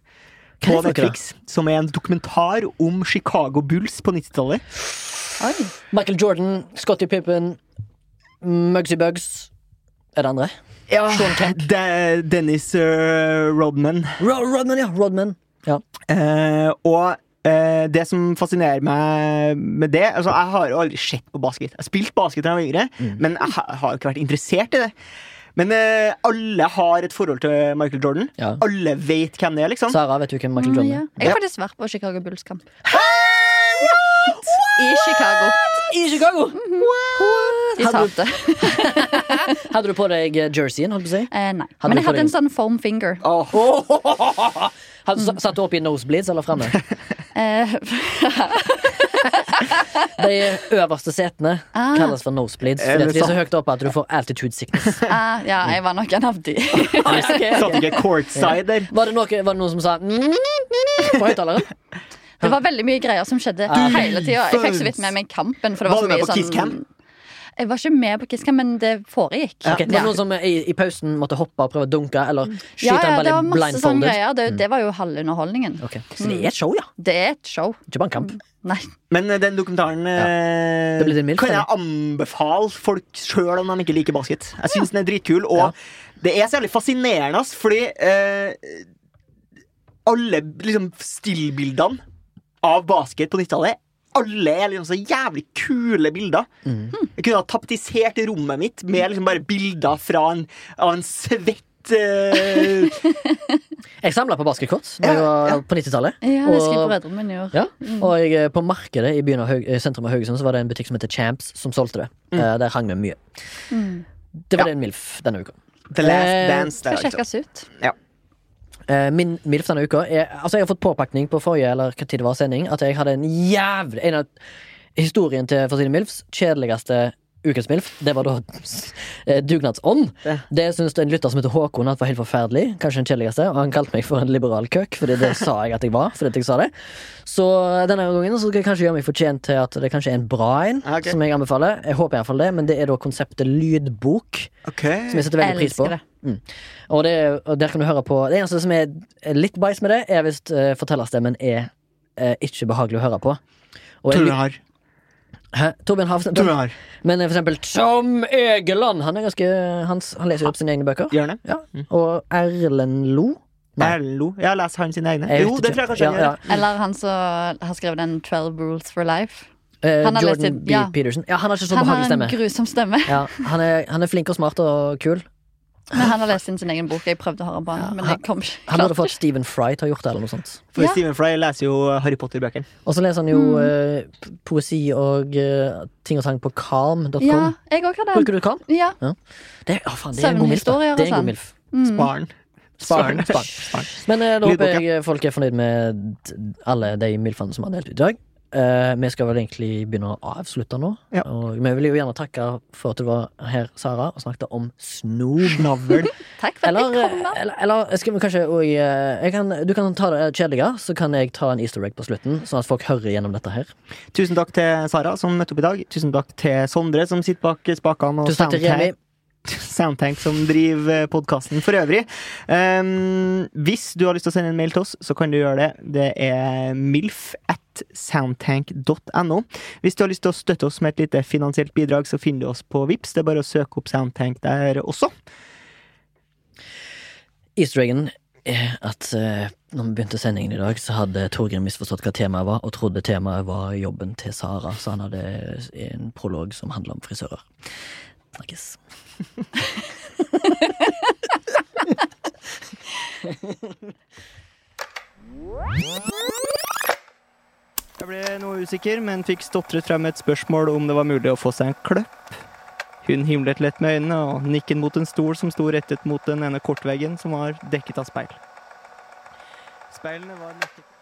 [SPEAKER 2] Hva er det
[SPEAKER 1] på
[SPEAKER 2] for noe?
[SPEAKER 1] Netflix, som er en dokumentar om Chicago Bulls på 90-tallet.
[SPEAKER 3] Oi.
[SPEAKER 2] Michael Jordan, Scotty Pippen, Mugsy Bugs Er det andre?
[SPEAKER 1] Ja.
[SPEAKER 2] Sean Kemp.
[SPEAKER 1] De Dennis eh, Rodman.
[SPEAKER 2] Ro Rodman, ja. Rodman. Ja.
[SPEAKER 1] Eh, og eh, det som fascinerer meg med det altså Jeg har jo aldri sett på basket. Jeg har spilt basket da jeg var yngre,
[SPEAKER 2] Mm.
[SPEAKER 1] men jeg ha- har jo ikke vært interessert i det. Men eh, alle har et forhold til Michael Jordan.
[SPEAKER 2] Ja.
[SPEAKER 1] Alle vet hvem det er, liksom.
[SPEAKER 2] Sara, vet du hvem Michael
[SPEAKER 3] Å,
[SPEAKER 2] Jordan
[SPEAKER 3] ja.
[SPEAKER 2] er?
[SPEAKER 3] Jeg har faktisk vært på Chicago Bulls-kamp. I Chicago.
[SPEAKER 2] I Chicago!
[SPEAKER 3] De
[SPEAKER 2] Hadde,
[SPEAKER 3] tapte.
[SPEAKER 2] du- hadde du på deg eh, jerseyen, holdt på å si?
[SPEAKER 3] Eh, nei.
[SPEAKER 2] Hadde du
[SPEAKER 3] Men jeg
[SPEAKER 2] fått
[SPEAKER 3] hadde en
[SPEAKER 2] inn-
[SPEAKER 3] sånn foam finger.
[SPEAKER 1] Åh.
[SPEAKER 2] Hadde, sa- satt du opp i nosebleeds eller [LAUGHS] framme?
[SPEAKER 3] Eh, [LAUGHS]
[SPEAKER 2] De øverste setene
[SPEAKER 3] Ah.
[SPEAKER 2] kalles for nosebleeds. Fordi
[SPEAKER 1] Eller
[SPEAKER 2] at de er så
[SPEAKER 1] sånn.
[SPEAKER 2] høyt oppe at du får altitude [LAUGHS] sickness.
[SPEAKER 3] ah, ja, jeg var nok en av de.
[SPEAKER 2] Ah,
[SPEAKER 1] Satt ikke courtside der.
[SPEAKER 2] Var det, noe, var det noen som sa "Mm, på [LAUGHS] høyttaleren?
[SPEAKER 3] Det var veldig mye greier som skjedde hele tida. Jeg fikk så vidt med meg kampen. For det var,
[SPEAKER 1] Var du
[SPEAKER 3] så mye
[SPEAKER 1] med på
[SPEAKER 3] sånn,
[SPEAKER 1] Kiss Camp?
[SPEAKER 3] Jeg var ikke med på Kiss Camp, men det foregikk.
[SPEAKER 2] Ok, det var noen som i, i pausen måtte hoppe og prøve å dunke eller skyte
[SPEAKER 3] Ja, ja,
[SPEAKER 2] en
[SPEAKER 3] det var
[SPEAKER 2] ball
[SPEAKER 3] masse sånne
[SPEAKER 2] blindfolded? Mm.
[SPEAKER 3] greier. Det, det var jo halve underholdningen.
[SPEAKER 2] Ok, Så det er et show, ja?
[SPEAKER 3] Det er et show.
[SPEAKER 2] Ikke bare en kamp.
[SPEAKER 3] Nei.
[SPEAKER 1] Men eh, den dokumentaren eh,
[SPEAKER 2] Det blir din milf,
[SPEAKER 1] kan jeg
[SPEAKER 2] eller?
[SPEAKER 1] anbefale folk sjøl om de ikke liker basket. Jeg syns den er dritkul, og det er særlig fascinerende, ass, fordi eh, alle liksom, stillbildene av basket på 90-tallet alle er liksom så jævlig kule bilder.
[SPEAKER 2] Mm.
[SPEAKER 1] Jeg kunne ha taptisert rommet mitt med liksom bare bilder fra en, av en svett eh,
[SPEAKER 2] Jeg samla på basketkort da jeg var på 90-tallet.
[SPEAKER 3] Ja, det Mm. skulle
[SPEAKER 2] og,
[SPEAKER 3] brødrene mine gjøre.
[SPEAKER 2] ja, og jeg, eh, på markedet i byen av Haug, eh, sentrum av Haugesund Så var det en butikk som heter Champs, som solgte det.
[SPEAKER 3] Mm.
[SPEAKER 2] Eh, der hang vi mye. Det var det en MILF denne uka.
[SPEAKER 1] The Last
[SPEAKER 2] Eh,
[SPEAKER 1] Dance. Der,
[SPEAKER 3] Skal
[SPEAKER 1] altså.
[SPEAKER 3] sjekkes ut.
[SPEAKER 2] Eh, Min MILF denne uka er, Altså jeg har fått påpakning på forrige Eller hva tid det var sending At jeg hadde en jævlig En av historien til For å si det MILFs Kjedeligste ukens MILF Det var da [LAUGHS] eh, Dugnadsånd
[SPEAKER 1] Ja.
[SPEAKER 2] Det synes en lytter som heter Håkon At var helt forferdelig Kanskje den kjedeligste Og han kalte meg for en liberal køk Fordi det sa jeg at jeg var Fordi at jeg sa det Så denne gangen Så skal jeg kanskje gjøre meg fortjent til At det kanskje er en bra en
[SPEAKER 1] Ja, ok.
[SPEAKER 2] Som jeg anbefaler Jeg håper i hvert fall det Men det er da konseptet lydbok
[SPEAKER 1] Ok.
[SPEAKER 2] som jeg setter veldig pris på.
[SPEAKER 3] Elsker det.
[SPEAKER 2] Mm. Og, det, og der kan du høre på Det eneste som er litt bæsj med det, er hvis eh, fortellerstemmen er eh, ikke behagelig å høre på. Og jeg-
[SPEAKER 1] Tror du jeg har.
[SPEAKER 2] Hæ? Torbjørn Havsen.
[SPEAKER 1] Tror du jeg har.
[SPEAKER 2] Men eh, for eksempel Tom Egeland! Han, er ganske, han, s- han leser jo opp sine egne bøker.
[SPEAKER 1] Gjør det?
[SPEAKER 2] Ja. Og Erlend Lo. Nei.
[SPEAKER 1] Erlo? Jeg har lest han sine egne.
[SPEAKER 2] Jeg vet
[SPEAKER 1] jo, det
[SPEAKER 2] ikke.
[SPEAKER 1] tror jeg kanskje han
[SPEAKER 2] Ja,
[SPEAKER 1] gjør.
[SPEAKER 2] ja.
[SPEAKER 3] Eller han som har skrevet den 12 Rules for Life.
[SPEAKER 2] Eh,
[SPEAKER 3] Han har lest
[SPEAKER 2] Jordan
[SPEAKER 3] det-
[SPEAKER 2] B.
[SPEAKER 3] ja.
[SPEAKER 2] Peterson. Ja, han har ikke så
[SPEAKER 3] Han
[SPEAKER 2] behagelig [LAUGHS]
[SPEAKER 3] har en
[SPEAKER 2] stemme.
[SPEAKER 3] grusom stemme.
[SPEAKER 2] Ja, han, er, han er flink og smart og kul.
[SPEAKER 3] Men han har lest inn sin egen bok. Jeg prøvde å høre på han, men jeg kom ikke.
[SPEAKER 2] Han burde fått Stephen Fry til å ha gjort det, eller noe sånt.
[SPEAKER 1] For
[SPEAKER 3] Ja.
[SPEAKER 1] Stephen Fry leser jo Harry Potter-bøkene.
[SPEAKER 2] Og så leser han jo
[SPEAKER 3] Mm.
[SPEAKER 2] eh, p- poesi og eh, ting og tang på calm.com.
[SPEAKER 3] Ja, jeg òg har den.
[SPEAKER 2] Bruker du calm?
[SPEAKER 3] Ja.
[SPEAKER 2] Det, å, faen, det er en god milf. da.
[SPEAKER 3] Søvnhistorier og
[SPEAKER 2] Det er en
[SPEAKER 3] sånn.
[SPEAKER 2] god milf.
[SPEAKER 1] Sparen.
[SPEAKER 2] Sparen. Sparen.
[SPEAKER 1] [LAUGHS]
[SPEAKER 2] Men eh, da håper
[SPEAKER 1] Lydboken.
[SPEAKER 2] jeg folk er fornøyd med d- alle de milfene som har delt ut i dag. Eh, vi skal vel egentlig begynne å avslutte nå.
[SPEAKER 1] Ja.
[SPEAKER 2] Og vi vil jo gjerne takke for at du var her, Sara, og snakket om snob.
[SPEAKER 1] Navl.
[SPEAKER 3] Takk for at
[SPEAKER 2] Eller, eh,
[SPEAKER 3] jeg kom. da.
[SPEAKER 2] eller, eller skal vi kanskje og, eh, jeg kan, Du kan ta det kjedelige, så kan jeg ta en easter egg på slutten, sånn at folk hører gjennom dette her.
[SPEAKER 1] Tusen takk til Sara, som møtte opp i dag. Tusen takk til Sondre, som sitter bak spakene. og
[SPEAKER 2] Tusen takk til Remi.
[SPEAKER 1] Soundtank- Soundtank, som driver podkasten for øvrig. Um, hvis du har lyst til å sende en mail til oss, så kan du gjøre det. Det er milf at soundtank.no. Hvis du har lyst til å støtte oss med et lite finansielt bidrag, så finner du oss på Vips. Det er bare å søke opp Soundtank der også.
[SPEAKER 2] Easter eggen er at eh, når vi begynte sendingen i dag, så hadde Torgrim misforstått hva temaet var, og trodde temaet var jobben til Sara, så han hadde en prolog som handla om frisører. Snakkes.
[SPEAKER 1] Jeg ble noe usikker, men fikk stotret frem et spørsmål om det var mulig å få seg en kløpp. Hun himlet lett med øynene og nikket mot en stol som sto rettet mot den ene kortveggen som var dekket av speil. Speilene var nekket